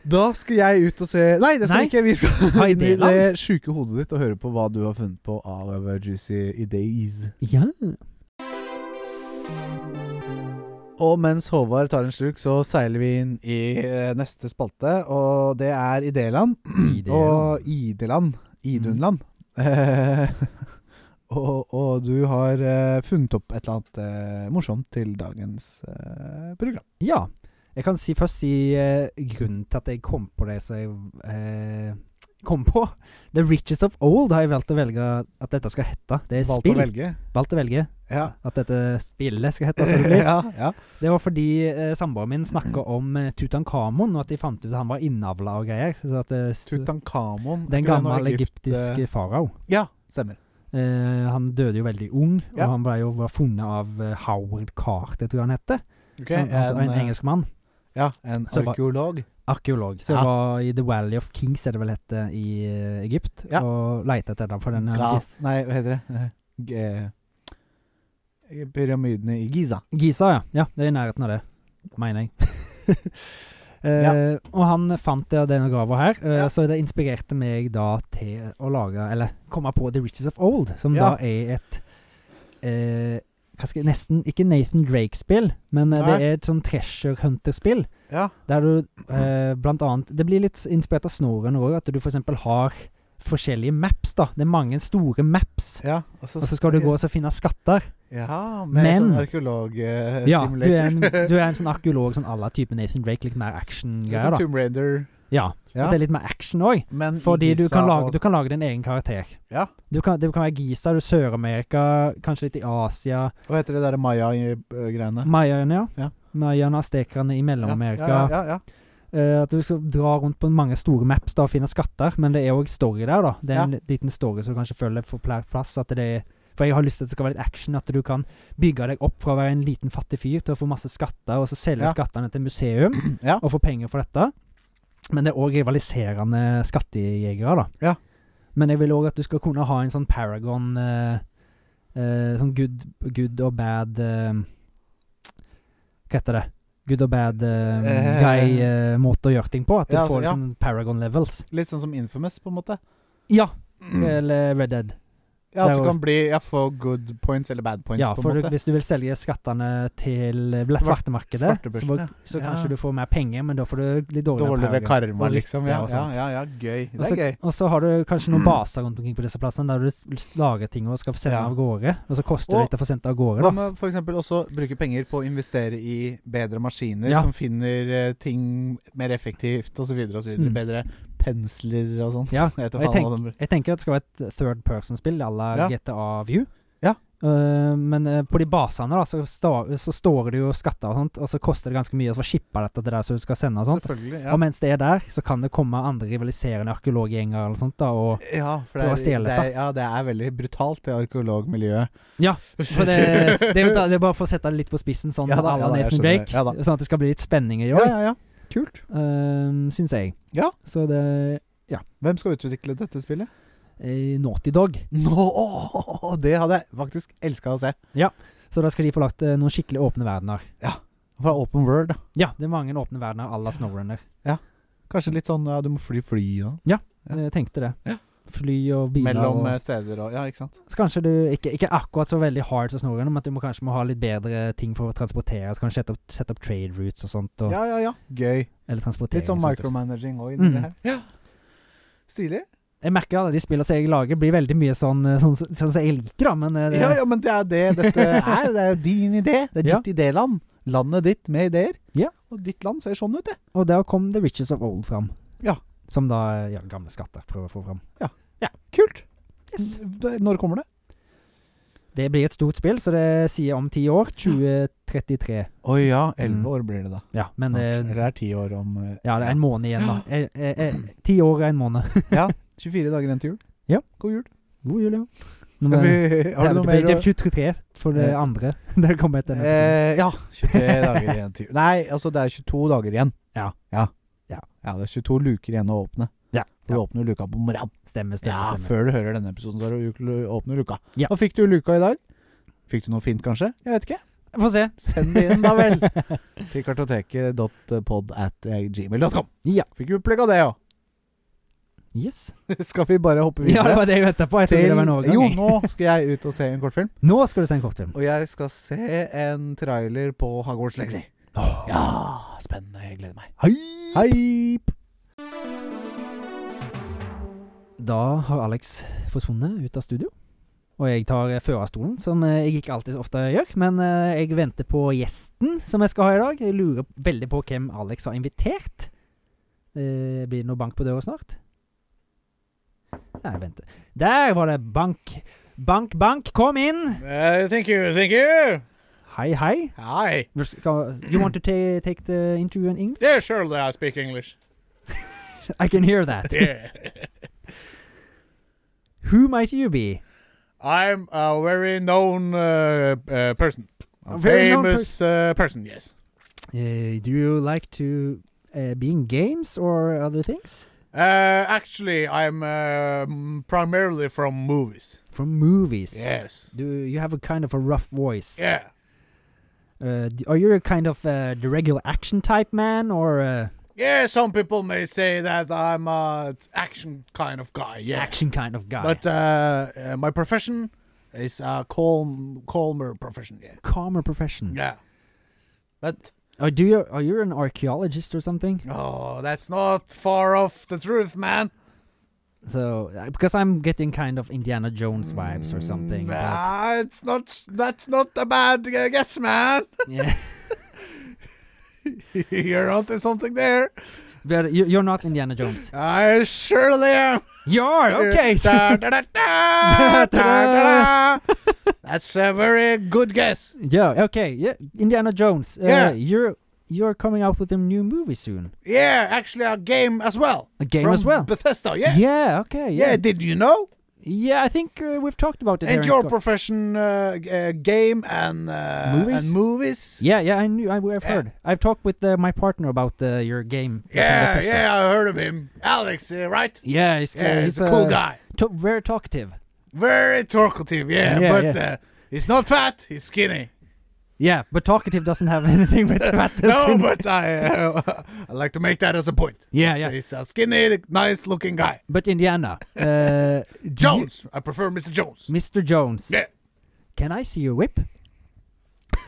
Da skal jeg ut og se Nei, det skal Nei. vi ikke. Vi skal Ha inn i ideer, da. det sjuke hodet ditt og høre på hva du har funnet på av eh, juicy ideas. Ja. Og mens Håvard tar en slurk, så seiler vi inn i eh, neste spalte, og det er Idéland. Idéland. Og Ideland. Idunland. Eh, Mm. og, og du har eh, funnet opp et eller annet eh, morsomt til dagens eh, program. ja. Jeg kan si, først si eh, grunnen til at jeg kom på det som jeg eh, kom på. The Riches of Old har jeg valgt å velge at dette skal hete. Det er Valgt å spill. velge. Valgt å velge Ja. at dette spillet skal hete. så det blir. ja, ja. Det var fordi eh, samboeren min snakka om eh, Tutankhamon, og at de fant ut at han var innavla og greier. Så at, eh, s- Tutankhamon. den Ikke det noe gamle Egypt, eh, egyptiske farao. Ja, stemmer. Eh, han døde jo veldig ung, og Ja. han ble jo var funnet av eh, Howard Carter, tror jeg han het. Ok, Han- altså, en eh, engelskmann. Ja, en Så hva- arkeolog. arkeolog som Ja. var i The Valley of Kings, er det vel hette, i eh, Egypt, Ja. og leita etter den. For den eh, Glas Nei, hva heter det? Eh, G pyramidene i Giza. eh, Giza, ja. ja. Det er i nærheten av det, mener jeg. Eh, Og han fant det- denne grava her, eh, Ja. så det inspirerte meg da til å lage Eller komme på The Riches of Old, som Ja. da er et eh, hva skal jeg, Nesten ikke Nathan Drake-spill, men eh, Nei. det er et sånn treasure hunter-spill. Ja. Der du eh, blant annet Det blir litt inspirert av snoren òg, at du f.eks. har forskjellige maps, da. Det er mange store maps. ja Og så skal du gå og så finne skatter. Ja, med Men- sånn arkeologsimulator. Ja, du er, en, du er en sånn arkeolog sånn à la type Nathan Drake, litt mer action-greier, Som da. Tomb Raider. Ja, sånn Ja. at Det er litt mer action òg, Men i fordi du Giza kan, lage, og- du kan lage din egen karakter. Ja. Du kan, det kan være Giza, du er Sør-Amerika, kanskje litt i Asia. Hva heter det der maya-greiene? Mayaene, Ja. ja. Mayaene, aztekerne i Mellom-Amerika. Ja, ja, ja, ja. Eh, at du skal dra rundt på mange store maps da, og finne skatter, men det er òg story der, da. Det er en liten story som du kanskje føler får pla- plass. At det er, for jeg har lyst til at det skal være litt action, at du kan bygge deg opp fra å være en liten fattig fyr til å få masse skatter, og så selge Ja. skattene til museum ja. og få penger for dette. Men det er òg rivaliserende skattejegere, da. Ja. Men jeg vil òg at du skal kunne ha en sånn Paragon eh, eh, Sånn good, good og bad eh, Hva heter det? Good og bad eh, Eh, guy-måte å gjøre ting på. At du ja, altså, får ja. liksom Paragon levels. Litt sånn som Infamous, på en måte. Ja! Mm. Eller Red Dead. Ja, Det er at du jo- kan bli ja, få good points eller bad points, Ja, på for en du, måte. hvis du vil selge skattene til eh, vel, Svart- svartemarkedet, så, svartebørsen, må- ja. så Ja. kanskje du får mer penger, men da får du litt dårligere Dårligere Paragon. karma, og lykke liksom. Ja, og ja, sånt. ja, ja, gøy. Og Det så- er gøy. Mm. Og så har du kanskje noen baser rundt omkring på disse plassene der du s- lager ting og skal få sende Ja. av gårde. Og så koster det Og- litt å få sendt av Hva gårde. Da. med f.eks. også bruke penger på å investere i bedre maskiner Ja. som finner eh, ting mer effektivt osv. osv. Mm. Bedre pensler og sånn. Ja, Jeg vet da og jeg faen hva de- Jeg tenker at det skal være et third person-spill à la Ja. GTA View. Ja. Eh, men eh, på de basene da, så, sta, så står det jo skatter og sånt, og så koster det ganske mye å få shippa dette til der som du skal sende og sånt. Selvfølgelig. Ja. Og mens det er der, så kan det komme andre rivaliserende arkeologgjenger eller sånt da, og ja, for det prøve å er, det, stjele er, ja, det er veldig brutalt, det arkeologmiljøet. Ja, For det, det, er jo da, det er bare for å sette det litt på spissen, sånn Ja da, à la ja da, jeg Nathan skjønner det. Drake. Ja da. sånn at det skal bli litt spenning i Ja, år, ja, ja. Kult. eh, syns jeg. Ja. Så det Hvem skal utvikle dette spillet? eh, Naughty Dog. Nå, det hadde jeg faktisk elska å se. Så da skal de få lagt eh, noen skikkelig åpne verdener. Fra Open World. da. Ja, det er mange åpne verdener à la Snowrunner. Kanskje litt sånn ja, du må fly fly da. Ja. Jeg tenkte det. Ja. Fly og biler Mellom eh, og steder og Ja, ikke sant. Så kanskje du ikke, ikke akkurat så veldig hard som Snowrunner, men at du må kanskje må ha litt bedre ting for å transportere. Så kan du sette opp, sette opp trade routes og sånt. Og, Ja, ja, ja. Gøy. Eller transportering. Litt sånn og sånt. micromanaging òg inni Mm. det her. Ja. Stilig. Jeg merker alle de spillene som jeg lager, blir veldig mye sånn eh, sånn som sånn, som jeg liker, da. Men eh, det, Ja, ja, men det er det dette er. Det er jo din idé. Det er Ja. ditt idéland. Landet ditt med ideer. Ja. Og ditt land ser sånn ut, det. Og der kom The Riches of Old fram. Ja. Som da eh, ja, gamle skatter prøver å få fram. Kult. Yes. D- Når kommer Mm. det? Det blir et stort spill, så det sier om ti år. 2033. Å ja, 11 år blir det da. Ja, Mm. men det, Eller det er ti år om eh, Ja, det er en måned igjen, da. Eh, eh, eh, Ti år er en måned. 24 dager igjen til jul. Ja. eh, God jul. God jul, ja. Skal Nå må- vi, det, har du er- det, noe blir- mer? det å- er 23 for det Eh. andre. Det kommer etter denne episoden. Eh, ja. 23 dager igjen til jul. Nei, altså det er 22 dager igjen. Ja. Ja, Ja. Ja, det er 22 luker igjen å åpne. Ja. For du åpner jo luka på morgenen. Stemmer, stemmer. Ja, stemmer. før du hører denne episoden, så har du lu- åpner luka. Ja. Hva fikk du i luka i dag? Fikk du noe fint, kanskje? Jeg vet ikke. Få se. Send det inn, da vel. Til kartoteket.pod at gmail.com. Ja. Fikk du plugga det òg? Yes. Skal vi bare hoppe Ja, det videre? var det jeg venta på. Jeg trodde det var en overgang. jo, jeg. nå skal jeg ut og se en kortfilm. Nå skal du se en kortfilm. Og jeg skal se en trailer på Hogwarts Legacy. Åh. Ja, spennende. Jeg gleder meg. Hei. Hype! Da har Alex forsvunnet ut av studio. Og jeg tar eh, førerstolen, som eh, jeg ikke alltid så ofte gjør. Men eh, jeg venter på gjesten som jeg skal ha i dag. Jeg lurer veldig på hvem Alex har invitert. Eh, blir det noe bank på døra snart? Nei, vent. Der var det bank. Bank, bank, kom inn! Eh, thank you, thank you. Hei, hei. Hi. Du skal- You want to ta- take the interview in English? Yeah, surely I speak English. I can hear that. Yeah. Who might you be? I'm a very known uh, uh, person. A very known uh, person, yes. Eh, do you like to eh, be in games or other things? Uh, actually, I'm uh, primarily from movies. From movies. Yes. Do you have a kind of a rough voice? Yeah. Uh, d- are you a kind of uh, the regular action type man, or uh, Yeah, some people may say that I'm a action kind of guy. Yeah. action kind of guy? But uh, uh, my profession is a calm, calmer profession. Yeah. calmer profession. Yeah. But Or do you are you an archaeologist or something? oh, that's not far off the truth, man. So uh, because I'm getting kind of Indiana Jones vibes or Mm, something. but- Nah, it's not. That's not a bad uh, guess, man. yeah. You're onto something there. But you, you're not Indiana Jones. I surely am. You are okay. so- Da, da, da, da, da, da, da. That's a very good guess. yeah. Okay. Yeah. Indiana Jones. Uh, Yeah. You're you're coming out with a new movie soon. Yeah, actually, a game as well. A game From as well. Bethesda. Yeah. yeah. Yeah. Okay. Yeah. did you know? Yeah, I think uh, we've talked about it. here And in your Scot- profession, uh, g- uh, game and uh, Movies? and movies. yeah, yeah, I knew. I, I've Yeah. heard. I've talked with uh, my partner about uh, your game. with Yeah, Bethesda. yeah, I heard of him, Alex. Uh, right? yeah. He's, uh, Yeah, he's, a cool guy. to- very talkative. Very talkative. Yeah, Yeah, but yeah. Uh, he's not fat. He's skinny. Yeah, but talkative doesn't have anything with about this. no, thing. but I uh, I like to make that as a point. Yeah, he's, yeah. He's a skinny, nice-looking guy. But Indiana, uh, do you- Jones. I prefer Mr. Jones. Mr. Jones, Yeah, can I see your whip?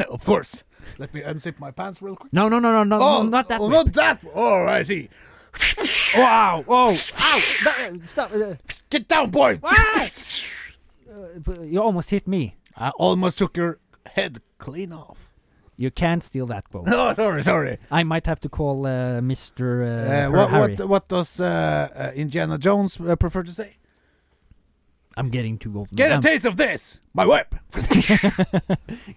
of course. Let me unzip my pants real quick. No, no, no, no, no, Oh, no, not that. oh, whip. Not that. Oh, I see. Wow! Oh, ow! That, uh, stop! Uh, Get down, boy. uh, but you almost hit me. I almost took your head clean off. You can't steal that ball. No, sorry, sorry. I might have to call uh, Mr. Uh, Uh, Her what, Harry. what what does uh, uh, Indiana Jones uh, prefer to say? I'm getting too old. Get Um, a taste of this, my whip.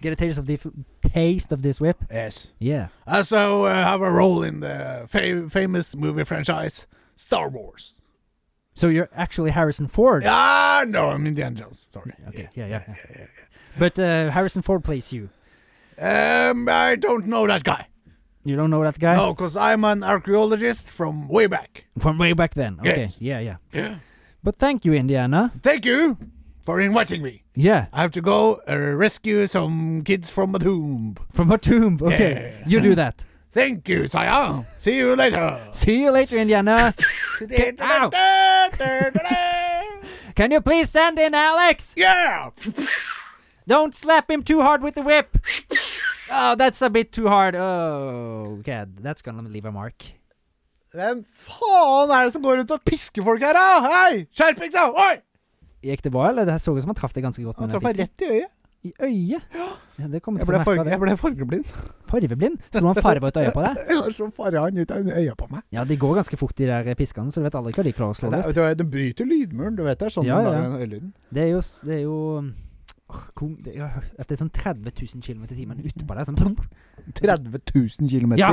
get a taste of the taste of this whip. yes. Yeah. Also uh, have a role in the fa- famous movie franchise Star Wars. So you're actually Harrison Ford. Ah, no, I'm Indiana Jones. Sorry. Okay. Yeah, yeah. yeah. But uh, Harrison Ford plays you. Um, I don't know that guy. You don't know that guy No, because I'm an archaeologist from way back. from way back then. Okay. Yes. Yeah, yeah. Yeah. But thank you, Indiana. Thank you for inviting me. Yeah, I have to go uh, rescue some kids from a tomb. from her tomb. Okay, Yeah. you do that. Thank you, Saya. See you later. See you later, Indiana. Can you please send in Alex? yeah. Don't slap him too hard with the whip. Oh, that's a bit too hard. Oh, god, that's gonna leave a mark. Hvem faen er det som går rundt og pisker folk her, da? Hei! Skjerpings, da! Oi! Gikk det bra, eller? Det her så ut som han traff deg ganske godt. Han med den traff fisken. meg rett i øyet. I øyet? Ja, det kommer Jeg til ble, å farge, merke det. jeg ble fargeblind. Farveblind? Så du han farva ut øyet på deg? Jeg har så farga han ut av øya på meg. Ja, de går ganske fort, de der piskene, så du vet aldri hva de klarer å slå Det, løs. det, det bryter lydmuren, du vet det. er Sånn Ja, de ja. lager den øyelyden. Det er jo, s- det er jo åh, kong- det, jeg har hørt at det er sånn 30 000 km i timen utpå deg, sånn 30 000 km Ja.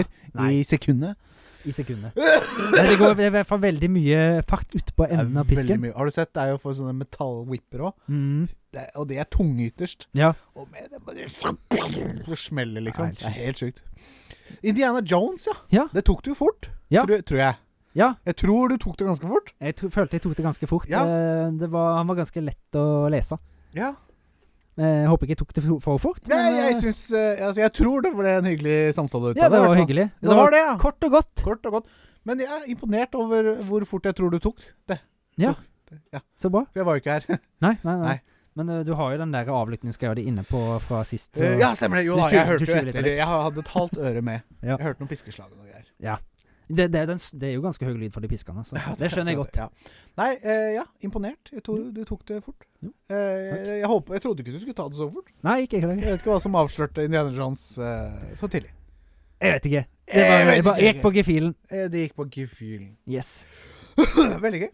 i sekundet. i sekundet. Nei, det går det er i hvert fall veldig mye fart utpå Det er enden av veldig pisken. mye. Har du sett, det er jo for sånne metallwipper òg. Mm. Og det er tungyterst. Ja. Og med det bare Så smeller, liksom. Nei, Det er helt sjukt. Indiana Jones, ja. Ja. Det tok du jo fort. Ja. Tror, tror jeg. ja. Jeg tror du tok det ganske fort. Jeg tro, følte jeg tok det ganske fort. Ja. Eh, Det var, han var ganske lett å lese. Ja. Eh, Jeg håper ikke jeg tok det for- for fort. Nei, men, jeg eh, syns eh, Altså, jeg tror det ble en hyggelig samtale ut ja, det av det. i var hvert fall. hyggelig. Ja, det var det, ja. Kort og godt. Kort og godt. Men jeg er imponert over hvor fort jeg tror du tok det. Ja. Tok det. ja. Så bra. For jeg var jo ikke her. Nei, nei, nei. Nei. Men eh, du har jo den der avlyttingsgreia di inne på fra sist. Eh, og- ja, stemmer det. Jo Du da, tjuv- jeg du hørte jo tjuver litt etter. litt. Jeg hadde et halvt øre med. Ja. Jeg hørte noen piskeslag og noe greier. Det, det, er den, s- det er jo ganske høy lyd for de piskene. Så. det skjønner jeg godt. Ja. Nei, eh, ja. Imponert. Jeg tror du tok det fort. Jo. Eh, jeg, jeg, håper, jeg trodde ikke du skulle ta det så fort. Nei, ikke heller. Jeg vet ikke hva som avslørte Indiana Jones eh, så tidlig. Eh, Jeg vet ikke. Det Jeg bare, vet det bare ikke. gikk på gefühlen. Eh, det gikk på gefühlen. Yes. Veldig gøy.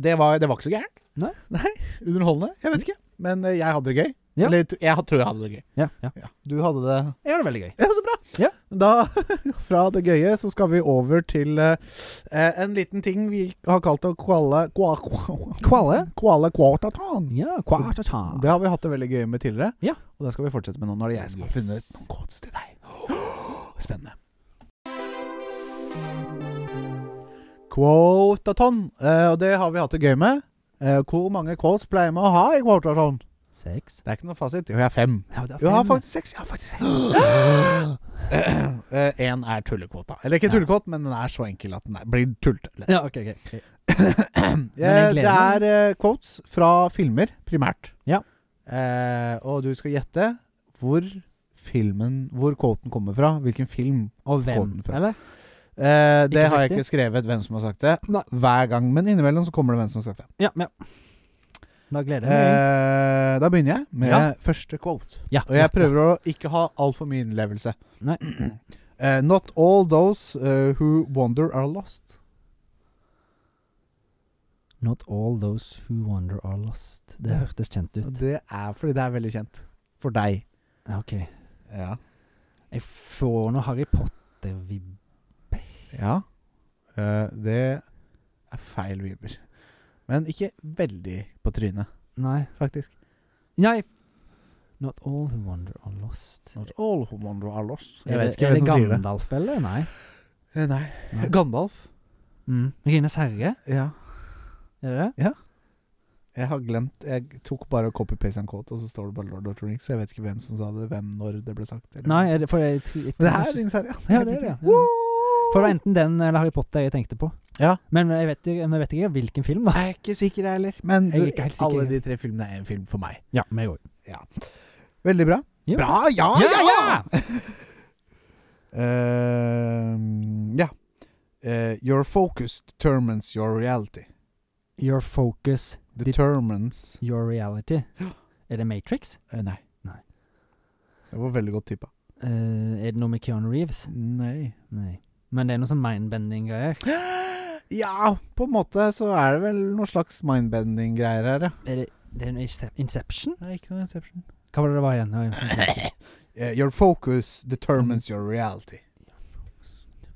Det var, det var ikke så gærent. Nei. Underholdende. Jeg vet ikke. Men eh, jeg hadde det gøy. Ja. Eller t- jeg tror jeg hadde det gøy. Ja, ja. Ja. Du hadde det Jeg har det veldig gøy. Ja, så bra! Ja. Da, fra det gøye, så skal vi over til eh, eh, en liten ting vi har kalt å kvale kva, kva, Kvale? Kvale kvartatan. Ja, kvartata. Det har vi hatt det veldig gøy med tidligere, Ah. Ja. og det skal vi fortsette med nå når jeg skal ha Yes. funnet noen quotes til deg. Spennende. Quotaton. Eh, og det har vi hatt det gøy med. Eh, hvor mange quotes pleier vi å ha i Quotaton? Seks. Det er ikke noe fasit. Jo, jeg har fem. Ja, det er Jo, jeg har fem. faktisk seks. Jeg har faktisk seks. Eh, Én er tullekvota. Eller ikke Ja. tullekvot, men den er så enkel at den er, blir tullete. Ja, ok, ok. ok. Eh, jeg det gleder er eh, quotes fra filmer, primært. Ja. Eh, og du skal gjette hvor filmen Hvor quoten kommer fra. Hvilken film. Og hvem, Kåten fra. eller? Eh, det Ikke har jeg riktig. ikke skrevet hvem som har sagt det. Nei. Hver gang, men innimellom så kommer det hvem som har sagt det. Ja, ja. Da gleder jeg meg. Eh, da begynner jeg med Ja. første quote. ja. Og jeg prøver å ikke ha altfor mye innlevelse. Nei. Eh, not all those eh, who wander are lost. Not all those who wander are lost. Det hørtes kjent ut. Og det er fordi det er veldig kjent. For deg. Ja, Ok. Ja. Jeg får noe Harry Potter-vibb. ja. Eh, det er feil vibber. Men ikke veldig på trynet, Nei. faktisk. Nei. Not all who wander are lost. Not all who wander are lost. Jeg Er vet det- ikke hvem som Er sier det det. Gandalf, eller? Nei. Eh, Nei. Nei. Gandalf. Mm. Rines herre, Ja. er det det? Jeg har glemt Jeg tok bare copy-paste en quote, og så står det bare Lord of the Rings. Jeg vet ikke hvem som sa det, hvem, når det ble sagt. eller- Nei, er det, for jeg, tror- jeg, Mm. Men tror det her er kanskje- Rings herre, Ja, det er det, ja. For det var enten den eller Harry Potter jeg tenkte på. Ja. Men jeg vet, ikke- men jeg vet ikke hvilken film, da. Jeg er ikke sikker, jeg heller. Men Jeg er ikke helt sikker. alle de tre filmene er en film for meg. Ja, meg òg. Veldig bra. Ja. Bra! Ja, ja, ja! Ja, Ehm, ja. Eh, your focus determines your reality. Your focus, Determines your reality. Er det Matrix? Eh, Nei. Nei. Det var veldig godt tippa. Eh, er det noe med Keanu Reeves? Nei. Nei. Men det er noe sånn mindbending-greier. Ja, på en måte så er det vel noe slags mindbending-greier her, ja. Er det, det er noe Incep- Inception? Nei, ikke noe Inception. Hva var det det var igjen? Det var en sånn- Eh, your focus determines your reality. Mm.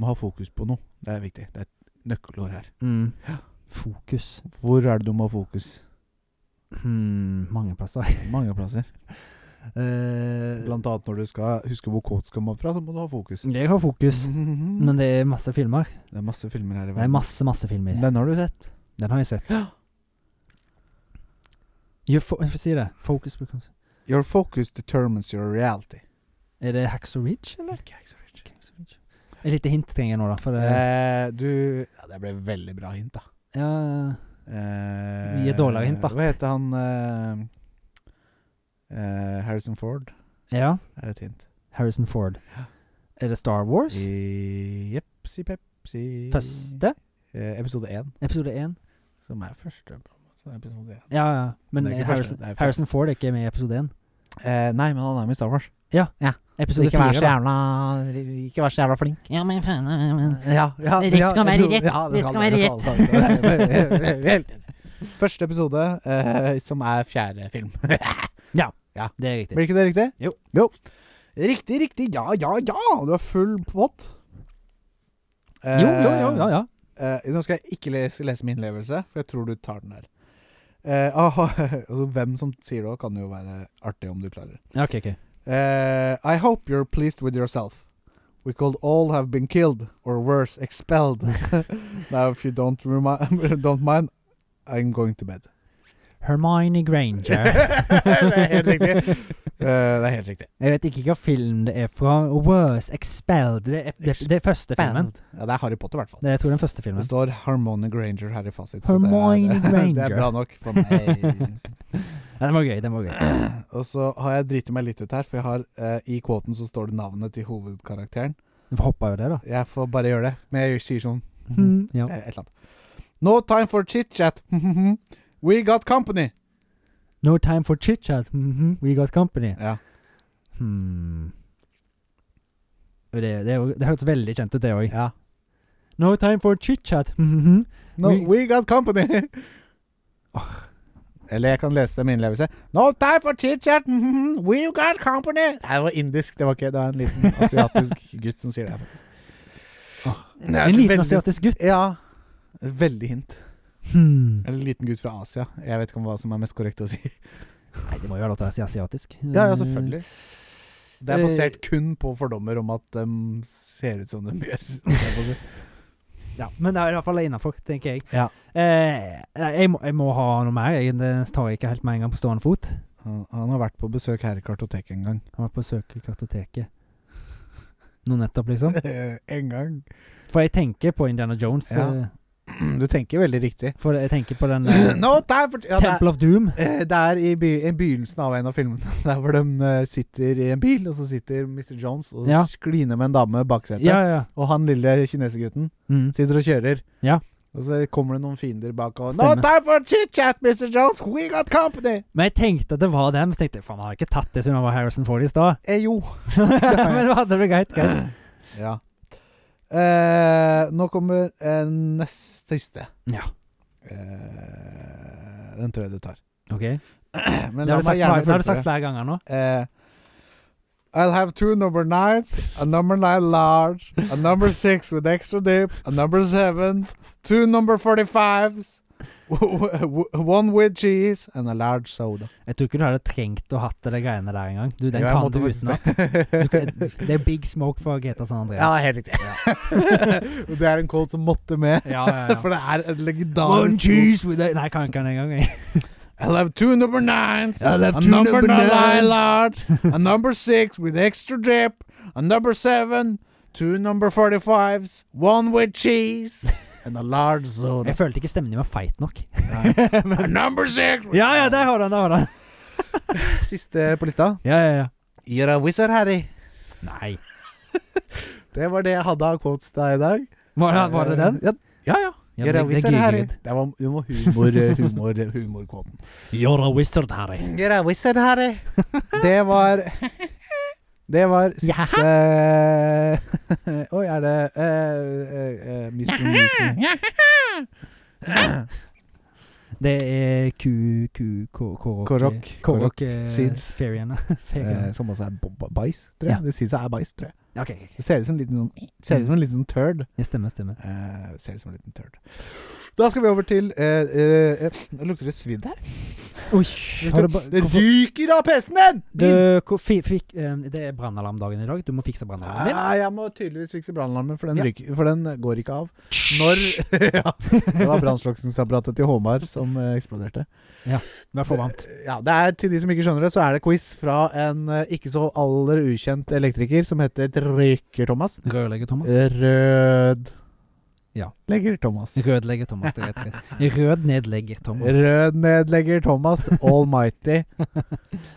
Må ha fokus på noe. Det er viktig. Det er et nøkkelord her. Mm. Fokus. Hvor er det du må ha fokus? Hmm, mange plasser. Mange plasser. Eh, Blant annet når du skal huske hvor quotes kommer fra, så må du ha fokus. jeg har fokus, men det er masse filmer. Mm-hmm. det er masse filmer her i Det er verden. masse, masse filmer. Den har du sett. Den har jeg sett. Your fo Få si det. Focus becomes Your focus determines your reality. Er det Hacksaw Ridge, eller? Ikke Hacksaw Ridge. Hacksaw Ridge. Et lite hint trenger jeg nå, da. For det Eh, du ja, Det ble veldig bra hint, da. ja, Eh, Gi et dårligere hint, da. Hva heter han eh, eh, Harrison Ford ja. er et hint. Harrison Ford. Er det Star Wars? I Jepsi Pepsi Første? eh, Episode 1, Episode én? som er første. Så er episode 1. Ja, ja. Men Det er ikke første, Harrison, det er første. Harrison Ford er ikke med i episode én. Eh, nei, men han er med i Star Wars. Episode fire, da. jævla Ikke vær så jævla flink. Ja, men faen eh, men- Ja, ja, Rett ja, skal være episode- rett. Ja, det Rett kan skal være det, det kan det. Helt enig. Første episode, eh, som er fjerde film. Det er riktig. Blir ikke det riktig? Jo. Riktig, riktig. Ja, ja, ja! Du har full pott. Eh, Jo, jo, jo, ja, ja. eh, nå skal jeg ikke lese, lese min innlevelse, for jeg tror du tar den der. Eh, aha, altså, hvem som sier det òg, kan jo være artig om du klarer. Ja, Ok, ok. Eh, I hope you're pleased with yourself. We could all have been killed, or worse, expelled. now, if you don't, remi- don't mind, I'm going to bed. Hermione Granger. det er helt riktig. Eh, det er helt riktig. Jeg vet ikke hvilken film det er fra. Worse Expelled. Det er, det, det er første filmen. Ja, det er Harry Potter, i hvert fall. Det er, jeg tror den første filmen. Det står Harmony Granger her i fasit. Hermione så det, er, det er Granger. bra nok for meg. Ja, den var gøy. den var gøy. Og så har jeg driti meg litt ut her, for jeg har, eh, i kvoten så står det navnet til hovedkarakteren. Den hoppa jo det, da. Jeg får bare gjøre det, men jeg sier sånn Mm, ja. eh, Et eller annet. No time for chit-chat. We got company. No time for chit-chat. Mhm, We got company. Ja. Hmm. Det, det, er jo- det hørtes veldig kjent ut, det òg. ja. No time for chit-chat. Mhm. No, We- we got company. Eller jeg kan lese det med innlevelse. No time for chit-chat. We got company. Eh, Nei, det var indisk. Det var ikke Det var en liten asiatisk gutt som sier det. faktisk Det er En liten veldig- asiatisk gutt. Ja. Veldig hint. Hmm. Eller en liten gutt fra Asia. Jeg vet ikke om hva som er mest korrekt å si. Nei, det må jo være lov til å si asiatisk. Ja, ja, selvfølgelig. Eh. Det er basert kun på fordommer om at de ser ut som de gjør. holdt jeg på å si. Ja, men det er i hvert fall innafor, tenker jeg. Ja. Eh, jeg, må, jeg må ha noe mer. Jeg, det tar jeg ikke helt med en gang på stående fot. Han, han har vært på besøk her i Kartoteket en gang. Han var på søk i kartoteket nå nettopp, liksom. en gang. For jeg tenker på Indiana Jones. Ja. eh, Du tenker veldig riktig. For jeg tenker på den eh, No time for ja, det, er, Temple of Doom. eh, det er i by, i begynnelsen av en av filmene, der hvor de eh, sitter i en bil, og så sitter Mr. Jones og Ja. skliner med en dame bak setet. Ja, ja. Og han lille kinesergutten Mm. sitter og kjører. Ja. Og så kommer det noen fiender bak og No Stemmer. time for chit-chat, Mr. Jones! We got company! Men jeg tenkte at det var den, men så tenkte jeg faen, har jeg ikke tatt det siden han var Harrison Ford i stad? Eh, jo. men det hadde det greit, greit. Ja. Eh, nå kommer eh, nest siste. Ja. Eh, den tror jeg du tar. OK. Men la Det har meg du sagt, flere- gjerne det har du fullføre. sagt flere ganger nå. Eh, I'll have two number nines, a number nine large, a number six with extra dip, a number seven, two number 45s, one with cheese, and a large soda. Jeg tror ikke du hadde trengt å hatt det greiene der engang. Du, den Jo, jeg kan måtte du faktisk utenat. Du kan- Det er big smoke for GTA San Andreas. Ja, det er helt riktig. Og det er en cold som måtte med. ja, ja, ja. For det er en One legendarisk cheese with a Nei, jeg kan ikke den engang. jeg. I'll have two number nines, I'll have a two number, number nine, nine. large, a number six with extra dip, a number seven, two number 45s, one with cheese, and a large soda. Jeg følte ikke stemmen din var feit nok. A number six! with- Ja, ja, der har du den! Der har du den. Siste på lista. Ja, ja, ja. You're a wizard, Harry. Nei. Det var det jeg hadde av quotes til deg i dag. Var det, var det den? Ja, ja. ja. Ja, You're a men det- det wizard, Harry. gigget. Det var, det var humor, eh, humor, humorkvoten. You're a wizard, Harry. You're a wizard, Harry. Det var Det var Ja. siste Eh, Oi, er det uh, uh, Mr. Meeting? Det er Q... Q... K- K- Korok. Korok. Korok. eh, Seeds. Feriene. Eh, Feriene. Som også er bo- bæsj, tror jeg. Ja. Det sies det er bæsj, tror jeg. Ok, ok, ok. Det ser ut som en liten sånn Ser ut som en liten sånn turd. Det stemmer, stemmer. Eh, ser ut som en liten turd. Da skal vi over til eh, eh, eh, nå Lukter det svidd her? Oi, har du ba- Det ryker av PC-en din! Du, Din- hvor fi- fikk, eh, det er brannalarmdagen i dag. Du må fikse brannalarmen din. Nei, jeg må tydeligvis fikse brannalarmen, for, den Ja. ryker- for den går ikke av. Når Ja, det var brannslukningsapparatet til Håmar som eh, eksploderte. Vær for varmt. Ja, det er, til de som ikke skjønner det, så er det quiz fra en eh, ikke så aller ukjent elektriker som heter Røyker-Thomas. Rødlegger Thomas. Rød Ja. Legger Thomas. Rødlegger Thomas, det heter det. Rød nedlegger Thomas. Rød nedlegger Thomas Almighty.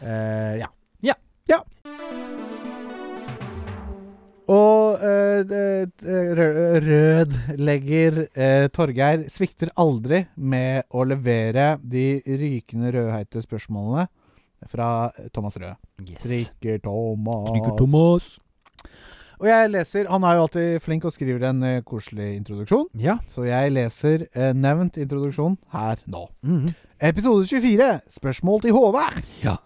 Eh, ja. Ja. Ja. Og eh, det- eh, rød, rød legger eh, Torgeir svikter aldri med å levere de rykende rødheite spørsmålene fra Thomas Rød. Yes. Drikker Thomas. Thomas. Og jeg leser Han er jo alltid flink og skriver en eh, koselig introduksjon, Ja. så jeg leser eh, nevnt introduksjon her nå. Mm. Episode 24. Spørsmål til Håvard. Ja.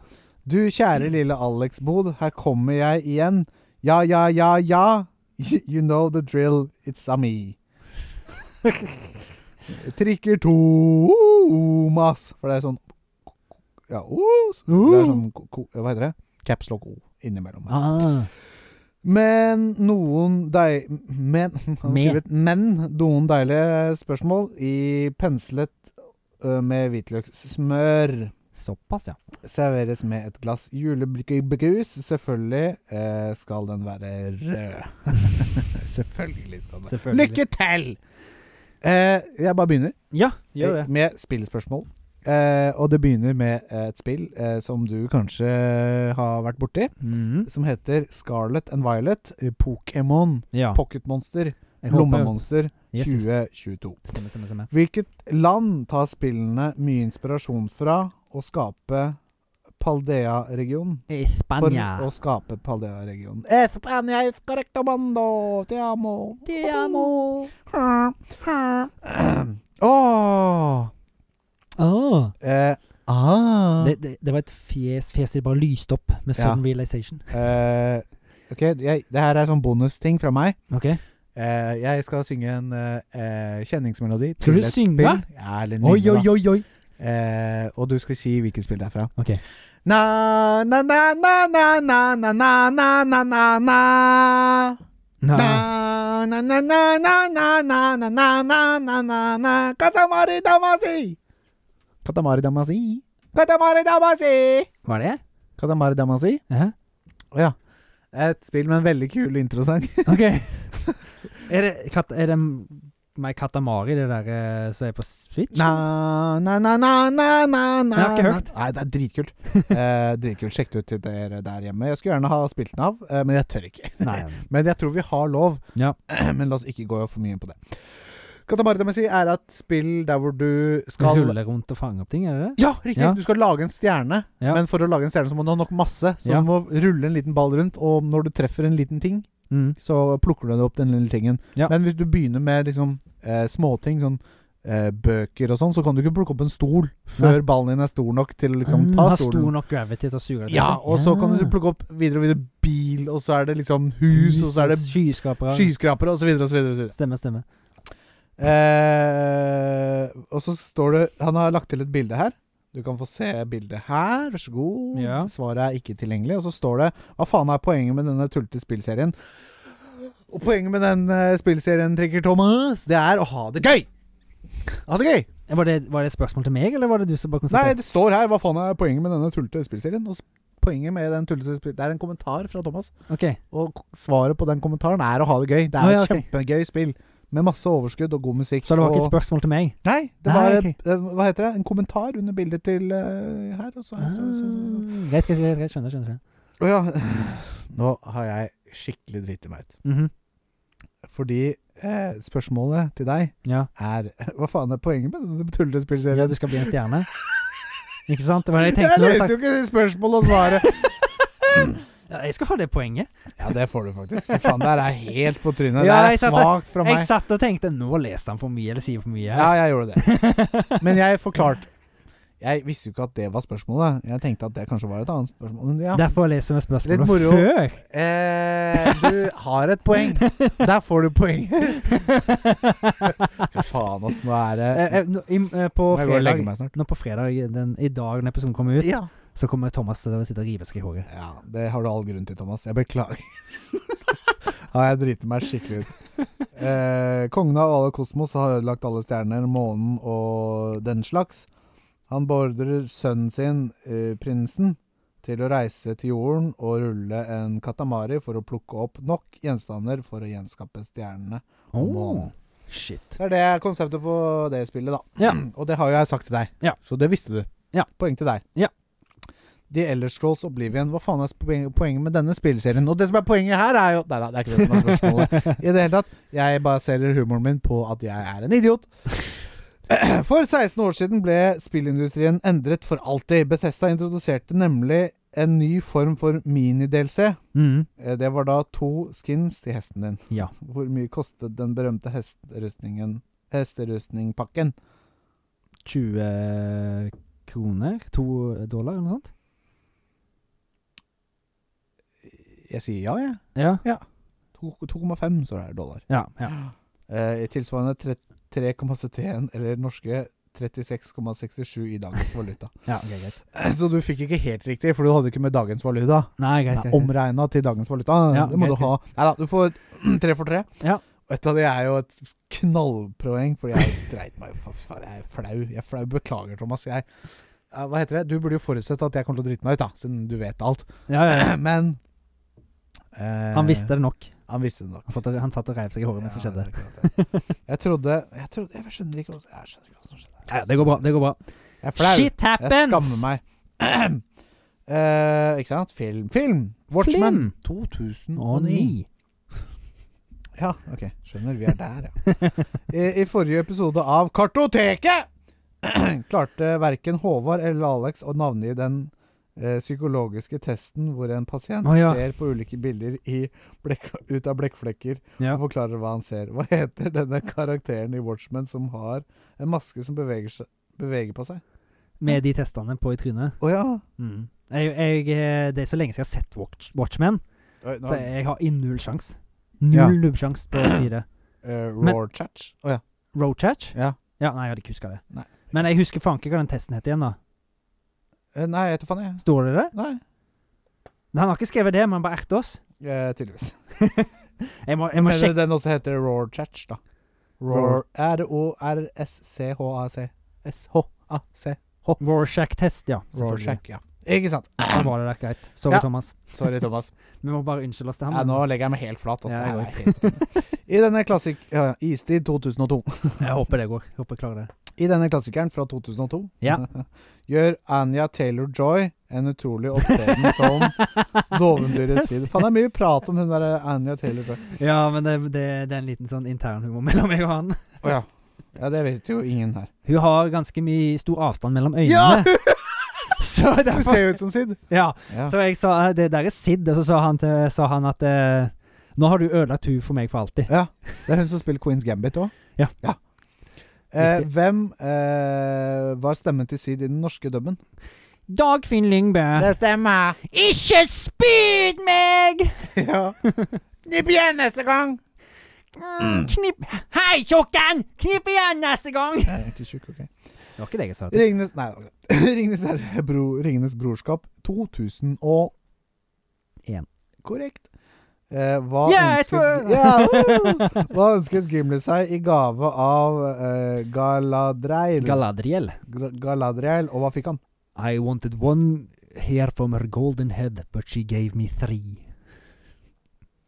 Du kjære lille Alex Bod, her kommer jeg igjen. Ja, ja, ja, ja. You know the drill. It's a me. Trikker Thomas. For det er sånn Ja, os. Det er sånn ko- ko- Hva heter det? Caps lock O innimellom. her. Ah. Men noen deil... Men, han har Men. skrevet, men noen deilige spørsmål i penslet ø, med hvitløkssmør. Såpass, ja. Serveres med et glass julebrus. Selvfølgelig eh, skal den være rød. Selvfølgelig skal den være Selvfølgelig. Lykke til! Eh, jeg bare begynner eh, Ja, gjør det. med spillspørsmål. Eh, og det begynner med et spill eh, som du kanskje har vært borti, Mm. som heter Scarlet and Violet. eh, Pokémon. Ja. Pocketmonster. jeg håper- Lommemonster Yes, yes. 2022. Stemmer, stemmer, stemmer. Hvilket land tar spillene mye inspirasjon fra å skape Paldea-regionen? I For Spania. å skape Paldea-regionen. España es correcto mundo. Te amo. Te amo. Åh. Åh. Eh, ah. Det, det, det var et fjes Fjeset bare lyste opp med Ja. sudden realization. Eh, ok, jeg, det her er sånn bonusting fra meg. Ok. Eh, jeg skal synge en eh, eh, kjenningsmelodi. Skal til du et synge? spill. Ja, eller Oi, nynne, da. oi, oi, oi. Eh, og du skal si hvilket spill det er fra. Ok. Na, na, na, na, na, na, na, na, na, na, na, na. Nei. Na, na, na, na, na, na, na, na, na, na, na, na, na. Katamari Damacy! Katamari Damacy. Katamari Damacy! Var det? Katamari Damacy. Ja. Et spill med en veldig kul introsang. OK. er det, kat, er det meg Katamari, det der eh, som er på Switch? Na, na, na, na, na, na, na Jeg har ikke na. hørt. Nei, det er dritkult. Eh, dritkult. Sjekk det ut til dere der hjemme. Jeg skulle gjerne ha spilt den av, eh, men jeg tør ikke. Nei. Men jeg tror vi har lov. Ja. men la oss ikke gå for mye inn på det. Katamari Damacy er et spill der hvor du Skal skal rulle rundt og fange opp ting, er det det? Ja, riktig! Ja. Du skal lage en stjerne. Ja. Men for å lage en stjerne så må du ha nok masse. Så Ja. du må rulle en liten ball rundt, og når du treffer en liten ting, Mm. så plukker du opp den lille tingen. Ja. Men hvis du begynner med liksom eh, småting, sånn eh, bøker og sånn, så kan du ikke plukke opp en stol før Nei. ballen din er stor nok til å liksom Mm, ta har stolen. stor nok gravity til å suge det. Ja, liksom. og så kan du Ja. plukke opp videre og videre bil, og så er det liksom hus, og så er det skyskrapere. skyskrapere, og så videre og så videre. Og så, videre. Stemmer, stemmer. Eh, og så står det Han har lagt til et bilde her. Du kan få se bildet her, vær så god. Ja. Svaret er ikke tilgjengelig. Og så står det Hva faen er poenget med denne tullete spillserien? Og poenget med den eh, spillserien, Trigger Thomas, det er å ha det gøy! Ha det gøy! Eh, Var det, var det et spørsmål til meg, eller var det du som bare Nei, konstaterte det står her. Hva faen er poenget med denne tullete spillserien? Og s- poenget med den tullete spill- Det er en kommentar fra Thomas, OK. og k- svaret på den kommentaren er å ha det gøy. Det Å, er ja, et ok. kjempegøy spill med masse overskudd og god musikk. Så det var ikke og- et spørsmål til meg? Nei, det Nei, var ok. eh, hva heter det? en kommentar under bildet til eh, her. Og så, Ah, så, så, Greit, greit, greit. greit. Skjønner, skjønner. skjønner. så. Ah. Å ja. Nå har jeg skikkelig driti meg ut. Mhm. Fordi eh, spørsmålet til deg Ja. er Hva faen er poenget med denne tullete ja. spillserien? Du skal bli en stjerne? Ikke sant? Det var det jeg tenkte. Jeg når du leste jo ikke spørsmålet og svaret! sa- Ja, jeg skal ha det poenget. ja, det får du faktisk. For faen, det her er helt på trynet. Ja, det jeg er satte- svakt fra Jeg meg. satt og tenkte Nå leser han for mye, eller sier for mye. Ja, her. jeg gjorde det. Men jeg forklarte Jeg visste jo ikke at det var spørsmålet. Jeg tenkte at det kanskje var et annet spørsmål. Men ja. Derfor leser vi Litt spørsmålet moro. før. Eh, du har et poeng. Der får du poeng. Fy faen, ass. Nå er det Eh, eh, nå- i- eh, På Må jeg gå og legge fredag meg snart. Nå på fredag den, i dag når episoden kommer ut, Ja. så kommer Thomas til å sitte og rive seg i håret. ja. Det har du all grunn til, Thomas. Jeg beklager. ja, jeg driter meg skikkelig ut. Eh, kongen av alle kosmos har ødelagt alle stjerner, månen og den slags. Han beordrer sønnen sin, eh, prinsen, til å reise til jorden og rulle en katamari for å plukke opp nok gjenstander for å gjenskape stjernene. Oh, shit. Det er det er konseptet på det spillet, da. Mm. Ja. Og det har jo jeg sagt til deg, Ja. så det visste du. Ja. Poeng til deg. Ja. The Elder Scrolls Oblivion, hva faen er poen- poenget med denne spillserien? Og det som er poenget her, er jo Nei da, det er ikke det som er spørsmålet. I det hele tatt. Jeg baserer humoren min på at jeg er en idiot. For 16 år siden ble spillindustrien endret for alltid. Bethesda introduserte nemlig en ny form for mini-DLC. Mhm. Eh, Det var da to skins til hesten din. Ja. Hvor mye kostet den berømte hesterustningen Hesterustningpakken? 20 eh, kroner? 2 dollar, eller noe sånt? Jeg sier ja, jeg. Ja. To- 2,5 står det her dollar. Ja. ja. Eh, i tilsvarende tre- 3,71 eller norske 36,67 i dagens valuta. ja ok, greit. Eh, Så du fikk ikke helt riktig, for du hadde ikke med dagens valuta. Nei, greit, greit. greit. Omregna til dagens valuta. Ja, det må greit, du ha. Nei da, du får tre for tre. Ja. Og et av de er jo et knallpoeng, fordi jeg dreit meg fa- fa- Jeg er flau. Jeg er flau. Beklager, Thomas. Jeg Ja, Hva heter det? Du burde jo forutsett at jeg kommer til å drite meg ut, da, siden du vet alt. Ja, ja, ja. Men eh, Han visste det nok. Han visste det nok. Han satt og, han satt og reiv seg i håret mens det Ja, skjedde. det er akkurat det. Jeg trodde Jeg, trodde, jeg skjønner ikke hva jeg skjønner ikke hva som skjedde. Ja, det går bra. det går bra Jeg er flau. Shit happens! Jeg skammer meg. Eh, ikke sant? Film. Film! Watchmen. 2009. Å nei. Ja, ok. Skjønner. Vi er der, ja. I, i forrige episode av Kartoteket klarte verken Håvard eller Alex å navngi den eh, psykologiske testen hvor en pasient Å, ja. ser på ulike bilder i blekk, ut av blekkflekker Ja. og forklarer hva han ser. Hva heter denne karakteren i Watchmen som har en maske som beveger, seg, beveger på seg? Med de testene på i trynet. Å ja. Mm. Jeg, jeg, eh, det er så lenge siden jeg har sett Watch, Watchmen, Oi, nå, så jeg har i null sjans. Ja. Null nubbsjans på å si det. eh, men- Rorschach? Å ja. Roadchatch? ja. Ja, nei, jeg hadde ikke huska det. Nei. Men jeg husker faen ikke hva den testen het igjen, da. Eh, Nei, jeg vet da faen, jeg. Står det det? Nei, Han har ikke skrevet det, men han bare erter oss. eh, tydeligvis. Jeg må, jeg må Men sjekke den også heter Roar Church, da. Roar R-O-R-S-C-H-A-C. S-H-A-C. Rorschach-test, ja. selvfølgelig. Rorschach, ja. Ikke sant? Da var det der greit. Sorry, Ja. Thomas. Sorry, Thomas. Vi må bare unnskylde oss til ham. Ja, nå legger jeg meg helt flat. Altså. Ja, jeg Det er helt I denne klassik... Ja, ja, Istid 2002. Jeg håper det går. Jeg håper jeg klarer det. I denne klassikeren fra 2002 Ja. gjør Anja Taylor-Joy en utrolig opptreden som dovendyret sier. Faen, det er mye prat om hun der eh, Anja Taylor-Joy. Ja, men det, det, det er en liten sånn internhumor mellom meg og han. Å ja. ja. Det vet jo ingen her. Hun har ganske mye stor avstand mellom Ja! øynene. Så Hun derfor ser jo ut som Sid. Ja. Ja. Så jeg sa eh, det der er Sid, og så sa han, til, sa han at eh, nå har du ødelagt hun for meg for alltid. ja. Det er hun som spiller Queen's Gambit òg. Ja. Eh, Riktig. hvem eh, var stemmen til Sid i den norske dubben? Dagfinn Lyngbø. stemmer. Ikke spyd meg! ja. Nipp igjen neste gang. Mm, knipp Hei, tjukken! Knipp igjen neste gang! Jeg er ikke tjukk, OK. Det var ikke det jeg sa. Ringenes Nei, Ringenes, herre, bro, Ringenes brorskap 2001. En. Korrekt. Eh, hva, Ja, jeg ønsket, tror- ja, woo! hva ønsket Gimli seg i gave av eh, Galadriel? Galadriel. Gra- Galadriel, og hva fikk han? I wanted one hair from her golden head, but she gave me three.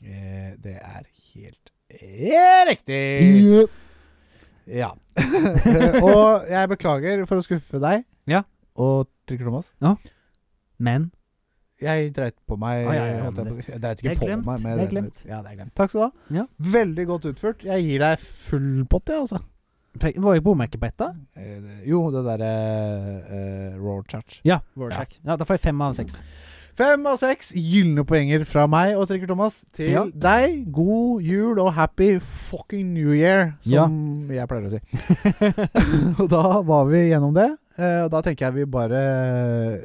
Eh, det er helt eh, riktig! Ja. og jeg beklager for å skuffe deg Ja. og Trikker Thomas. Men Jeg dreit på meg. Ah, ja, ja, ja, holdt jeg, men på. å si. jeg dreit det ikke er på glemt. meg. Det er den glemt. ut- Ja, det er glemt. Takk skal du ha. Ja. Veldig godt utført. Jeg gir deg full pott, jeg, altså. Fe- Var jeg bommerke på ett, da? Eh, det- Jo, det derre eh, eh, Roar Church. Ja. Rorschach. Ja, da får jeg fem av seks. Fem av seks gylne poenger fra meg og Trikker Thomas til Ja. deg. God jul og happy fucking new year, som jeg pleier å si. og da var vi gjennom det. eh, Og da tenker jeg vi bare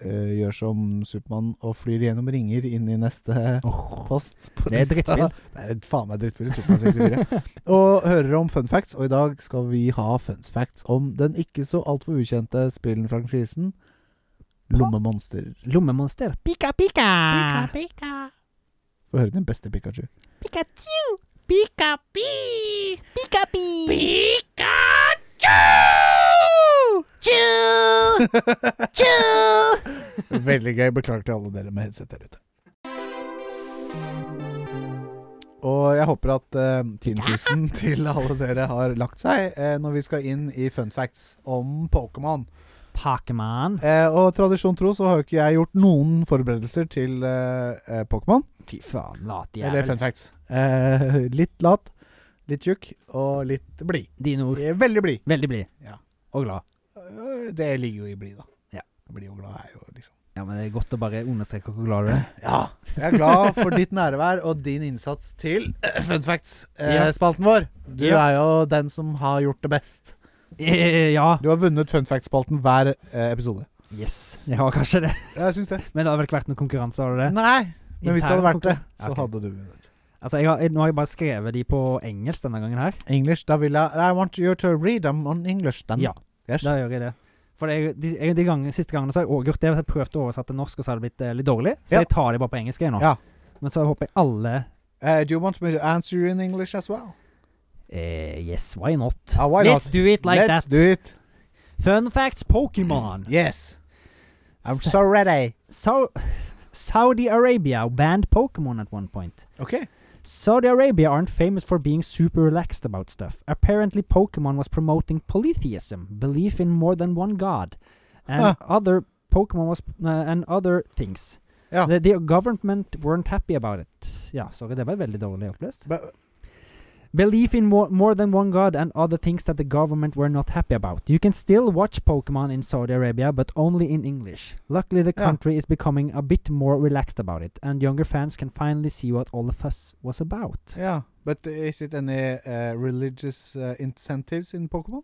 eh, gjør som Supermann og flyr gjennom ringer inn i neste post. på Det er lista. drittspill. Det er et faen meg drittspill. Supermann 64. og hører om fun facts, og i dag skal vi ha fun facts om den ikke så altfor ukjente spillfranchisen Lommemonster. Lommemonster. Pika, pika! pika. Få høre den beste Pikachu. Pikachu. Pika pi. Pika, pi! Pikachu. Choo. Choo. Veldig gøy. Beklager til alle dere med headset der ute. Og jeg håper at eh, 10 000 til alle dere har lagt seg eh, når vi skal inn i fun facts om Pokémon. Pakeman. Eh, og tradisjon tro så har jo ikke jeg gjort noen forberedelser til eh, eh, Pokémon. Fy faen, lat Eller jævel. fun facts. Eh, litt lat, litt tjukk og litt blid. Dine ord. Eh, Veldig blid. Veldig blid. Ja. Og glad. Eh, Det ligger jo i blid, da. Ja. Blid og glad er jo liksom Ja, men det er godt å bare understreke hvor glad du er. Ja. Jeg er glad for ditt nærvær og din innsats til eh, Fun Ja. facts-spalten vår. Du Ja. er jo den som har gjort det best. Eh, Ja. Du har vunnet Fun facts-spalten hver eh, episode. Yes. Jeg har kanskje det. Jeg syns det. Men det har vel ikke vært noen konkurranse, har du det? Nei, men hvis det hadde vært det, så Ok. hadde du vunnet. Altså, jeg har, jeg, nå har jeg bare skrevet de på engelsk denne gangen her. English, da vil jeg I want you to read them on English, then. Ja. Yes. Da gjør jeg det. For jeg, de, jeg, de gangene- siste gangene så har jeg også gjort det. Jeg har prøvd å oversette til norsk, og så har det blitt eh, litt dårlig. Så Ja. jeg tar det bare på engelsk jeg nå. Ja. Men så håper jeg alle Eh, do you want me to answer you in English as well? eh, Yes, why not? Ah, why Let's not? do it like Let's that. do it. Fun facts Pokemon. Yes. I'm Sa- so ready. So, Saudi Arabia banned Pokemon at one point. Okay. Saudi Arabia aren't famous for being super relaxed about stuff. Apparently, Pokemon was promoting polytheism, belief in more than one god, and Huh. other Pokemon was uh, and other things. Ja. The, the government weren't happy about it. Ja, sorry, det var veldig dårlig opplest. But, Belief in more, more than one god and other things that the government were not happy about. You can still watch Pokemon in Saudi Arabia, but only in English. Luckily, the Yeah. country is becoming a bit more relaxed about it, and younger fans can finally see what all the fuss was about. yeah. But is it any uh, religious uh, incentives in Pokemon?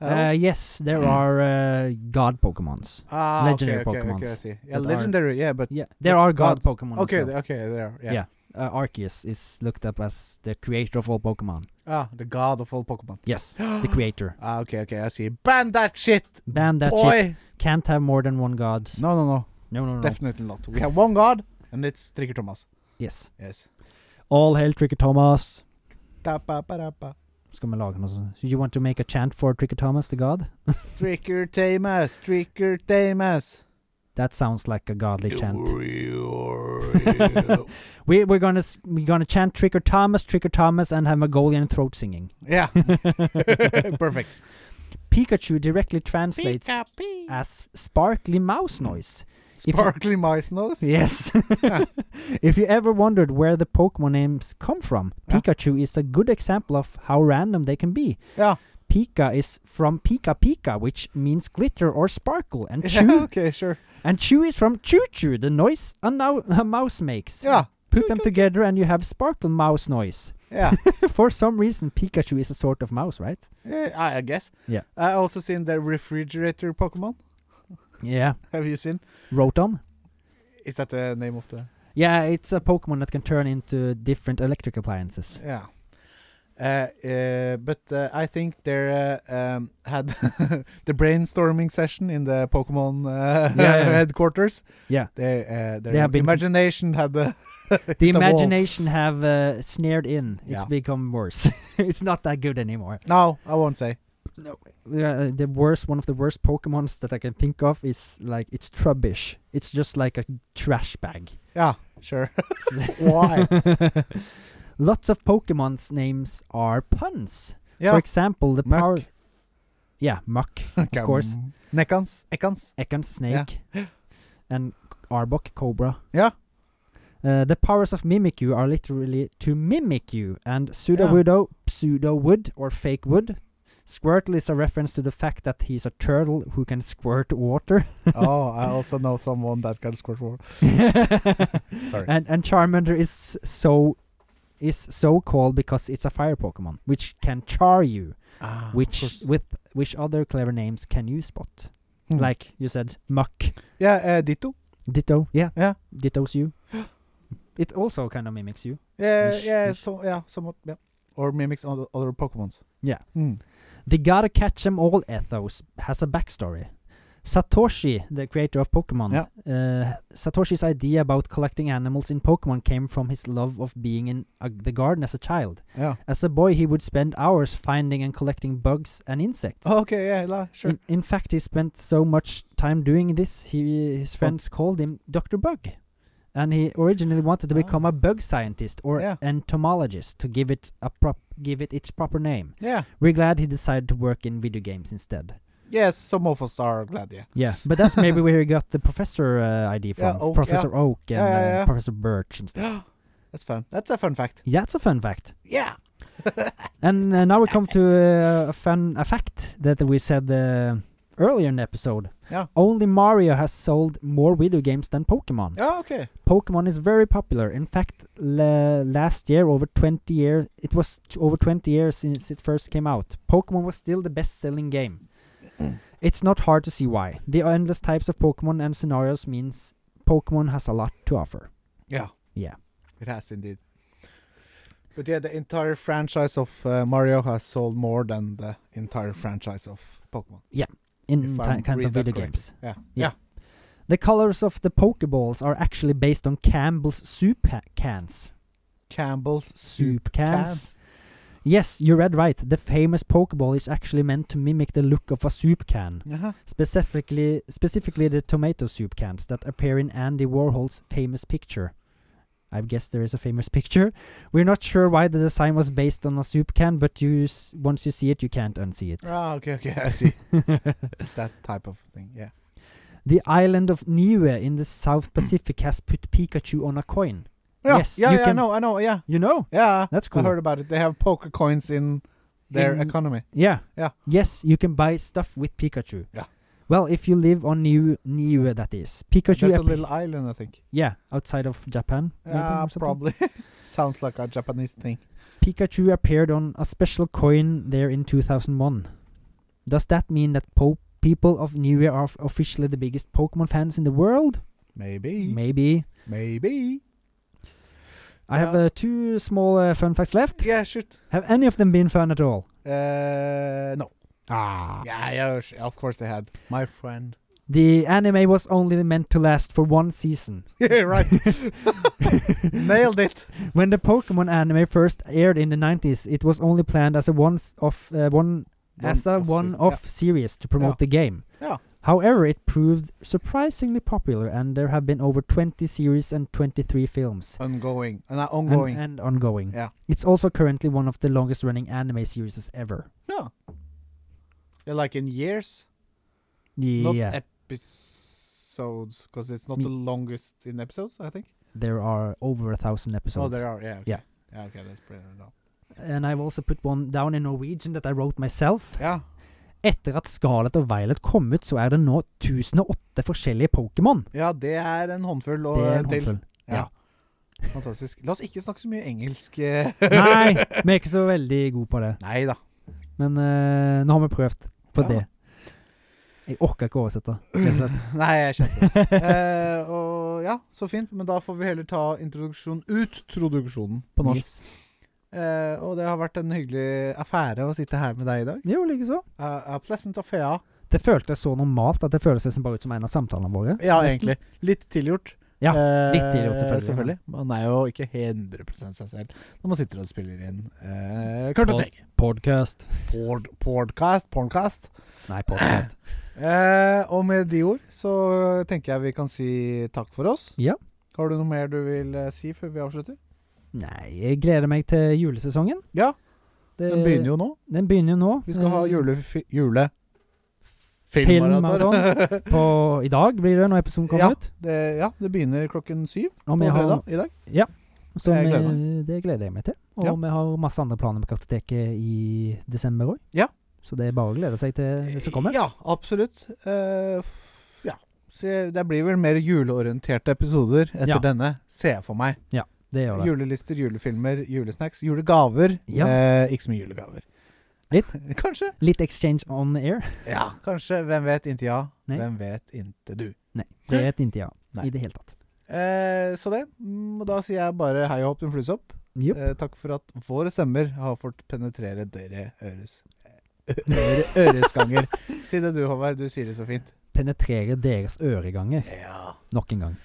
At all? Mm. Uh, yes, there are uh, god Pokemons. Ah, Legendary okay, okay, Pokemons Okay, I see. Yeah, that are- legendary. yeah, but Yeah, there are god gods. Pokemon. okay, as well. okay, there. Yeah. Yeah. uh, Arceus is looked up as the creator of all Pokemon. Ah, the god of all Pokémon. Yes, the creator. Ah, OK, OK, jeg sier ban that shit, Ban that shit. boy! Can't have more than one god. No, no, no. No, no, no. Definitely not. We have one god, and it's Trigger Thomas. Yes. Yes. All hail Tricky Thomas. Tappa-parappa. Skal vi lage noe sånn? So you want to make a chant for Tricky Thomas, the god? Tricker Tamas, Tricker Tamas. That sounds like a godly chant. We, we're gonna s- we're gonna chant Trick or Thomas, Trick or Thomas, and have Mongolian throat singing. yeah, perfect. Pikachu directly translates Pika pika. as sparkly mouse noise. If- Sparkly mice nose. Yes. if you ever wondered where the Pokemon names come from, Yeah. Pikachu is a good example of how random they can be. Yeah. Pika is from Pika Pika, which means glitter or sparkle, and Yeah, Chew okay, sure. and Chew is from Choo Choo, the noise a, nou- a mouse makes. Yeah. Put them together and you have sparkle mouse noise. Yeah, For some reason, Pikachu is a sort of mouse, right? Eh, I I guess. Yeah. I also seen the refrigerator Pokemon. Yeah. Have you seen? Rotom? Is that the name of the? Yeah, it's a Pokemon that can turn into different electric appliances. Yeah. Uh, uh, but uh, I think they uh, um, had the brainstorming session in the Pokemon uh, Yeah, yeah. headquarters. Yeah. Their, uh, their They have been- imagination had the. The wall. imagination have uh, snared in. It's Yeah. become worse. it's not that good anymore. No, I won't say. Uh, the worst, one of the worst Pokemons that I can think of is like it's Trubbish. It's just like a trash bag. Yeah, sure. Why? Lots of Pokemon's names are puns. For Yeah. example, the Muck. power. Yeah, Muck, of course. Neckans. Ekans. Ekans, Snake, and Arbok, Cobra. Yeah. Uh, the powers of Mimikyu are literally to mimic you, and Pseudo-Wudo, Pseudo-Wood, or Fake Wood. Squirtle is a reference to the fact that he's a turtle who can squirt water. oh, I also know someone that can squirt water. Sorry. And, and Charmander is so is so called because it's a fire Pokemon, which can char you, Ah, of uh, which course. with which other clever names can you spot? Hmm. Like you said, Muck, Yeah, uh, Ditto. Ditto, yeah. Yeah. Ditto's you. it also kind of mimics you. Yeah, Mish, yeah, mish. so, yeah, somewhat. Yeah. Or mimics other, other Pokemons. Yeah. Mm. The gotta catch 'em all ethos has a backstory. Satoshi, the creator of Pokemon, Yeah. uh, Satoshi's idea about collecting animals in Pokemon came from his love of being in uh, the garden as a child. Yeah. As a boy, he would spend hours finding and collecting bugs and insects. Okay, yeah, la, sure. In, in fact, he spent so much time doing this, he, his friends called him Dr. Bug. And he originally wanted to Ah. become a bug scientist or Yeah. entomologist to give it a prop, give it its proper name. Yeah. We're glad he decided to work in video games instead. Yes, some of us are glad, yeah. Yeah, but that's maybe where he got the professor uh, ID Yeah, from, Oak, yeah. Professor Oak and Yeah, yeah, uh, yeah. Professor Birch and stuff. That's fun. That's a fun fact. Yeah, that's a fun fact. Yeah. And uh, now we come to uh, a fun a fact that we said uh, earlier in the episode. Yeah. Only Mario has sold more video games than Pokemon. Oh, okay. Pokemon is very popular. In fact, la- last year over 20 years, it was t- over 20 years since it first came out. Pokemon was still the best-selling game. it's not hard to see why. The endless types of Pokemon and scenarios means Pokemon has a lot to offer. Yeah. Yeah. It has indeed. But yeah, the entire franchise of uh, Mario has sold more than the entire franchise of Pokemon. in If ti- I'm kinds of read video that games. Yeah. Yeah. The colors of the Pokeballs are actually based on Campbell's soup ha- cans. Campbell's Soup cans. Yes, you read right. The famous Pokeball is actually meant to mimic the look of a soup can, Uh-huh. specifically specifically the tomato soup cans that appear in Andy Warhol's famous picture. I guess there is a famous picture. We're not sure why the design was based on a soup can, but you s- once you see it, you can't unsee it. Ah, okay, okay, I see. It's that type of thing, yeah. The island of Niue in the Hmm. South Pacific has put Pikachu on a coin. Yeah, Yes, yeah, you yeah, I can- know, I know, yeah. You know? Yeah, That's I cool. heard about it. They have poker coins in their In- economy. Yeah. Yeah. Yes, you can buy stuff with Pikachu. Yeah. Well, if you live on Niue, Niue that is. Pikachu There's a appe- little Uh, island, I think. Yeah, outside of Japan. maybe Yeah, or something. probably. Sounds like a Japanese thing. Pikachu appeared on a special coin there in 2001. Does that mean that po- people of Niue are f- officially the biggest Pokemon fans in the world? Maybe. Maybe. Maybe. I have Ja. uh, two small uh, fun facts left. Yeah, shoot. Have any of them been fun at all? Uh, no. Ah. Yeah, yeah, sh- of course they had. My friend. The anime was only meant to last for one season. yeah, right. Nailed it. When the Pokemon anime first aired in the 90s, it was only planned as a one-off, uh, one, as a One-off one-off series to promote Yeah. the game. Yeah. However, it proved surprisingly popular, and there have been over 20 series and 23 films, Ongoing. And uh, and- ongoing. And, ongoing. Yeah. It's also currently one of the longest-running anime series ever. no. Yeah, like in years, not uh, Yeah, episodes, because it's not Me- the longest in episodes, I think. there are over a thousand episodes. oh, there are. Yeah. Okay. Yeah. Yeah, okay, that's pretty no. And I've also put one down in Norwegian that I wrote myself. Yeah. Etter at Scarlet og Violet kom ut, så er det nå 1008 forskjellige Pokémon. ja, det er en håndfull og Det er en en til. håndfull. ja. Fantastisk. La oss ikke snakke så mye engelsk. eh. Nei, vi er ikke så veldig gode på det. Nei da. Men eh, nå har vi prøvd på Ja. det. Jeg orker ikke å oversette. rett og slett. Mm. Nei, jeg skjønner. Eh, og ja, så fint. Men da får vi heller ta introduksjon Uttroduksjonen på norsk. Yes. Mm. Eh, og det har vært en hyggelig affære å sitte her med deg i dag. Jo, likeså. Uh, pleasant affair. Det føltes så normalt at det føles nesten bare ut som en av samtalene våre. Ja, Nesten. egentlig. Litt tilgjort. Ja, Eh, litt tilgjort, selvfølgelig. Man er jo ikke 100 seg selv når man sitter og spiller inn eh, kartotek. Podcast. Pod, podcast, porncast. Nei, podcast. Eh, og med de ord så tenker jeg vi kan si takk for oss. Ja. Har du noe mer du vil eh, si før vi avslutter? Nei, jeg gleder meg til julesesongen. Ja, Det, den begynner jo nå. Den begynner jo nå. Vi skal ha Eh, julefi- jule... Filmmaraton. På, I dag blir det når episoden kommer Ja. ut. det, ja, det begynner klokken syv Og på vi har- fredag i dag. Så Jeg vi- gleder det gleder jeg meg til. Og Ja. vi har masse andre planer med Kartoteket i desember òg. Ja. Så det er bare å glede seg til det som kommer. Ja, absolutt. Eh, f- ja. Så jeg- det blir vel mer juleorienterte episoder etter Ja. denne, ser jeg for meg. Det gjør det. Julelister, julefilmer, julesnacks, julegaver. Ja. Eh, ikke så mye julegaver. Litt. kanskje. Litt exchange on air. Ja, kanskje. Hvem vet inntil ja. Nei. Hvem vet inntil du. Nei, det er et intervju. Nei. I det hele tatt. Eh, så det. Mm, Og da sier jeg bare hei og hopp, en fluesopp. Jo. Eh, takk for at våre stemmer har fått penetrere dere øres... Øre, øresganger. si det du, Håvard. Du sier det så fint. Penetrere deres øreganger Ja. nok en gang.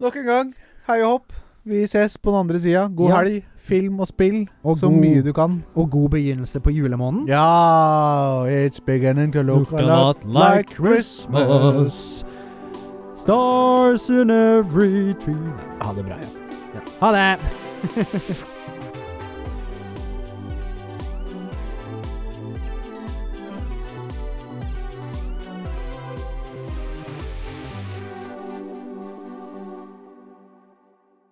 Nok en gang, hei og hopp. Vi ses på den andre sida. God Ja. helg, film og spill. Og så god- mye du kan. Og god begynnelse på julemåneden. Ja, it's beginning to look, a lot, like Christmas. Stars in every tree. Ha det bra. Ja. Ha det!